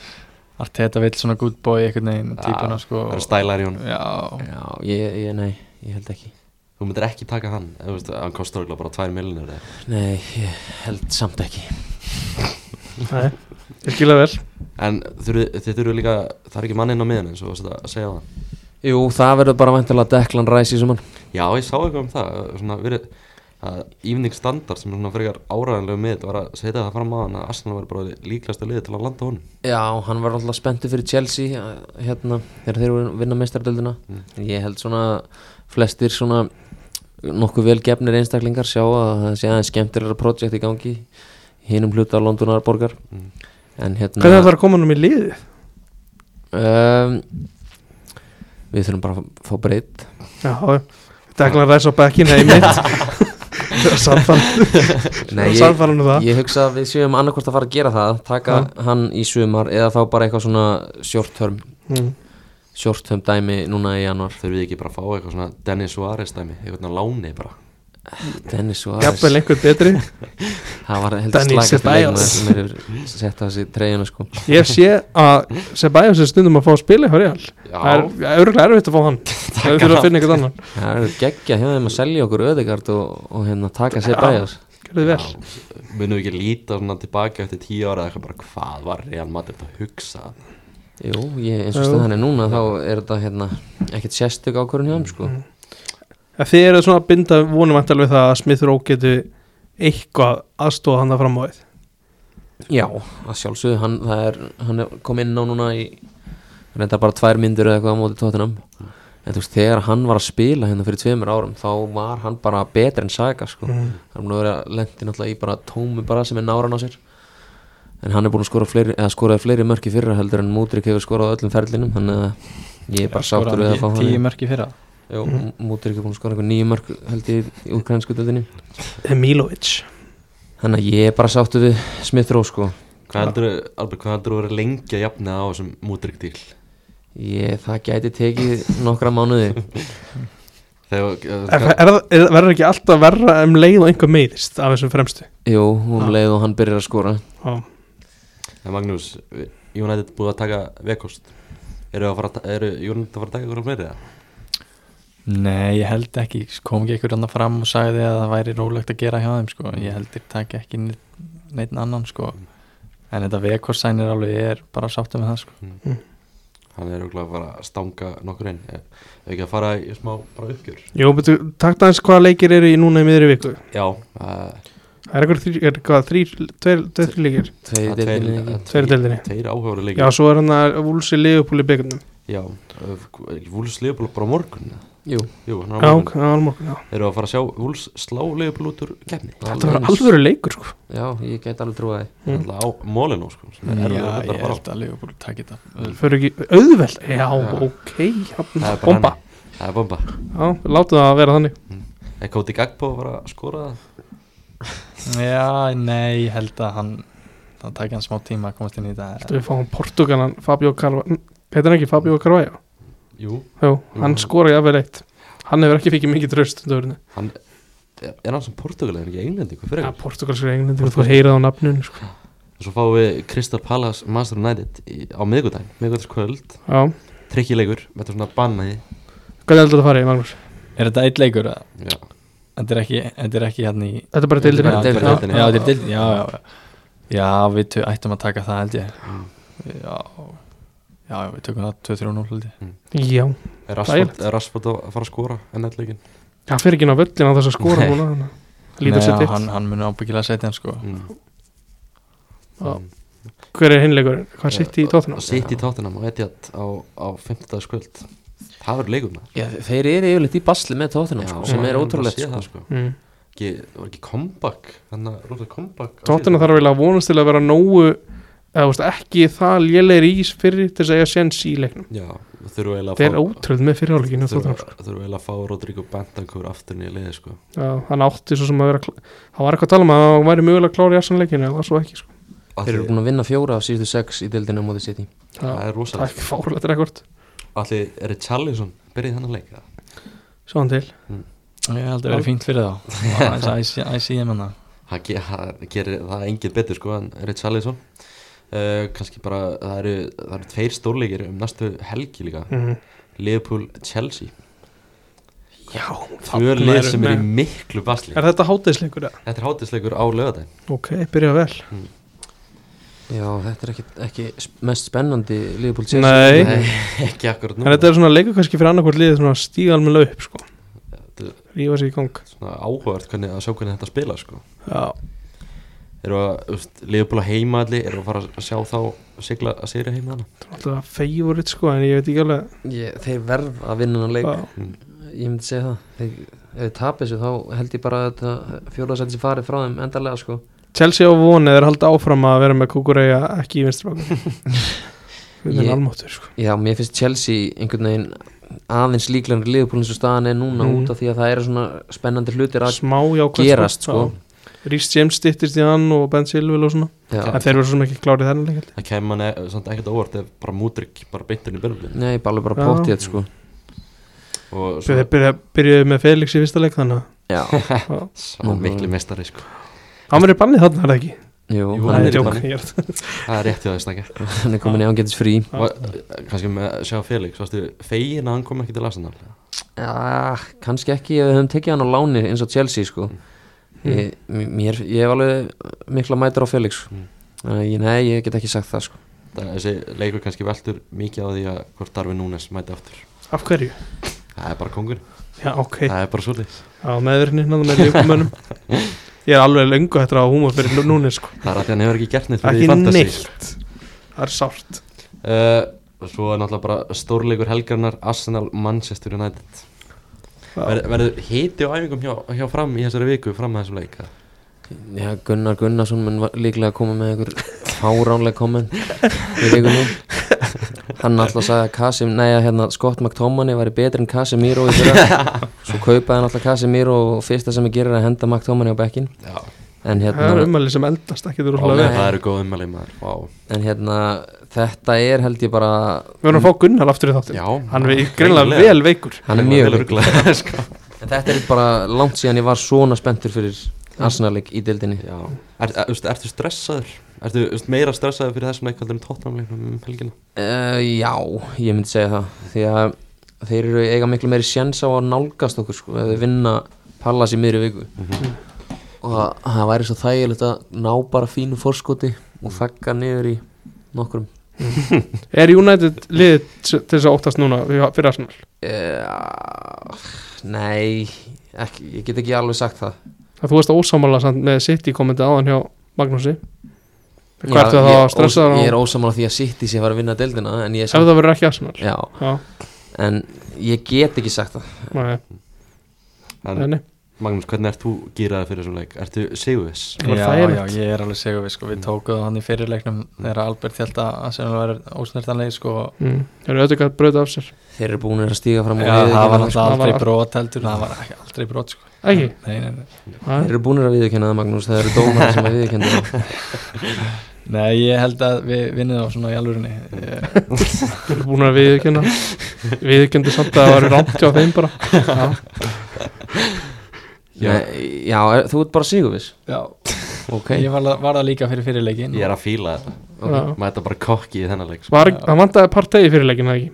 [SPEAKER 4] Arteta vill svona good boy einhvern veginn típuna sko
[SPEAKER 1] Það er stælar í honum
[SPEAKER 4] Já,
[SPEAKER 3] já, ég, ég, nei, ég held ekki
[SPEAKER 1] Þú myndir ekki taka hann, eða, þú veist, hann kostar örugglega bara 2 miljonir
[SPEAKER 3] Nei, ég held samt ekki
[SPEAKER 2] Nei, ég skilja vel
[SPEAKER 1] En þurfi- þið þurfu líka, það er ekki mann inn á miðan eins og varst að segja það
[SPEAKER 3] Jú, það verður bara vantilega Declan Rice í suman
[SPEAKER 1] Já, ég sá eitthvað um það svona verið að Evening Standard sem er svona frekar áræðanlegu miðt var að setja það fram á hann að Arsenal var bara líklegasta liði til að landa honum
[SPEAKER 3] Já, hann var alltaf spenntur fyrir Chelsea eh, hérna, þegar þeir eru að vinna meistardöldina mm. Ég held svona flestir svona nokkuð vel gefnir einstaklingar sjá að það sé aðeins skemmtilegra projekt í gangi hinum hluta Londonarborgar En hérna
[SPEAKER 2] Hvernig það er að koma hann um í liðið?
[SPEAKER 3] um, Við þurfum bara að fá- fá <laughs> breytt
[SPEAKER 2] Já, já. Deklan ræs á bekkinu í mitt
[SPEAKER 3] <laughs>
[SPEAKER 2] Sannfæran Sannfæran um það
[SPEAKER 3] Ég hugsa að við séum annarkvort að fara að gera það taka hann í sumar eða fá bara eitthvað svona short term
[SPEAKER 2] Mm.
[SPEAKER 3] short term dæmi núna í januar
[SPEAKER 1] Þurfið þið ekki bara að fá eitthvað svona Dennis Suárez dæmi, eitthvað svona láni bara
[SPEAKER 3] Dennis var
[SPEAKER 2] Jafnvel einhver betri
[SPEAKER 3] það var heldur
[SPEAKER 2] Dennis
[SPEAKER 3] slagast
[SPEAKER 2] Ceballos.
[SPEAKER 3] leikmaður sem er sett á þessi treyjuna sko
[SPEAKER 2] Ég sé að Sebæjus er stundum að fá að spila í Hörjál Það er
[SPEAKER 1] Já,
[SPEAKER 2] örgulega erfitt að fá <laughs> hann Það er fyrir að finna eitthvað annan
[SPEAKER 3] það eru geggja hjá þeim að selja okkur öðegard og, og hérna taka sér bæjars
[SPEAKER 2] Gjörðu vel
[SPEAKER 1] munum við ekki líta svona tilbaka eftir tíu ára eða eitthvað bara hvað var Real Madrid að hugsa
[SPEAKER 3] Jú, ég, eins og
[SPEAKER 2] Jú.
[SPEAKER 3] staðan er núna þá er þetta hérna ekkert sérstök ákvörðun hjá þeim sko
[SPEAKER 2] Ef Mm. Þið eru svona að binda vonum eftir við það að Smith Rowe getur eitthvað aðstóða hann það fram á þið
[SPEAKER 3] Já, að sjálfsögðu, hann, það er, hann er kom inn á núna í reynda bara tvær myndur eða eitthvað á móti tóttinam en þú veist, þegar hann var að spila hérna fyrir tveimur árum þá var hann bara betri en Saga sko.
[SPEAKER 2] Mm.
[SPEAKER 3] hann er búin að vera lendi náttúrulega í bara tómi bara sem er náran á sér en hann er búin að skora fleiri, eða skoraði fleiri mörki fyrra heldur en Mútrik hefur skorað á öllum ferlinum þannig að ég er bara
[SPEAKER 4] skoraði
[SPEAKER 3] sáttur við að fá
[SPEAKER 4] hann
[SPEAKER 3] hann
[SPEAKER 4] tíu
[SPEAKER 3] í-
[SPEAKER 4] mörki fyrra
[SPEAKER 3] Jú, Mútrik er búin að skora eitthvað nýju mörk held ég í ukrainsku döldinni
[SPEAKER 2] Emilovic
[SPEAKER 3] þannig að ég er bara sáttur við Smith Rowe sko.
[SPEAKER 1] Hvað heldur þú, Albert, hvað heldur þú að vera lengi að jafna á þessum mútrík díl?
[SPEAKER 3] Ég, það gæti tekið nokkra mánuði
[SPEAKER 1] Þegar,
[SPEAKER 2] Er,
[SPEAKER 1] eh,
[SPEAKER 2] er, er, verður ekki alltaf verra um leið og einhver meiðist af þessum fremstu
[SPEAKER 3] Jú, um leið og hann byrjar að skora
[SPEAKER 2] Já.
[SPEAKER 1] eh, Magnús, við- United búið að taka vekost Eru að fara að ta- eru United að fara að taka ykkur á fleiri? eða?
[SPEAKER 4] Nei, ég held ekki, kom ekki einhver annar fram og sagði að það væri rólegt að gera hjá þeim sko. ég held ekki taka ekki neinn neinn annan sko. en þetta vekorsæn er alveg, ég er bara sáttum með það sko.
[SPEAKER 1] Hann er auðvitað að fara að stanga nokkur inn Ef ef ekki að fara í smá bara uppgjör
[SPEAKER 2] Jó, betur, takt aðeins hvaða leikir eru í núna í miðri viku
[SPEAKER 1] Já uh,
[SPEAKER 2] Það er eitthvað þrý, er hvað, þrý, tveir, tveir leikir
[SPEAKER 3] Tveir deildinni ekki
[SPEAKER 2] Tveir deildinni
[SPEAKER 1] Tveir áhugaður
[SPEAKER 2] Já,
[SPEAKER 1] leikir
[SPEAKER 2] svo er hann að vúlsi liðupúli byggnum
[SPEAKER 1] Já, eh, er ekki Wolves Leopold bara á morgun eða?
[SPEAKER 3] Jú,
[SPEAKER 1] Jú, hann er
[SPEAKER 2] Já,
[SPEAKER 1] á
[SPEAKER 2] ok,
[SPEAKER 1] morgun
[SPEAKER 2] það var morgun já.
[SPEAKER 1] Eru að fara að sjá Wolves slá Leopold út úr kefni
[SPEAKER 2] Þetta var
[SPEAKER 3] Eins.
[SPEAKER 2] alvöru leikur sko
[SPEAKER 3] já, ég gæti alveg trúið það
[SPEAKER 2] Mm.
[SPEAKER 1] Alltaf á mólinu sko sem er erfiður
[SPEAKER 4] Mm, Já,
[SPEAKER 1] að
[SPEAKER 4] ég
[SPEAKER 1] vera bara á.
[SPEAKER 4] held að Leopold taki þetta
[SPEAKER 2] Fyrir ekki auðveld Já,
[SPEAKER 1] Já.
[SPEAKER 2] ok
[SPEAKER 1] Það
[SPEAKER 2] hérna,
[SPEAKER 1] er bara
[SPEAKER 2] Bomba
[SPEAKER 1] þannig. Það er bomba
[SPEAKER 2] Já, látum það að vera þannig
[SPEAKER 1] Er Kóti Gagbo að fara að skora það?
[SPEAKER 4] Já, nei, ég held að hann það taki hann smá tíma að komast inn í
[SPEAKER 2] Þetta
[SPEAKER 4] þetta
[SPEAKER 2] við fáum portugalan Fabio Carvalho Heitir hann ekki Fabio Carvalho?
[SPEAKER 1] Jú
[SPEAKER 2] Jú, hann
[SPEAKER 1] Jú.
[SPEAKER 2] skora jafnvel eitt Hann hefur ekki fikið mikið traust um dörinu
[SPEAKER 1] Hann Er hann sem Portugal eða ekki Englandi? Hvað fyrir?
[SPEAKER 2] Ja, portugalskur englindi Þú heyrið á nafnun sko.
[SPEAKER 1] Svo fáum við Crystal Palace Master United í, á miðgudaginn Miðgudagskvöld
[SPEAKER 2] Já
[SPEAKER 1] Tryggilegur Þetta er svona bannaði
[SPEAKER 2] Hvað heldur það að fara í, Magnús?
[SPEAKER 4] Er þetta eitt leikur? eða?
[SPEAKER 1] Já
[SPEAKER 4] Þetta er ekki, þetta er ekki hann í
[SPEAKER 2] Þetta er bara
[SPEAKER 3] Þetta er
[SPEAKER 2] deildinu
[SPEAKER 3] bara
[SPEAKER 1] deildinni. deildinni.
[SPEAKER 4] Já, já, þetta er deildinni, já, já, já Já, við tö- ættum að taka það held ég Já, já, já, við tökum það 2-3-0 held ég
[SPEAKER 2] Já
[SPEAKER 1] Er Rashford, er Rashford að fara að skora ennallegin?
[SPEAKER 2] Hann fer ekki inn á völlin á þess að skora
[SPEAKER 1] Nei.
[SPEAKER 2] núna þannig að- Lítur
[SPEAKER 4] Nei,
[SPEAKER 2] sér
[SPEAKER 4] já,
[SPEAKER 2] ditt
[SPEAKER 4] hann, hann munur ábyggilega að setja hann sko
[SPEAKER 1] Mm.
[SPEAKER 2] Já. Hver er hinleikurinn? Hvað sitt í tóttunum?
[SPEAKER 1] Sitt í tóttunum og etjart á, á 15. skvöld Það verður leikum
[SPEAKER 3] Já, þeir eru yfirleitt í basli með tóttunum sko, sem er ótrúlegt sko.
[SPEAKER 1] það, sko.
[SPEAKER 2] Mm.
[SPEAKER 1] ekki, Var ekki comeback Þannig að rúta comeback á
[SPEAKER 2] Tóttunum
[SPEAKER 1] síðasta.
[SPEAKER 2] þarf eiginlega að vonast til að vera nógu eða þú veist, ekki það lélegir ís fyrir til þess að eiga sjens í leiknum
[SPEAKER 1] Já, þurfum eiginlega
[SPEAKER 2] Þeir eru ótröð með fyrirháleikinu
[SPEAKER 1] Þurfum
[SPEAKER 2] Þóttunum sko.
[SPEAKER 1] þurfum eiginlega að fá Rodrigo Bentancur aftur inn í liði sko.
[SPEAKER 2] Já, hann átti svo sem að vera klá- það var eitthvað að tala um að hann væri mögulega klár í assan leikinu en það var svo ekki sko.
[SPEAKER 1] Af
[SPEAKER 3] Þeir eru
[SPEAKER 1] því-
[SPEAKER 3] búin að vinna fjóra af síðustu sex í deildinu á móti City
[SPEAKER 1] Það
[SPEAKER 2] Já,
[SPEAKER 1] er
[SPEAKER 2] það er
[SPEAKER 1] rosalega
[SPEAKER 2] ekki fárlegt rekord
[SPEAKER 1] Allir er Charlison Byrðið hann að leika
[SPEAKER 2] Svo hann til
[SPEAKER 4] Ég held að vera fínt fyrir þá ICM hann
[SPEAKER 1] Það ge- það gerir það engin betur sko en Richarlison uh, kannski bara, það eru, það eru tveir stórleikir um næstu helgi líka
[SPEAKER 2] mm.
[SPEAKER 1] Liverpool, Chelsea
[SPEAKER 2] Já,
[SPEAKER 1] Tvö
[SPEAKER 2] þarna
[SPEAKER 1] lið
[SPEAKER 2] eru-
[SPEAKER 1] sem er í
[SPEAKER 2] Nei.
[SPEAKER 1] miklu basli
[SPEAKER 2] Er þetta hátegisleikur? eða?
[SPEAKER 1] Þetta er hátisleikur á lögadaginn
[SPEAKER 2] Ok, byrja vel
[SPEAKER 3] Já, þetta er ekki, ekki sp- mest spennandi Liverpool
[SPEAKER 2] Nei.
[SPEAKER 1] Nei, <laughs> ekki akkurat
[SPEAKER 2] En
[SPEAKER 1] nú
[SPEAKER 2] þetta er svona leikur kannski fyrir annarkvort liðið svona að stíga alveg upp sko
[SPEAKER 1] Þetta er
[SPEAKER 2] Rífa sig í gang
[SPEAKER 1] Svona áhugavert hvernig að sjá hvernig þetta spila sko
[SPEAKER 2] Já,
[SPEAKER 1] Eru að, þú veist, Liverpool á heima allir Eru að fara að sjá þá sigla að sigri heima hana
[SPEAKER 2] þetta er alltaf favorit sko en ég veit ekki alveg
[SPEAKER 3] Ég, Þeir verð að vinna hann leik
[SPEAKER 2] Já,
[SPEAKER 3] Ég myndi segja það þeir, Ef þið tapir þessu þá held ég bara að þetta fjóraðsætti sem farið frá þeim endarlega sko.
[SPEAKER 2] Chelsea á vonið er halda áfram að vera með kukureyja ekki í vinstrabakun Við erum
[SPEAKER 3] Ég-
[SPEAKER 2] almáttur sko
[SPEAKER 3] Já, mér finnst Chelsea einhvern veginn aðeins líklegur Liverpool eins og staðan er núna
[SPEAKER 2] Mhm.
[SPEAKER 3] út af því að það eru svona spennandi hlutir að
[SPEAKER 2] Smá jákvæmt
[SPEAKER 3] gerast sko.
[SPEAKER 2] Rhys James stittist í hann og Ben Silvil og svona
[SPEAKER 3] Já.
[SPEAKER 2] En þeir eru svo sem ekki klárið þennan leik held ég.
[SPEAKER 1] Það kemur hann e- samt ekkert á óvart Ef bara mútrygg, bara beintin í byrjum
[SPEAKER 3] Nei, ég bálu bara
[SPEAKER 2] Já.
[SPEAKER 3] pott í þetta sko.
[SPEAKER 1] Og
[SPEAKER 2] Svo Þeir byrja- byrjuðu með Felix í fyrsta leik þannig að-
[SPEAKER 3] Já, <laughs>
[SPEAKER 2] Já.
[SPEAKER 1] sá miklu mestari sko
[SPEAKER 2] Hann verið bannið þarna er það ekki
[SPEAKER 3] jú,
[SPEAKER 1] Jú,
[SPEAKER 3] hann,
[SPEAKER 2] Nei,
[SPEAKER 1] er í
[SPEAKER 3] er,
[SPEAKER 2] djók,
[SPEAKER 1] banni.
[SPEAKER 2] ég er að-
[SPEAKER 1] Það er rétt hjá þess nægja
[SPEAKER 3] hann er komin í ángætis frí
[SPEAKER 1] Og, eh, kannski með að sjá Felix varstu fegin að hann kom ekki til Arsenal
[SPEAKER 3] Já, kannski ekki ef við höfum tekið hann á láni eins og Chelsea sko.
[SPEAKER 1] Mm.
[SPEAKER 3] ég, mér, ég hef alveg mikla mætur á Felix
[SPEAKER 1] Mm.
[SPEAKER 3] Þannig að ég, Nei, ég get ekki sagt það sko.
[SPEAKER 1] það, þessi leikur kannski veldur mikið á því að hvort Darvin Núnes mæti aftur
[SPEAKER 2] Af hverju?
[SPEAKER 1] það er bara kongur,
[SPEAKER 2] Já, ok
[SPEAKER 1] það er bara svolítið
[SPEAKER 2] Já, meðurinn hérna með ljökumönnum Ég er alveg löngu hættur á húmor fyrir nú- núna sko.
[SPEAKER 1] það er að því hann hefur ekki gert neitt
[SPEAKER 2] Ekki
[SPEAKER 1] fyrir því fantasy
[SPEAKER 2] neitt Það er sárt
[SPEAKER 1] uh, svo er náttúrulega bara stórleikur helgarnar Arsenal Manchester United Ver, verður hiti á æfingum hjá, hjá fram í þessari viku fram að þessum leik eða?
[SPEAKER 3] Já, Gunnar Gunnarsson mun va- líklega koma með einhver fáránleg komment í vikunni Hann alltaf sagði að Kasim, nei að hérna Scott McTominay væri betri en Casemiro í
[SPEAKER 1] <laughs>
[SPEAKER 3] fyrra Svo kaupaði hann alltaf Casemiro og fyrsta sem ég gerir er að henda McTominay á bekkin
[SPEAKER 1] Já,
[SPEAKER 3] En
[SPEAKER 2] Það er
[SPEAKER 3] hérna,
[SPEAKER 2] umæli sem eldast ekki
[SPEAKER 1] Ó,
[SPEAKER 2] þú rúslega
[SPEAKER 1] nei,
[SPEAKER 2] vel
[SPEAKER 1] það eru góð ummæli maður Vá.
[SPEAKER 3] en hérna þetta er held ég bara
[SPEAKER 2] Við verðum að fá Gunnar aftur í þáttin
[SPEAKER 1] Já,
[SPEAKER 2] Hann er greinlega vel veikur
[SPEAKER 3] Hann er mjög veikur.
[SPEAKER 1] rugglega sko.
[SPEAKER 3] En þetta er bara langt síðan ég var svona spenntur fyrir Arsenalik í deildinni
[SPEAKER 1] <laughs> Já, er, er, er, ertu stressaður? Ertu þú veist, meira stressaður fyrir þessum leik heldur en tóttanum leiknum um helgina?
[SPEAKER 3] uh, Já, ég myndi segja það Því að þeir eru eiga miklu meiri sjens á að nálgast okkur sko Ef þau vinna Pallas í miðri viku Og það, það væri svo þægilegt að ná bara fínu fórskoti Og þakka niður í nokkrum
[SPEAKER 2] Er United liðið s- til þess að óttast núna við- fyrir Arsenal?
[SPEAKER 3] uh, Nei, ekki, ég get ekki alveg sagt það
[SPEAKER 2] Að þú varst ósámála samt með City komandi áðan hjá Magnúsi Hvað
[SPEAKER 3] Já,
[SPEAKER 2] ertu þá
[SPEAKER 3] ég er
[SPEAKER 2] að stressa
[SPEAKER 3] ós- Ég
[SPEAKER 2] það?
[SPEAKER 3] er ósamála því að City sé að fara að vinna deildina En ég
[SPEAKER 2] Ef það verður ekki Arsenal
[SPEAKER 3] Já,
[SPEAKER 2] Já,
[SPEAKER 3] en ég get ekki sagt það
[SPEAKER 2] nei,
[SPEAKER 1] En-
[SPEAKER 2] nei, nei.
[SPEAKER 1] Magnús, hvernig ert þú gýraðið fyrir þessum leik? Ertu sigurviss?
[SPEAKER 2] var
[SPEAKER 4] Já, já,
[SPEAKER 2] þægilegt.
[SPEAKER 4] ég er alveg segur við sko, við tókuðum hann í fyrirleiknum þegar Albert held að Arsenal var ósnertanlega sko, og-
[SPEAKER 2] Mm. Það eru auðvitað bröðu af sér
[SPEAKER 3] Þeir eru búinir að stíga fram
[SPEAKER 4] Já,
[SPEAKER 3] úr
[SPEAKER 4] það var
[SPEAKER 3] viðurkenna það,
[SPEAKER 4] alltaf
[SPEAKER 3] sko.
[SPEAKER 2] það var
[SPEAKER 4] aldrei
[SPEAKER 2] allt-
[SPEAKER 4] brot heldur það var ekki aldrei brot sko.
[SPEAKER 2] Ekki?
[SPEAKER 4] nei, nei, nei.
[SPEAKER 2] Nei.
[SPEAKER 3] Þeir eru búinir að viðurkenna það Magnús, það eru dómar sem að viðurkenna það
[SPEAKER 4] nei, ég held að við vinnum þá svona í alvörinni
[SPEAKER 2] Þeir eru búin að viðkjöna Viðkjöndi samt að það var rámt hjá þeim
[SPEAKER 3] <laughs>
[SPEAKER 2] bara Já,
[SPEAKER 1] Já.
[SPEAKER 3] Nei, Já, er, þú ert bara sigurvis
[SPEAKER 4] já,
[SPEAKER 3] Ok,
[SPEAKER 4] ég var, var það líka fyrir fyrirleikin
[SPEAKER 1] Ég er að fíla þetta
[SPEAKER 2] já.
[SPEAKER 1] Mæta bara kokki í þennan leik sko.
[SPEAKER 2] Var, Það vantaði partegi fyrir leikina ekki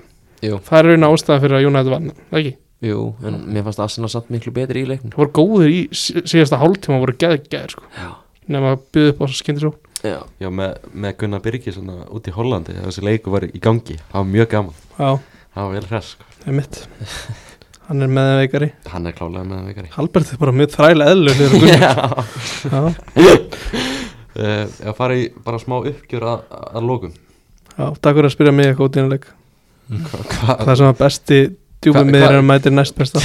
[SPEAKER 3] Jú.
[SPEAKER 2] Það er raun ástæða fyrir að United vann ekki
[SPEAKER 3] jú, en mér fannst Arsenal samt miklu betri í leiknum
[SPEAKER 2] Það voru góðir í sí- síðasta hálftíma voru geðgæðir sko
[SPEAKER 3] Já,
[SPEAKER 2] Nefn að byggja upp á þessu skyndi svo
[SPEAKER 3] já
[SPEAKER 1] Já, með, með Gunnar Birgi svona út í Hollandi þegar þessi leiku var í gangi Það var mjög gaman,
[SPEAKER 2] Já,
[SPEAKER 1] það var vel hress sko.
[SPEAKER 2] það er mitt Hann er með þeim veikari
[SPEAKER 1] Hann er <laughs> klálega með það veikari
[SPEAKER 2] Albert er bara mjög þræla eðlu
[SPEAKER 1] Já.
[SPEAKER 2] Já,
[SPEAKER 1] uh, uh, eða fara í bara smá uppgjör að, að lokum
[SPEAKER 2] Já, takk fyrir að spyrja mig eitthvað út í einleik
[SPEAKER 1] Hva, hva,
[SPEAKER 2] Það sem að besti
[SPEAKER 1] Hva-
[SPEAKER 2] djúpið miður
[SPEAKER 1] hva-
[SPEAKER 2] er að mæti næst besta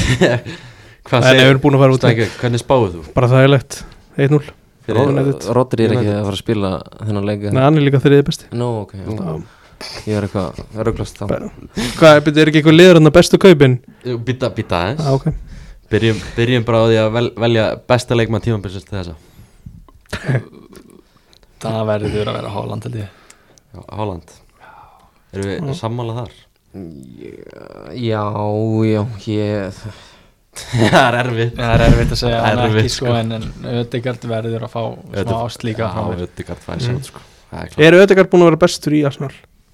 [SPEAKER 1] hvað
[SPEAKER 2] En ef við erum
[SPEAKER 1] segir
[SPEAKER 2] búin að fara út í
[SPEAKER 1] Stænke, hvernig spáðu þú?
[SPEAKER 2] Bara þægilegt 1-0
[SPEAKER 1] Fyrir,
[SPEAKER 2] United.
[SPEAKER 3] Rodri er ekki að fara að spila þennan leik
[SPEAKER 2] Nei, hann er líka þriðið besti
[SPEAKER 3] Nú, ok, já.
[SPEAKER 2] Já.
[SPEAKER 3] ég er eitthvað rugglast þá
[SPEAKER 2] Bara- Hvað, er- er ekki eitthvað liður hann að bestu kaupin?
[SPEAKER 1] býta, býta aðeins
[SPEAKER 2] Já, ok
[SPEAKER 1] byrjum, byrjum bara á því að vel, velja besta leikmann tímabilsins til þessa
[SPEAKER 4] það verður að vera Holland held ég
[SPEAKER 1] Já, Holland erum við
[SPEAKER 2] Já.
[SPEAKER 1] sammála þar?
[SPEAKER 3] Já, já, ég
[SPEAKER 1] <laughs> það er erfitt
[SPEAKER 4] það er erfitt að segja
[SPEAKER 1] Það er
[SPEAKER 4] hann
[SPEAKER 1] erfitt,
[SPEAKER 4] ekki sko
[SPEAKER 1] sko.
[SPEAKER 4] en, en Ödegard verður að fá smá
[SPEAKER 1] Ödegard-
[SPEAKER 4] ást líka
[SPEAKER 1] Já,
[SPEAKER 4] hann verður-
[SPEAKER 1] Ödegard fær sér sko.
[SPEAKER 2] Mm.
[SPEAKER 1] Það er klart.
[SPEAKER 2] Eru Ödegard búin að vera bestur í Arsenal?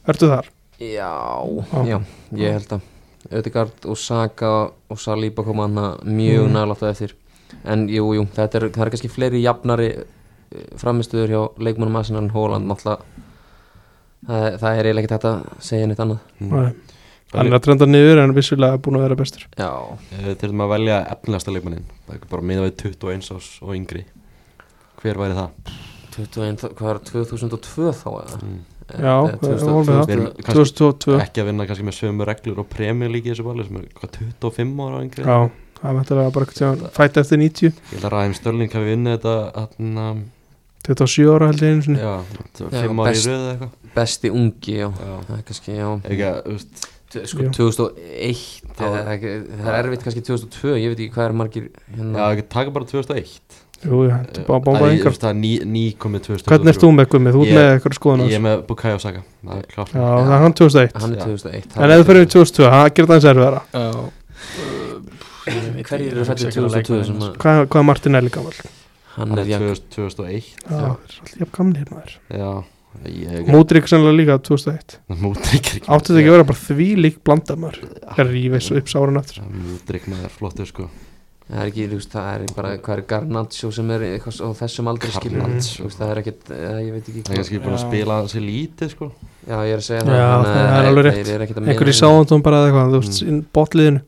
[SPEAKER 2] Ertu þar?
[SPEAKER 3] Já,
[SPEAKER 2] Já.
[SPEAKER 3] já, ég held að Ödegard og Saga og Saliba koma hann mjög mm. nælátt á eftir en jú, jú, þetta er, það er kannski fleiri jafnari framistuður hjá leikmannum Arsenal en Holland náttúrulega það, það er eiginlega ekki þetta að segja neitt annað
[SPEAKER 1] Mm.
[SPEAKER 2] Nei Hann er að trenda niður en vissulega búin að vera bestur
[SPEAKER 3] Já,
[SPEAKER 1] Eh, Til þess að velja efnilegasta leikmannin Það er bara miða við 21 árs og yngri Hver væri það?
[SPEAKER 3] 21, þá- hvað er 2002 þá eða?
[SPEAKER 1] Mm.
[SPEAKER 2] Já, það er alveg það.
[SPEAKER 1] Við erum kannski
[SPEAKER 2] 2002
[SPEAKER 1] ekki að vinna kannski með sömu reglur og premjör líki í þessu bali sem er hvað 25 ára og yngri
[SPEAKER 2] Já, það er þetta bara eitthvað fætt eftir 90
[SPEAKER 1] Ég held að Ræðum Störling hafi vinnið þetta atna,
[SPEAKER 2] 27 ára held ég einu sinni
[SPEAKER 1] já,
[SPEAKER 3] Já,
[SPEAKER 1] 5 ára í
[SPEAKER 3] best-
[SPEAKER 1] röðu eitthvað
[SPEAKER 3] Besti ungi, já,
[SPEAKER 1] Já.
[SPEAKER 3] það er kannski, já
[SPEAKER 1] Ekki að, þú veist,
[SPEAKER 3] T- sko
[SPEAKER 2] Jú.
[SPEAKER 3] 2001
[SPEAKER 1] Þá-
[SPEAKER 3] það er ekki- það er erfitt kannski 2002 ég veit ekki hvað er margir
[SPEAKER 1] já,
[SPEAKER 3] hérna
[SPEAKER 1] ekki taka bara 2001
[SPEAKER 2] Jú, já, þetta er bara
[SPEAKER 1] Að ég-
[SPEAKER 2] bomba
[SPEAKER 1] þú
[SPEAKER 2] yngar
[SPEAKER 1] veist, Það er ný, ný komið 2001
[SPEAKER 2] Hvernig ert þú með Gumi? Þú ert
[SPEAKER 1] Ég-
[SPEAKER 2] með eitthvað skoðan
[SPEAKER 1] Ég
[SPEAKER 2] hans
[SPEAKER 1] er með Bukayo Saka Það er klart
[SPEAKER 2] Já, það er hann 2001
[SPEAKER 3] hann er
[SPEAKER 1] Já.
[SPEAKER 3] 2001
[SPEAKER 2] En ef þú fyrir í 2002, það gerir það eins erfiðara
[SPEAKER 4] Já, uh, ég veit
[SPEAKER 3] Eh, Hverjir
[SPEAKER 4] ekki,
[SPEAKER 3] eru
[SPEAKER 4] ég
[SPEAKER 3] fæddir
[SPEAKER 4] hugsa ekki að
[SPEAKER 3] 2002
[SPEAKER 4] leikmenn-
[SPEAKER 3] sem að-
[SPEAKER 2] Hvað, hvað er Martin Eli gammal?
[SPEAKER 3] hann er jafn
[SPEAKER 1] 2000- 2001
[SPEAKER 2] Já, það er alltaf jafn gamli hérna þér
[SPEAKER 1] Já, ég
[SPEAKER 2] Mótrík sennilega líka 2001
[SPEAKER 1] Mótrykk
[SPEAKER 2] Áttu þetta ekki að vera bara því lík blandamör Þegar rífið svo upp sárun aftur
[SPEAKER 1] Mótrykk maður er flottur sko
[SPEAKER 3] það er ekki þú veist það er bara hvað er Garnaccio sem er eitthvað á þessum aldrei skilur
[SPEAKER 1] Garnaccio.
[SPEAKER 3] þú veist það er ekkit eh, ég veit ekki
[SPEAKER 1] Það er kannski búin að
[SPEAKER 4] Já.
[SPEAKER 1] spila sér lítið sko
[SPEAKER 3] já ég er að segja
[SPEAKER 2] Já,
[SPEAKER 3] þannig að
[SPEAKER 2] það er alveg rétt.
[SPEAKER 3] þeir eru ekkit að
[SPEAKER 2] Einhverju
[SPEAKER 3] meina-
[SPEAKER 2] sáandum bara eða eitthvað, þú veist, inn botliðinu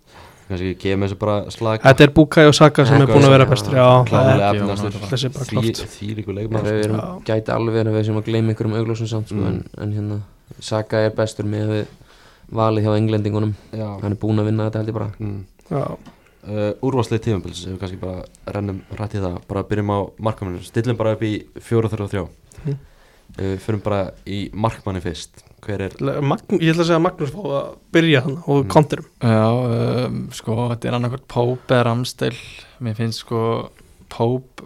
[SPEAKER 1] Kannski gefið með þessu bara slag
[SPEAKER 2] Þetta er Bukai og Saka sem er búin að vera bestur Já, það er
[SPEAKER 1] Klálega
[SPEAKER 4] Já,
[SPEAKER 1] efnastur
[SPEAKER 4] náttúrulega.
[SPEAKER 2] þessi bara klart
[SPEAKER 1] Því líku
[SPEAKER 3] Þeir
[SPEAKER 1] leikmann
[SPEAKER 3] eru- við
[SPEAKER 1] sko.
[SPEAKER 3] erum
[SPEAKER 2] Já.
[SPEAKER 3] gæti alveg verið að við sem að gleyma einhverjum augljósum samt sko,
[SPEAKER 1] Mm.
[SPEAKER 3] en, en hérna Saga er bestur með að við valið hjá englendingunum
[SPEAKER 1] Já
[SPEAKER 3] hann er búin að vinna þetta held ég bara
[SPEAKER 1] Mm.
[SPEAKER 2] Já,
[SPEAKER 1] Uh, Úrvarslið tímabils Ef við kannski bara rennum rætt í það Bara byrjum á markmanninu Stillum bara upp í 4-3-3
[SPEAKER 2] Mhm.
[SPEAKER 1] Uh, Förum bara í markmanni fyrst Hver er
[SPEAKER 2] Magn, ég ætla að segja að Magnús fá að byrja hann og konturum
[SPEAKER 4] Já, um, sko, þetta er annarkvært Pope eða Ramstil Mér finnst sko Pope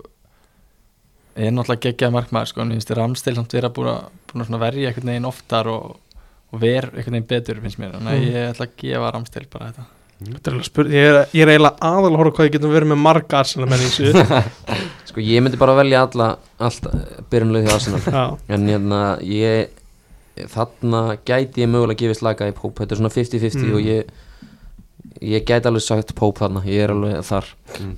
[SPEAKER 4] er náttúrulega geggjað markmaður sko, en mér finnst Ramstil samt vera búin að, búin að svona verja einhvern veginn oftar og, og ver einhvern veginn betur finnst mér, þannig að
[SPEAKER 2] Mm.
[SPEAKER 4] ég ætla að gefa Ramstil bara þetta.
[SPEAKER 2] Spyr, ég, er, ég er eiginlega aðal að horfa hvað ég getum verið með marga Arsenal menn í þessu
[SPEAKER 3] sko ég myndi bara velja alla allt byrjunlega hjá Arsenal
[SPEAKER 2] Já,
[SPEAKER 3] En hérna, ég þarna gæti ég mögulega gefið slaka í Pope, þetta er svona 50-50
[SPEAKER 2] Mm.
[SPEAKER 3] og ég ég gæti alveg sagt Pope þarna, ég er alveg þar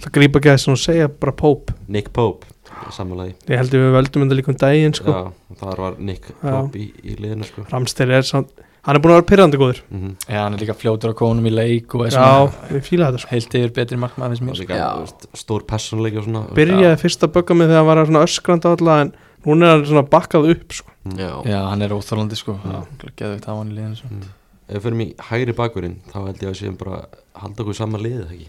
[SPEAKER 2] það grípa gæðis og segja bara Pope
[SPEAKER 1] Nick Pope Sammálaði
[SPEAKER 2] Ég held að við völdum þetta líka um daginn sko.
[SPEAKER 1] Já Þar var Nick
[SPEAKER 2] Já.
[SPEAKER 1] Pope í, í liðinu sko
[SPEAKER 2] Ramstein er samt, hann er búin að vera pyrrandi góður
[SPEAKER 1] mm -hmm.
[SPEAKER 4] Já, hann er líka fljótur á konum í leik og er
[SPEAKER 2] Já,
[SPEAKER 4] svona
[SPEAKER 2] við fíla þetta sko.
[SPEAKER 4] heilt yfir betri markmaður finnst mér.
[SPEAKER 1] líka,
[SPEAKER 3] Já.
[SPEAKER 1] þú veist, Stór personleiki og svona
[SPEAKER 2] Byrjaði fyrst að bögga mig þegar hann var svona öskrandi á alla en núna er hann svona bakkað upp sko.
[SPEAKER 1] Mm.
[SPEAKER 3] Já,
[SPEAKER 4] Já, hann er óþálandi sko, geðvikt að hafa hann í liðinu sko. svo.
[SPEAKER 1] Ef við fyrir mig hægri bakurinn þá held ég að við séum bara að halda okkur sama liðið ekki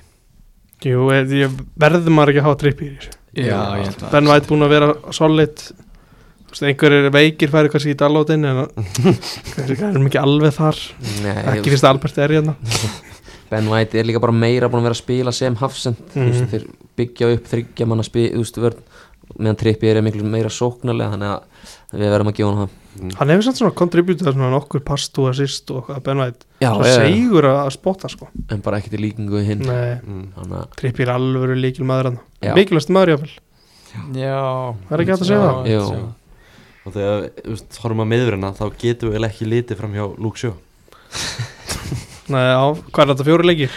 [SPEAKER 2] Jú, ég, ég verði maður ekki að hafa tripp í þessu
[SPEAKER 4] Já, ég held að.
[SPEAKER 2] Ben White búin að vera solid Þú veist, einhverjir veikir færi kannski í Dalótin en
[SPEAKER 3] <laughs>
[SPEAKER 2] kannski hann er ekki alveg þar
[SPEAKER 3] Nei,
[SPEAKER 2] ekki fyrst að Albert er hérna
[SPEAKER 3] Ben White er líka bara meira búin að vera að spila sem Hafsend, þú veist,
[SPEAKER 2] Mhm.
[SPEAKER 3] þeir byggja upp þryggja manna spil, þú veist, vörn meðan Trippi er miklu meira sóknarlega þannig að við verðum að gefa hann það
[SPEAKER 1] Mm.
[SPEAKER 2] hann hefur samt svona kontributað svona nokkur past og assist og eitthvað að Ben White
[SPEAKER 3] Já,
[SPEAKER 2] svo
[SPEAKER 3] já, já.
[SPEAKER 2] segur að, að spotta sko
[SPEAKER 3] en bara ekkert í líkingu við hinn
[SPEAKER 2] Nei,
[SPEAKER 1] mm.
[SPEAKER 3] þannig að,
[SPEAKER 2] tripp er alveg líkil maður hann
[SPEAKER 3] Já.
[SPEAKER 2] mikilvægst maður jáfnvel
[SPEAKER 4] Já.
[SPEAKER 2] Er ekki hægt að segja
[SPEAKER 4] Já,
[SPEAKER 2] það?
[SPEAKER 3] Jú.
[SPEAKER 4] ég held að segja
[SPEAKER 1] og þegar þú veist, horfum að meðurina þá getum við eiginlega ekki litið fram hjá Luke Sjó
[SPEAKER 2] Nei, á, hvað er þetta fjóri leikir?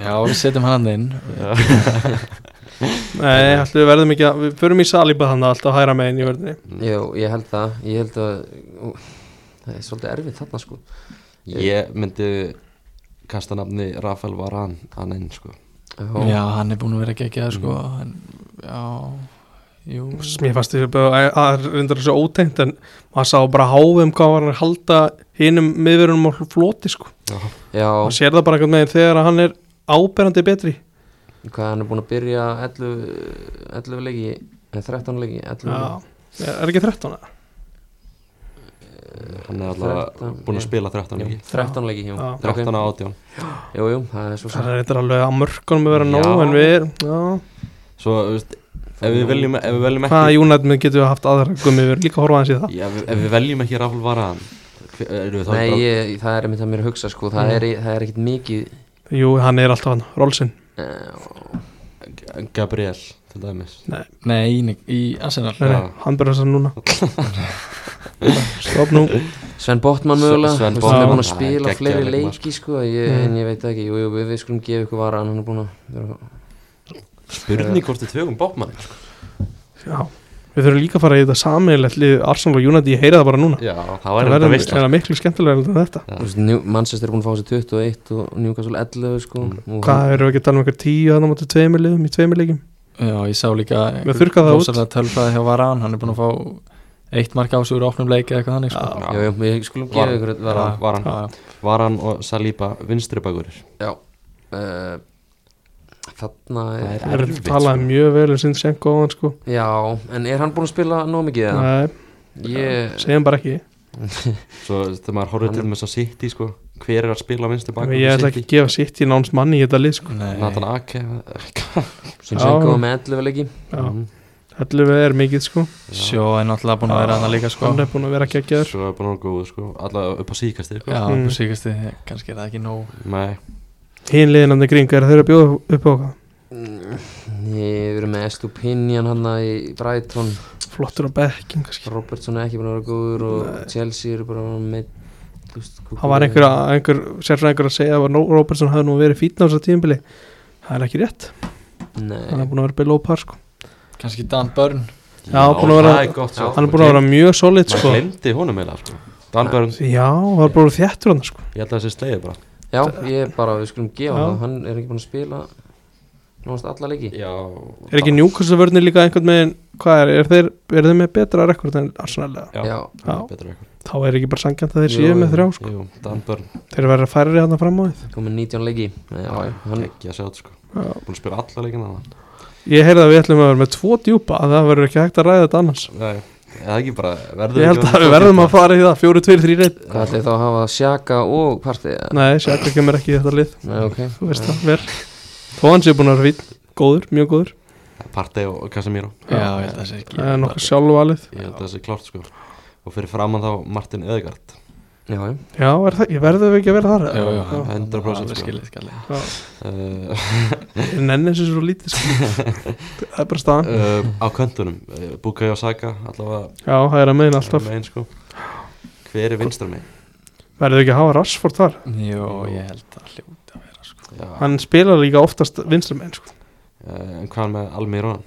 [SPEAKER 4] Já, við setjum hann hann inn
[SPEAKER 2] Nei, ætli við verðum ekki að við förum í salíbað þannig alltaf hæra megin í verðinni
[SPEAKER 3] jú, ég held það, ég held að það er svolítið erfitt þarna sko
[SPEAKER 1] ég Eh, myndi kasta nafni Rafael Varan hann inn sko
[SPEAKER 4] Já, hann er búin að vera geggjaður sko en, Já, Jú,
[SPEAKER 2] mér fannst þessi bara að- að reyndar þessu ótengt en maður sá bara háfum hvað var hann að halda hinum miðverunum á floti sko
[SPEAKER 1] Já,
[SPEAKER 3] Já,
[SPEAKER 2] maður sér það bara eitthvað meginn þegar að hann er áberandi betri
[SPEAKER 3] hvað hann er búin að byrja 11, 11 leiki, eh, 13 leiki 11
[SPEAKER 2] Já. er ekki 13 eða?
[SPEAKER 1] hann er alltaf
[SPEAKER 3] Þrettán,
[SPEAKER 1] búin að
[SPEAKER 3] já.
[SPEAKER 1] spila 13
[SPEAKER 3] Jú,
[SPEAKER 1] leiki
[SPEAKER 3] 13 leiki, jú
[SPEAKER 2] Já.
[SPEAKER 1] 13 á 18
[SPEAKER 3] Jú, jú, það er
[SPEAKER 2] það
[SPEAKER 3] svo sem
[SPEAKER 2] er eitthvað alveg að mörkunum að vera nóg
[SPEAKER 3] Já.
[SPEAKER 2] en við erum já.
[SPEAKER 1] Svo, þú veist, ef við veljum, ef við veljum
[SPEAKER 2] hvað
[SPEAKER 1] ekki
[SPEAKER 2] United mið getum við haft aðra gummi við erum líka að horfa aðeins í það
[SPEAKER 1] Já, ef, við- ef við veljum ekki Rafal Varaðan Erum við þá
[SPEAKER 3] Nei,
[SPEAKER 1] bara-
[SPEAKER 3] ég, það er einmitt að mér að hugsa sko, það,
[SPEAKER 2] Mm.
[SPEAKER 3] er, það er ekkit mikið
[SPEAKER 2] jú, hann er alltaf hann, Rolsin
[SPEAKER 3] eh,
[SPEAKER 1] Gabriel, til dæmis
[SPEAKER 4] nei, í, í Arsenal
[SPEAKER 2] nei, nei,
[SPEAKER 1] Já.
[SPEAKER 2] hann byrjar þess að núna stopp nú
[SPEAKER 3] Sven Botman mögulega
[SPEAKER 1] Sven
[SPEAKER 3] Sven Botman
[SPEAKER 2] Botman.
[SPEAKER 3] er búin að
[SPEAKER 1] Já,
[SPEAKER 3] spila
[SPEAKER 1] geggjaður
[SPEAKER 3] fleiri
[SPEAKER 1] leikmaður,
[SPEAKER 3] leiki sko, ég,
[SPEAKER 2] Mm.
[SPEAKER 3] en ég veit það ekki, jú, jú, við, við skulum gefa ykkur vara hann er búin að vera-
[SPEAKER 1] Spurning hvort við tvögum bókmann
[SPEAKER 2] já. við þurfum líka að fara í þetta sammeilegt lið Arsenal og United, ég heyra það bara núna
[SPEAKER 1] Já, það
[SPEAKER 2] það
[SPEAKER 1] væri þetta
[SPEAKER 2] verður
[SPEAKER 1] veist
[SPEAKER 2] er það miklu skemmtilega en þetta
[SPEAKER 1] Já.
[SPEAKER 3] Þú veist, New, Manchester er búin að fá sér 21 og Newcastle 11 sko, og
[SPEAKER 2] hvað eru við ekki að tala um einhver tíu þannig mútið tveimur liðum í tveimur leikum
[SPEAKER 4] Já, ég sá líka
[SPEAKER 2] Við þurrka það út.
[SPEAKER 4] Rósalega tölfræði hjá Varan, hann er búin að fá eitt mark á sig úr opnum leik eða eitthvað þannig sko.
[SPEAKER 2] Já.
[SPEAKER 3] já, já, við skulum
[SPEAKER 1] Var-
[SPEAKER 3] gefa ykkur
[SPEAKER 1] Var
[SPEAKER 3] vara
[SPEAKER 1] hann- var hann,
[SPEAKER 4] Já, já.
[SPEAKER 1] var hann og Saliba vinstri bakurir
[SPEAKER 3] Já uh, Þarna
[SPEAKER 1] Það
[SPEAKER 3] er,
[SPEAKER 1] er-
[SPEAKER 2] það er
[SPEAKER 1] Erfitt,
[SPEAKER 2] talað
[SPEAKER 1] sko.
[SPEAKER 2] mjög vel um sinn sem góðan sko
[SPEAKER 3] Já, en er hann búinn að spila nóg mikið eða?
[SPEAKER 2] Nei,
[SPEAKER 3] Ég
[SPEAKER 2] segjum bara ekki
[SPEAKER 1] Svo þú veist, þegar maður horfður til með þess að City sko Hver er að spila vinstri
[SPEAKER 2] Ég
[SPEAKER 1] bakur
[SPEAKER 2] ætla ekki að gefa sitt í náns manni í þetta lið sko.
[SPEAKER 4] Nei,
[SPEAKER 1] Nathan Ake
[SPEAKER 3] sem sem
[SPEAKER 2] Já.
[SPEAKER 3] góða með 11 leiki
[SPEAKER 2] Já,
[SPEAKER 3] Mhm.
[SPEAKER 2] ætlum við er mikið sko.
[SPEAKER 4] sjó er náttúrulega búin að vera hann líka sko.
[SPEAKER 2] Hann er búin að vera geggjaður
[SPEAKER 1] Svo er bara nóg góð sko Alla upp á síkastir sko
[SPEAKER 4] Já,
[SPEAKER 2] Mm.
[SPEAKER 4] mm. síkast kannski er það ekki nóg
[SPEAKER 1] Nei,
[SPEAKER 2] Hinn liðinandi kring er þeir að bjóða upp á hvað
[SPEAKER 3] Ég verið með Estupinian hann í Brighton
[SPEAKER 2] Flottur á bekkin kannski
[SPEAKER 3] Robertson er ekki búinn að vera góður og Chelsea eru bara með þú veist,
[SPEAKER 2] Það var einhver, einhver sérfræðingur að segja að Nó- Robertson hafði nú verið fítna á þessa tíðinbili Það er ekki rétt Hann er
[SPEAKER 3] Nei,
[SPEAKER 2] búin að vera below par sko.
[SPEAKER 4] kannski Dan Börn
[SPEAKER 2] Já, búin að vera-
[SPEAKER 1] það er gott,
[SPEAKER 3] Já.
[SPEAKER 1] sko.
[SPEAKER 2] Hann er búin að vera mjög solid
[SPEAKER 1] Maður
[SPEAKER 2] sko.
[SPEAKER 1] glemdi honum eiginlega sko Dalbjörn,
[SPEAKER 2] Já, hann er búin að vera þjættur hann sko.
[SPEAKER 1] ég held að þessi slegið bara
[SPEAKER 3] já, ég bara, við skulum gefa
[SPEAKER 2] Já.
[SPEAKER 3] það Hann er ekki búinn að spila Nóðast alla leiki
[SPEAKER 1] Já
[SPEAKER 2] Er ekki njúkvæmsavörnir líka einhvern veginn Hvað er, er þeir, er þeir með betra rekord en Arsenal eða?
[SPEAKER 1] Já,
[SPEAKER 3] Já,
[SPEAKER 1] það er betra eitthvað
[SPEAKER 2] Þá er ekki bara sangjant að þeir
[SPEAKER 3] Jú,
[SPEAKER 2] séu með
[SPEAKER 3] jú.
[SPEAKER 2] þrjá sko.
[SPEAKER 1] Jú, Dalbjörn,
[SPEAKER 2] Þeir verða færri hann fram á þið
[SPEAKER 3] komið 19 leiki Já, já, hann,
[SPEAKER 1] ekki að sjá þetta sko
[SPEAKER 2] Já.
[SPEAKER 1] Búin að spila alla leikina þarna.
[SPEAKER 2] Ég heyrði að við ætlum að vera með tvo djúpa að það verður ekki hægt að ræða þetta annars
[SPEAKER 1] Nei, eða ekki bara verður
[SPEAKER 2] Ég held
[SPEAKER 1] ekki
[SPEAKER 2] að við verðum að fara í það, fjóru, tveir, þrýr, einn
[SPEAKER 3] hvað ætlaði þá að hafa Sjaka og partí eða?
[SPEAKER 2] Nei, Sjaka kemur ekki í þetta lið,
[SPEAKER 3] Nei, ok
[SPEAKER 2] þú veist það, vel Þó hann sé búin að vera fín, góður, mjög góður
[SPEAKER 1] Partey og Casemiro
[SPEAKER 4] Já, ég held að það sé ekki
[SPEAKER 2] Það er nokkuð sjálfvalið
[SPEAKER 1] Ég held að það sé klárt sko Og fyrir framann þá Martin Öðegard
[SPEAKER 3] Já, já
[SPEAKER 2] Já, er það, ég verðum við ekki að vera þar
[SPEAKER 4] Jú, jú,
[SPEAKER 2] Já.
[SPEAKER 1] 100%
[SPEAKER 4] alveg
[SPEAKER 1] sko.
[SPEAKER 4] skilið skallið
[SPEAKER 2] Já.
[SPEAKER 1] uh,
[SPEAKER 2] Ég nenni þessu svo lítið sko. <laughs> Það er bara staðan
[SPEAKER 1] uh, Á köntunum uh, Bukai og Saka allavega
[SPEAKER 2] Já, það er að meina alltaf
[SPEAKER 1] megin, sko. Hver er vinstra megin?
[SPEAKER 2] Verðum við ekki að hafa Rashford þar
[SPEAKER 4] Jú, ég held að hljóta að vera sko.
[SPEAKER 1] Já,
[SPEAKER 2] Hann spilar líka oftast vinstramenn sko.
[SPEAKER 1] uh, En hvað með Almirón?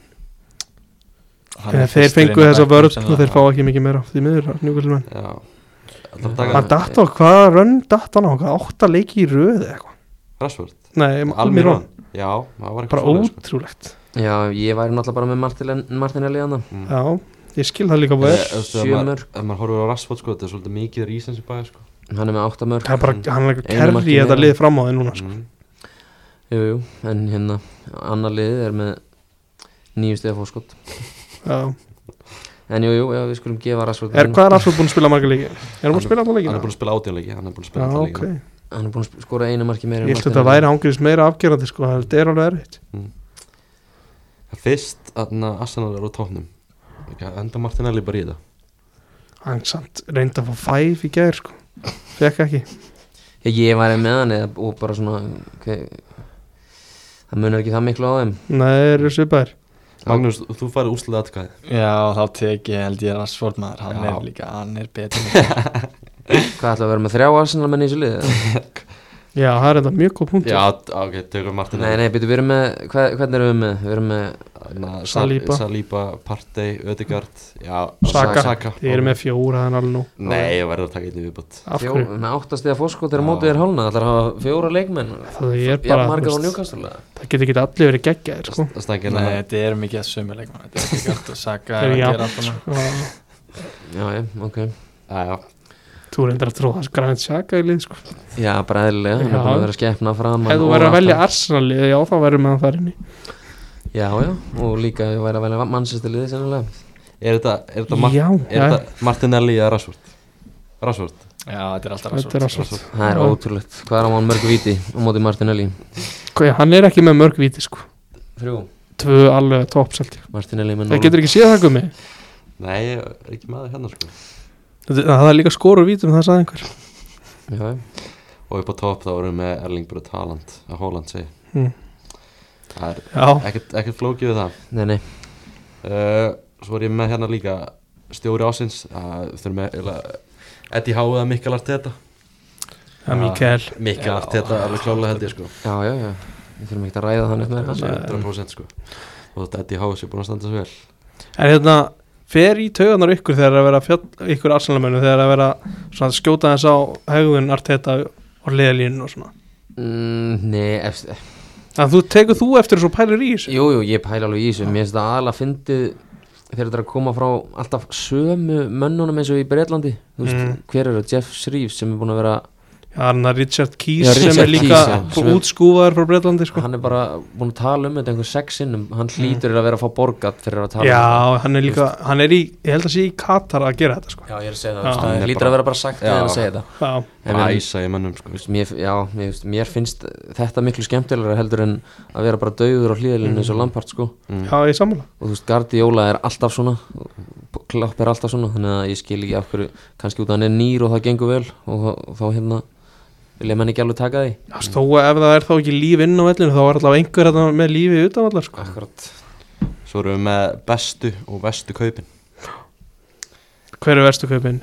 [SPEAKER 4] Hann er
[SPEAKER 2] Þeir
[SPEAKER 4] fyrstur inn
[SPEAKER 2] fengu
[SPEAKER 4] á
[SPEAKER 2] þessa
[SPEAKER 4] bekknum
[SPEAKER 2] vörð og
[SPEAKER 4] sennilega.
[SPEAKER 2] þeir fá ekki mikið meira Því miður, njúkvæmlega
[SPEAKER 1] Já Alltaf
[SPEAKER 2] Hann
[SPEAKER 1] daga
[SPEAKER 2] datt á, hvaða rönn datt hann á, hvaða átta leiki í röð eða eitthvað
[SPEAKER 1] Rashford
[SPEAKER 2] Nei, Almirón,
[SPEAKER 1] Almirón Já, það var
[SPEAKER 2] bara
[SPEAKER 1] eitthvað svoleiðis, sko.
[SPEAKER 2] ótrúlegt
[SPEAKER 3] Já, ég væri náttúrulega bara með Martin, Martin Eliana
[SPEAKER 1] Mm.
[SPEAKER 2] Já, ég skil það líka vel
[SPEAKER 1] Eh, þú veist, ef
[SPEAKER 3] sjö
[SPEAKER 1] maður-
[SPEAKER 3] mörk.
[SPEAKER 1] Ef maður horfir á Rashford sko Þetta er svolítið mikið rísens í bæði sko
[SPEAKER 3] Hann er með 8 mörg
[SPEAKER 2] Það er bara, hann er eitthvað
[SPEAKER 3] Einu
[SPEAKER 2] kerri
[SPEAKER 3] marki
[SPEAKER 2] í þetta
[SPEAKER 3] meira.
[SPEAKER 2] lið fram á þeir núna sko.
[SPEAKER 1] mm.
[SPEAKER 3] Jú, jú, en hérna Annar liðið er með Nýju stiða fórskott
[SPEAKER 2] Já.
[SPEAKER 3] En jú, jú, já, við skulum gefa Rashford
[SPEAKER 2] er, Hvað er Rashford búin að spila marga leiki? Er hann búin að spila alltaf leiki?
[SPEAKER 1] Hann er búin að spila átjónleiki Hann er búin að spila
[SPEAKER 2] Já,
[SPEAKER 1] alla
[SPEAKER 2] ok
[SPEAKER 1] leikina.
[SPEAKER 3] Hann er búin að skora einu marki meira en
[SPEAKER 2] Ég held að
[SPEAKER 3] Martin
[SPEAKER 2] þetta
[SPEAKER 3] Elíana.
[SPEAKER 2] væri ángriðis meira afgerandi sko, það er alveg erfitt
[SPEAKER 1] Fyrst þarna Arsenal er á tóknum Enda Martinelli bara í þetta
[SPEAKER 2] Hann samt reyndi að fá fæf í gær sko. Fekk ekki
[SPEAKER 3] Já, ég væri með hann eða, og bara svona okay. Það munar ekki það miklu á þeim
[SPEAKER 2] Nei, eru svipaðir
[SPEAKER 1] Magnús, þú færi úrslega atkvæði
[SPEAKER 4] Já, þá tek ég held ég Rashford maður Hann
[SPEAKER 1] Já.
[SPEAKER 4] er líka, hann er betur
[SPEAKER 3] Hvað ætla að vera með þrjá Arsenal menn í þessu liðið? eða?
[SPEAKER 2] Já, það er þetta mjög góð punktur
[SPEAKER 1] Já, d- ok, tökum Martin
[SPEAKER 3] Nei, nei, byrju, við erum með, hvað, hvernig erum við með? Við erum með,
[SPEAKER 1] Þarna,
[SPEAKER 2] Saliba.
[SPEAKER 1] Sal- Saliba, Partey, Ödegard Já,
[SPEAKER 2] Saka,
[SPEAKER 1] Saka.
[SPEAKER 2] Þið eru með fjóra þannig alveg nú
[SPEAKER 1] Nei, ég verður að taka einnig viðbútt
[SPEAKER 2] Af
[SPEAKER 3] fjó,
[SPEAKER 2] hverju?
[SPEAKER 3] með áttast eða fórskotir á
[SPEAKER 1] Já.
[SPEAKER 3] mótið er hálna, það er að hafa fjóra leikmenn
[SPEAKER 2] Það er
[SPEAKER 3] Já,
[SPEAKER 2] bara,
[SPEAKER 3] margar á
[SPEAKER 2] þú veist,
[SPEAKER 3] njúkastulega
[SPEAKER 2] það getur ekki allir verið geggjaðir sko.
[SPEAKER 1] Stengið
[SPEAKER 4] <laughs> Nei,
[SPEAKER 1] hann
[SPEAKER 4] þetta er mikið að sömu leikmann Þetta er ekki allt og Saka
[SPEAKER 2] Það
[SPEAKER 4] er
[SPEAKER 2] er
[SPEAKER 4] að
[SPEAKER 2] jafnt,
[SPEAKER 4] gera allt annað
[SPEAKER 2] Já,
[SPEAKER 3] Já, já, ok
[SPEAKER 1] Já, já,
[SPEAKER 2] Þú reyndar að tróða grænt sjaka í lið sko.
[SPEAKER 3] Já, bara eðlilega,
[SPEAKER 2] Já.
[SPEAKER 3] hann er búin að vera að skeppna fram
[SPEAKER 2] Ef þú verður að velja Arsenal lið, já þá verður með hann þar inni
[SPEAKER 3] Já, já, og líka ég væri að velja mannsestiliði sennilega
[SPEAKER 1] er þetta, er þetta, Mar
[SPEAKER 2] Já,
[SPEAKER 1] er
[SPEAKER 2] já.
[SPEAKER 1] þetta Martinelli eða Rashford? Rashford,
[SPEAKER 4] Já, þetta er alltaf
[SPEAKER 2] Þetta er
[SPEAKER 4] rasvöld
[SPEAKER 2] Rashford.
[SPEAKER 3] Það er
[SPEAKER 2] Já.
[SPEAKER 3] ótrúlegt, hvað er á hann mörg viti á mótið Martinelli?
[SPEAKER 2] Hvað, Hann er ekki með mörg víti sko.
[SPEAKER 3] Þrjú
[SPEAKER 2] Tvö alveg toppselti
[SPEAKER 3] Martinelli með
[SPEAKER 2] Það
[SPEAKER 3] núna
[SPEAKER 2] getur ekki séð það gummi
[SPEAKER 1] nei, ég er ekki maður hérna sko
[SPEAKER 2] Það það er líka skorur vítum, það sagði einhver
[SPEAKER 3] Já, já.
[SPEAKER 1] Og upp á topp þá erum við með Erling Brut Haaland að Haaland segi
[SPEAKER 2] Hmm.
[SPEAKER 1] Það er
[SPEAKER 2] Já,
[SPEAKER 1] ekkert, ekkert flókið við það
[SPEAKER 3] Nei, nei,
[SPEAKER 1] uh, Svo er ég með hérna líka stjóri ásins að þurfum með Eddie Howe eða Mikkel Arteta
[SPEAKER 2] það er Mikael
[SPEAKER 1] Mikkel
[SPEAKER 4] Já.
[SPEAKER 1] Arteta alveg klálega held ég sko
[SPEAKER 3] já, já, já Við þurfum ekki að ræða þannig með
[SPEAKER 1] Það
[SPEAKER 3] það
[SPEAKER 1] er 100% sko Og þetta Eddie Howe sé búin að standa svo vel
[SPEAKER 2] En hérna, fer í tauganar ykkur þegar að vera fjall, ykkur arsenalmennu þegar að vera svona, skjóta þess á haugun arteta og leðalínu og svona
[SPEAKER 3] mm, Nei, eftir,
[SPEAKER 2] Þannig þú tekur þú eftir þessu og pælir í þessu
[SPEAKER 3] Jú, jú, ég pæla alveg í þessu Mér finnst það aðalega fyndið þegar þetta er að koma frá alltaf sömu mönnunum eins og í Breitlandi Þú veist,
[SPEAKER 2] Mm.
[SPEAKER 3] hver er það? Jeff Shreves sem er búin að vera
[SPEAKER 2] Já, þannig að Richard Keys
[SPEAKER 3] Já,
[SPEAKER 2] sem
[SPEAKER 3] Richard
[SPEAKER 2] er líka
[SPEAKER 3] Keys, já,
[SPEAKER 2] Keys,
[SPEAKER 3] sem er-
[SPEAKER 2] útskúfaður frá Breitlandi sko. Mm.
[SPEAKER 3] hann er bara búin að tala um þetta einhver sex sinnum hann hlýtur að vera að fá borgat fyrir að tala um
[SPEAKER 2] Já, hann er líka, hann er í, ég held að sé í Katar að gera þetta sko
[SPEAKER 3] þetta Já, ég er að segja það,
[SPEAKER 2] Já.
[SPEAKER 3] þú veist,
[SPEAKER 1] Hann er
[SPEAKER 3] hann hlýtur
[SPEAKER 1] bara-
[SPEAKER 3] að vera bara
[SPEAKER 1] Já.
[SPEAKER 3] sagt þegar hann segir það
[SPEAKER 2] Já,
[SPEAKER 3] En
[SPEAKER 1] Bara
[SPEAKER 3] við-
[SPEAKER 1] æsa í mönnum sko
[SPEAKER 3] Þú veist, mér, já, mér, veist, mér finnst þetta miklu skemmtilegra heldur en að vera bara dauður á hlýðalinn eins og Lampart sko
[SPEAKER 2] já, ég sammála
[SPEAKER 3] og þú veist, Guardiola er alltaf svona Klopp er alltaf svona þannig að ég skil ekki af hverju kannski út að hann er nýr og það gengur vel og þá, þá hérna vilja menn ekki alveg taka því
[SPEAKER 2] Já, Þó að ef það er þá ekki líf inn á vellinu þá er allavega einhver þetta með lífi utan allar sko
[SPEAKER 3] Akkurat
[SPEAKER 1] Svo erum við með bestu og vestu kaupin
[SPEAKER 2] Hver er verstu kaupin?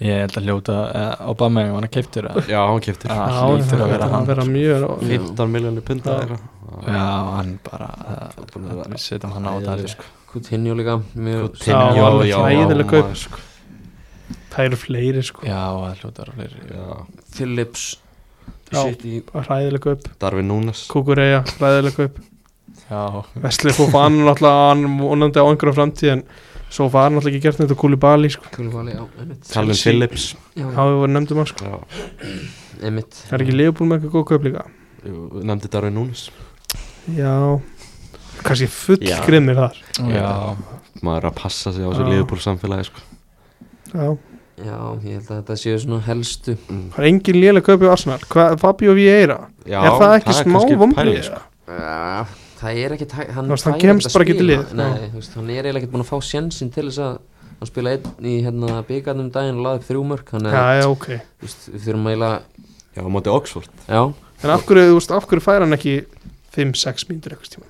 [SPEAKER 4] Ég held að hljóta eh, Obama ef hann er keiptur að-
[SPEAKER 1] Já, hann keftir
[SPEAKER 4] Ah.
[SPEAKER 2] Já,
[SPEAKER 4] hlýtur að
[SPEAKER 2] það
[SPEAKER 4] vera
[SPEAKER 2] er
[SPEAKER 4] hann,
[SPEAKER 2] að
[SPEAKER 3] sko.
[SPEAKER 2] vera mjög
[SPEAKER 1] 15 miljónir punda
[SPEAKER 2] Já.
[SPEAKER 1] eða eitthvað
[SPEAKER 4] Já, hann bara eh,
[SPEAKER 1] Búin að vera-
[SPEAKER 4] Við setjum hann á það
[SPEAKER 1] Æðileg,
[SPEAKER 4] sko
[SPEAKER 3] Coutinho líka mjög
[SPEAKER 2] Já,
[SPEAKER 1] Já,
[SPEAKER 2] hann er
[SPEAKER 1] já,
[SPEAKER 2] hræðileg
[SPEAKER 1] já,
[SPEAKER 2] kaup.
[SPEAKER 1] maður, sko.
[SPEAKER 2] Það eru fleiri sko
[SPEAKER 4] Já, það hljóta að fleiri
[SPEAKER 1] Já.
[SPEAKER 3] Phillips
[SPEAKER 2] Já.
[SPEAKER 3] City
[SPEAKER 2] Ræðileg kaup
[SPEAKER 1] Darvin Núnes
[SPEAKER 2] Kukureya, ræðileg kaup
[SPEAKER 4] Já,
[SPEAKER 2] Vesli Fofan náttúrulega, hann vonandi á einhverja framtíð en svo var hann náttúrulega ekki gert neitt og kúli bali sko.
[SPEAKER 3] Kulvali, já, einmitt
[SPEAKER 1] Callum Phillips
[SPEAKER 3] Já,
[SPEAKER 2] Já, við vorum nefndum að sko
[SPEAKER 1] Já,
[SPEAKER 3] einmitt
[SPEAKER 2] Það er ekki leifbúl með eitthvað góð kaup líka
[SPEAKER 1] jú, nefndi Darvin Núnes
[SPEAKER 2] Já, kannski full
[SPEAKER 1] Já.
[SPEAKER 2] grimmir þar
[SPEAKER 4] já,
[SPEAKER 1] Maður er að passa sig á þessu
[SPEAKER 2] Já.
[SPEAKER 1] liðbúl samfélagi sko.
[SPEAKER 2] Já,
[SPEAKER 3] Já, ég held að þetta séu svona helstu
[SPEAKER 2] það er engin léleg kaup í Arsenal Hvað, Fabio Vieira,
[SPEAKER 1] Já,
[SPEAKER 2] Mm. er það ekki smá
[SPEAKER 1] kannski
[SPEAKER 2] vombrið?
[SPEAKER 1] pæling, sko.
[SPEAKER 3] Já, það er ekki hæ- hann
[SPEAKER 2] Þú veist, hann
[SPEAKER 3] fær
[SPEAKER 2] kemst
[SPEAKER 3] ekkert að
[SPEAKER 2] bara ekki til
[SPEAKER 3] spila.
[SPEAKER 2] liðið.
[SPEAKER 3] Nei, þú veist, hann er eiginlega ekki búin að fá sjensin til þess að hann spila einn í hérna byggarnum daginn og laði upp þrjú mörk þannig
[SPEAKER 2] Já,
[SPEAKER 3] að
[SPEAKER 2] já, ok
[SPEAKER 3] þú veist, við þurfum eiginlega
[SPEAKER 1] Já, á móti Oxford
[SPEAKER 3] já,
[SPEAKER 2] En af hverju, þú veist, af hverju fær hann ekki 5-6 mínútur eitthvað tíma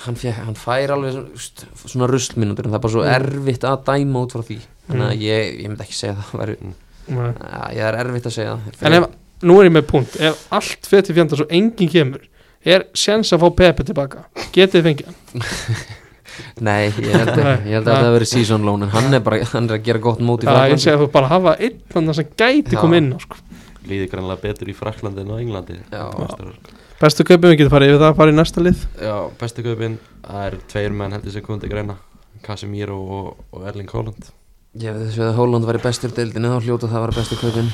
[SPEAKER 3] hann, fjæ, hann fær alveg svona, st- svona ruslminútur en það er bara svo erfitt að dæma út frá því þannig
[SPEAKER 2] Mm.
[SPEAKER 3] að ég, ég myndi ekki segja það veri,
[SPEAKER 2] Nei.
[SPEAKER 3] að, ég er erfitt að segja það
[SPEAKER 2] En ef, nú er ég með punkt Ef allt fyrir til fjandar svo enginn kemur er séns að fá Pepe tilbaka Getið þið fengið hann?
[SPEAKER 3] nei, ég
[SPEAKER 2] <laughs>
[SPEAKER 3] held, að,
[SPEAKER 2] Nei.
[SPEAKER 3] ég held að það veri season loan en hann er bara, hann er að gera gott móti
[SPEAKER 2] Já, ég segi að þú bara hafa einn þannig sem gæti
[SPEAKER 3] Já.
[SPEAKER 2] koma inn á sko.
[SPEAKER 1] Líði grannlega betur í Fraklandi en á Englandi
[SPEAKER 3] Já.
[SPEAKER 2] Bestu kaupum við getum farið yfir það, farið í næsta lið
[SPEAKER 1] Já, bestu kaupin Það er tveir menn heldur sem komið til greina Casemiro og, og Erling Haaland
[SPEAKER 3] ég veit þessu að Holland var í bestur deildinu þá hljóta það að vera bestu kaupin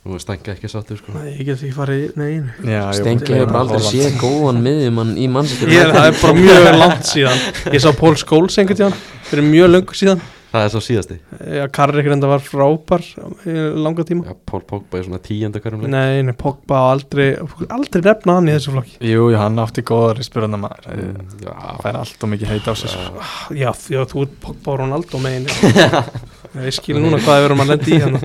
[SPEAKER 1] Nú er stænkað ekki sáttur sko.
[SPEAKER 2] Nei, ég get ekki farið, nein
[SPEAKER 4] já
[SPEAKER 3] Stengi hefur bara aldrei séð góðan miðjumann í mannsettur
[SPEAKER 2] <laughs> ég, Það er bara mjög langt síðan Ég sá Paul Scholes einhvern tíðan Fyrir mjög löngu síðan Eh,
[SPEAKER 1] Það er svo síðasti
[SPEAKER 2] Já, Karrik reynda var frábær í langa tíma
[SPEAKER 1] Já, Pól Pogba er svona tíundu hverjum leik
[SPEAKER 2] Nei, nei, Pogba á aldrei Aldrei nefna hann í þessu flokki
[SPEAKER 4] Jú, jú, hann átti góðar í spyruna maður Það
[SPEAKER 1] Mm, Já,
[SPEAKER 4] fær allt og mikið heit á sig sko.
[SPEAKER 2] Já, já þú ert Pogba og Ronaldo megin <laughs> Ég skil núna hvað við erum að lendi í hérna.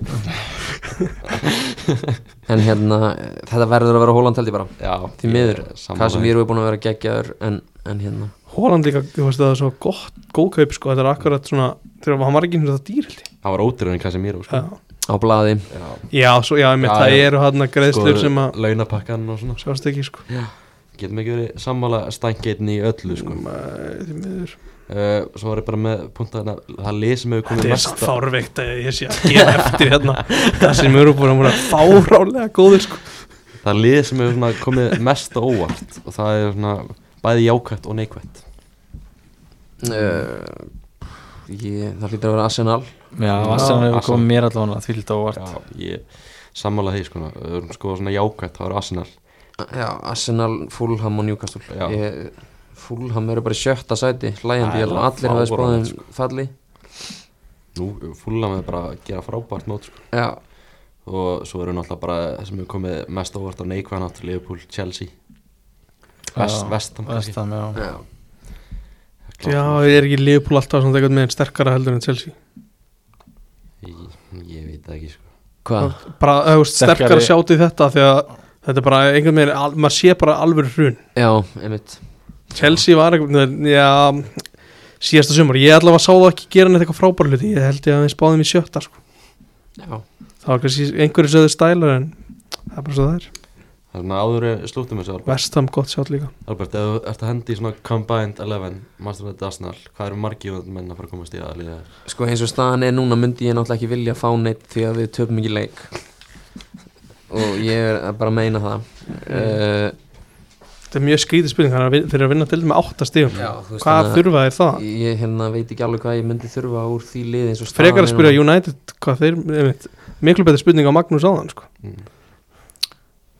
[SPEAKER 2] hann
[SPEAKER 3] En hérna, þetta verður að vera Holland held ég bara
[SPEAKER 1] já
[SPEAKER 3] Því miður,
[SPEAKER 1] ég er sammála
[SPEAKER 3] Casemiro er búin að vera geggjaður en, en hérna,
[SPEAKER 2] Holland líka, þú veist það er svo gott góðkaup sko, þetta er akkurat svona þegar hann var ekki einu sinni það dýr held ég
[SPEAKER 1] Það var ótrúin Casemiro sko.
[SPEAKER 2] Já.
[SPEAKER 3] á blaði
[SPEAKER 1] já,
[SPEAKER 2] Já, svo, Mm. já, Sko, einmitt,
[SPEAKER 1] Já,
[SPEAKER 2] það
[SPEAKER 1] já.
[SPEAKER 2] eru hann að greiðslur sem að
[SPEAKER 1] launapakkan og svona
[SPEAKER 2] sjást ekki, sko
[SPEAKER 1] getum ekki verið sammála stængeitn í öllu sko.
[SPEAKER 2] Mæ, því miður.
[SPEAKER 1] uh, svo var ég bara með puntaðina það lið sem hefur komið
[SPEAKER 2] Þetta er
[SPEAKER 1] næst
[SPEAKER 2] samt fárveikt að ég sé að gefa eftir hérna það sem eru búin að vera fárálega góður, sko
[SPEAKER 1] það er lið sem hefur svona komið mest á óvart og það er svona bæði jákvætt og neikvætt
[SPEAKER 3] uh, ég, það hlýtur að vera Arsenal
[SPEAKER 4] Já, Arsenal hefur
[SPEAKER 1] Arsenal.
[SPEAKER 4] komið mér allavega því lítið óvart
[SPEAKER 1] já, ég sammála því sko, við erum sko svona jákvætt, það er Arsenal
[SPEAKER 3] já, Arsenal, Fulham og Newcastle
[SPEAKER 1] Já.
[SPEAKER 3] ég, Fulham eru bara í sjötta sæti hlægjandi,
[SPEAKER 1] Það
[SPEAKER 3] ég
[SPEAKER 1] er
[SPEAKER 3] held að allir hafa
[SPEAKER 1] fáránlegt,
[SPEAKER 3] spáðum falli
[SPEAKER 1] nú fúlam við bara að gera frábært mót sko.
[SPEAKER 3] já,
[SPEAKER 1] og svo eru náttúrulega bara það sem hefur komið mest á óvart á neikvæðanátt Liverpool, Chelsea Vest- Vestam kannski.
[SPEAKER 4] Vestam, já
[SPEAKER 3] já.
[SPEAKER 2] Já, ég er ekki liðpúl alltaf samt eitthvað með sterkara heldur en Chelsea
[SPEAKER 1] ég, ég veit það ekki sko.
[SPEAKER 3] hvað?
[SPEAKER 2] bara, þú veist, sterkara
[SPEAKER 4] Sterkari-
[SPEAKER 2] sjátt í þetta því að þetta er bara einhvern veginn al- maður sé bara alveg hrun
[SPEAKER 3] já, einmitt
[SPEAKER 2] Chelsea var einhvern veginn, já síðasta sumar, ég allavega sá það ekki gera neitt eitthvað frábæra hluti, ég held ég að við spáðum í sjötta sko.
[SPEAKER 3] já.
[SPEAKER 2] það var kannski einhverju söðu stælar en það er bara svo það er,
[SPEAKER 1] það er svona áður en við slúttum þessu Albert,
[SPEAKER 2] vestam gott sjátt líka
[SPEAKER 1] Albert ef þú ert að hendi í svona combined 11 Master of the Arsenal, hvað eru margi menn að fara að komast í að liða þér?
[SPEAKER 3] sko eins og staðan er núna myndi ég náttúrulega ekki vilja fá neitt því að við töpum ekki leik og ég er að bara meina það uh,
[SPEAKER 2] þetta er mjög skrítið spurning, það er að vin- þeir eru að vinna til með átta stífum,
[SPEAKER 3] Já, þú veist,
[SPEAKER 2] hvað
[SPEAKER 3] þannig að-
[SPEAKER 2] þurfa þeir það?
[SPEAKER 3] ég hérna, veit ekki alveg hvað ég myndi þurfa úr því liði eins og staðan
[SPEAKER 2] frekar að
[SPEAKER 3] er
[SPEAKER 2] spyrja
[SPEAKER 3] núna.
[SPEAKER 2] United hvað þeir, einmitt, miklu betur spurning á Magnús áðan sko.
[SPEAKER 1] Mm.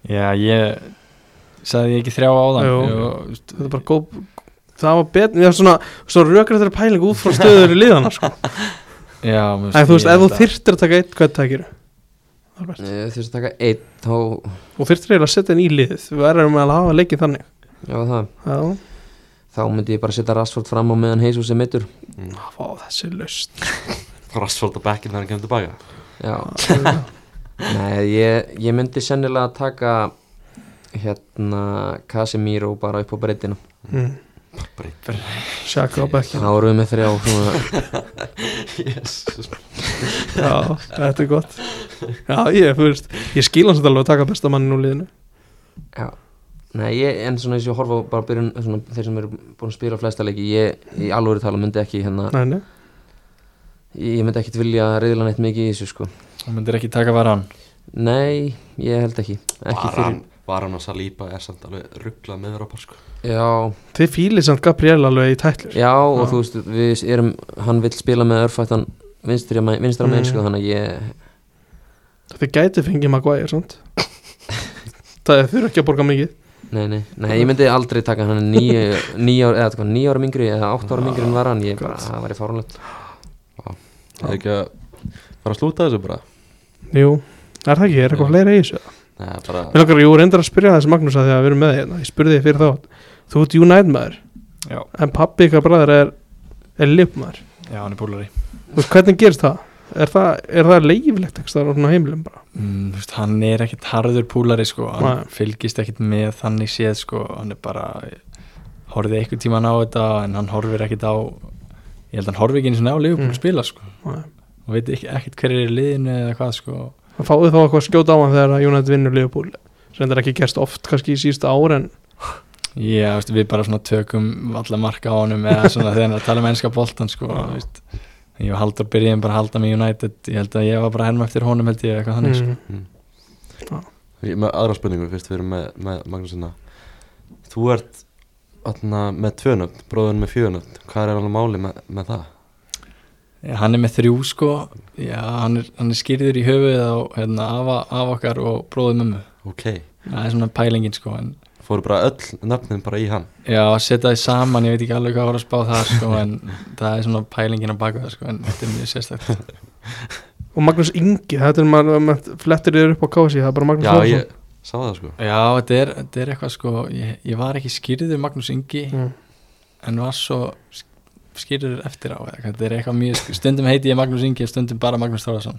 [SPEAKER 4] Já, ég sagði ég ekki þrjá áðan
[SPEAKER 2] Jú.
[SPEAKER 4] Jú,
[SPEAKER 2] þetta er bara góð það var betur, það var svona, svona rökrættari pæling út frá stöður í liðana <laughs> sko.
[SPEAKER 4] Já,
[SPEAKER 2] Æ, þú veist, ef þú
[SPEAKER 4] þyrr
[SPEAKER 2] þyrtir að taka eitt, hvað takir Albert?
[SPEAKER 3] Eh, þú veist að taka einn þá,
[SPEAKER 2] Þú þyrtir eiginlega að setja hann í liðið Við verðum að hafa leikið þannig
[SPEAKER 3] já það
[SPEAKER 2] Já,
[SPEAKER 3] þá myndi ég bara setja Rashford fram á meðan Heisus er mittur
[SPEAKER 1] Mm.
[SPEAKER 2] fá þessi <laughs> löst
[SPEAKER 1] Rassfóld á bekkinn þegar hann kemur tilbaka
[SPEAKER 3] já Nei, ég, ég myndi sennilega taka hérna Casemiro bara upp á breytinu
[SPEAKER 2] Sjaka Mm. á bekkin
[SPEAKER 3] þá erum við með þrjá svona,
[SPEAKER 1] yes.
[SPEAKER 2] Já, þetta er gott Já, ég, þú veist, ég skil hans þetta alveg að taka besta mannin úr liðinu
[SPEAKER 3] já. Nei, ég, en svona eins og ég horfa á bara byrjun svona, þeir sem eru búin að spila flesta leiki ég, í alvöru tala myndi ekki hérna
[SPEAKER 2] Nei, nei,
[SPEAKER 3] ég myndi ekkit vilja reyðla neitt mikið í þessu sko
[SPEAKER 4] Þú myndir ekki taka varan
[SPEAKER 3] Nei, ég held ekki, ekki
[SPEAKER 1] var, hann,
[SPEAKER 3] fyrir
[SPEAKER 1] var hann að salípa er samt alveg rugglað með þér á par sko.
[SPEAKER 3] Já,
[SPEAKER 2] þið fílið samt Gabriel alveg í tætlur
[SPEAKER 3] já og
[SPEAKER 2] Já.
[SPEAKER 3] þú veist við erum, hann vill spila með örfættan vinstri að vinstra
[SPEAKER 2] Mm.
[SPEAKER 3] megin sko þannig að ég
[SPEAKER 2] Þið gæti fengið Maguire, <laughs> sant? það er þurfa ekki að borga mikið
[SPEAKER 3] Nei, nei, nei, ég myndi aldrei taka hann nýja, nýja, eða, hvað, níu ára mingri eða átt ára mingri en var hann, ég bara, það væri fárunlegt
[SPEAKER 1] Það er ekki að fara að slúta þessu bara
[SPEAKER 2] Jú, er það ekki, er eitthvað fleira í þessu?
[SPEAKER 1] Nei, bara
[SPEAKER 2] Mér langar, jú, reyndar að spyrja þessi Magnús að því að við erum með þig hérna, ég spurði þig fyrir þá Þú ert United maður,
[SPEAKER 4] Já,
[SPEAKER 2] en pappi ykkar bræður er, er Liverpool maður
[SPEAKER 4] já, hann er búlari
[SPEAKER 2] Þú veist, hvernig gerist það? Er það, er það leifilegt ekki það á svona heimilum bara?
[SPEAKER 4] mm, þú veist, hann er ekkert harður púlari sko, hann
[SPEAKER 2] Nei.
[SPEAKER 4] fylgist ekkert með þannig séð sko, hann er bara horfið einhvern tíman á þetta en hann horfir ekkert á ég held að hann horfir ekki eins og ná Liverpool
[SPEAKER 2] Mm.
[SPEAKER 4] mm. spila sko,
[SPEAKER 2] Nei.
[SPEAKER 4] og veit ekki, ekkert hver er í liðinu eða hvað sko,
[SPEAKER 2] Það fáið þá eitthvað skjóta á hann þegar að United vinnur Liverpool sem reyndar ekki gerst oft kannski í síðustu ár en
[SPEAKER 4] já, þú veist, við bara svona tökum alla marka á honum eða svona þegar hann er að tala um ennska boltan sko,
[SPEAKER 2] Já.
[SPEAKER 4] þú veist ég og Haldur byrjum bara að halda með United ég held að ég var bara að herma eftir honum held ég eitthvað þannig sko.
[SPEAKER 2] mm,
[SPEAKER 1] Ég- með aðra spurningu fyrst við erum með, með Magnúsina Þú ert atna, með tvönöfn, bróðun með fjögönöfn Hvað er alveg máli með, með það?
[SPEAKER 4] Já, hann er með þrjú sko já, hann er, hann er skýrður í höfuðið á hérna, afa, afa okkar og bróðið mömmu
[SPEAKER 1] Ok,
[SPEAKER 4] það er svona pælingin sko en,
[SPEAKER 1] fóru bara öll nöfnin bara í hann
[SPEAKER 4] já, að setja þið saman, ég veit ekki alveg hvað var að spá það sko, en það er svona pælingin á baku það sko, en þetta er mjög sérstakt
[SPEAKER 2] og Magnús Ingi, þetta er maður maður flettir þér upp á kási, það er bara Magnús
[SPEAKER 1] Já,
[SPEAKER 2] Þórsson.
[SPEAKER 1] ég sá það sko
[SPEAKER 4] já, þetta er, þetta er eitthvað sko ég, ég var ekki skýrður Magnús Ingi
[SPEAKER 2] Mm.
[SPEAKER 4] en var svo sk- skýrður eftir á eða hvað, þetta er eitthvað mjög, sk- stundum heiti ég Magnús Ingi stundum bara Magnús Þórðarsson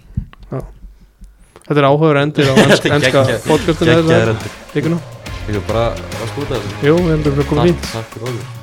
[SPEAKER 2] Þetta er áhugaður endir á enska, enska
[SPEAKER 1] geggjað.
[SPEAKER 2] podcastinu
[SPEAKER 1] Gekkjaður
[SPEAKER 2] eða
[SPEAKER 1] endur
[SPEAKER 2] vikuna
[SPEAKER 1] Ég er bara að skúta þessu
[SPEAKER 2] Jú, við erum bara komið fínt
[SPEAKER 1] Takk, takk fyrir okkur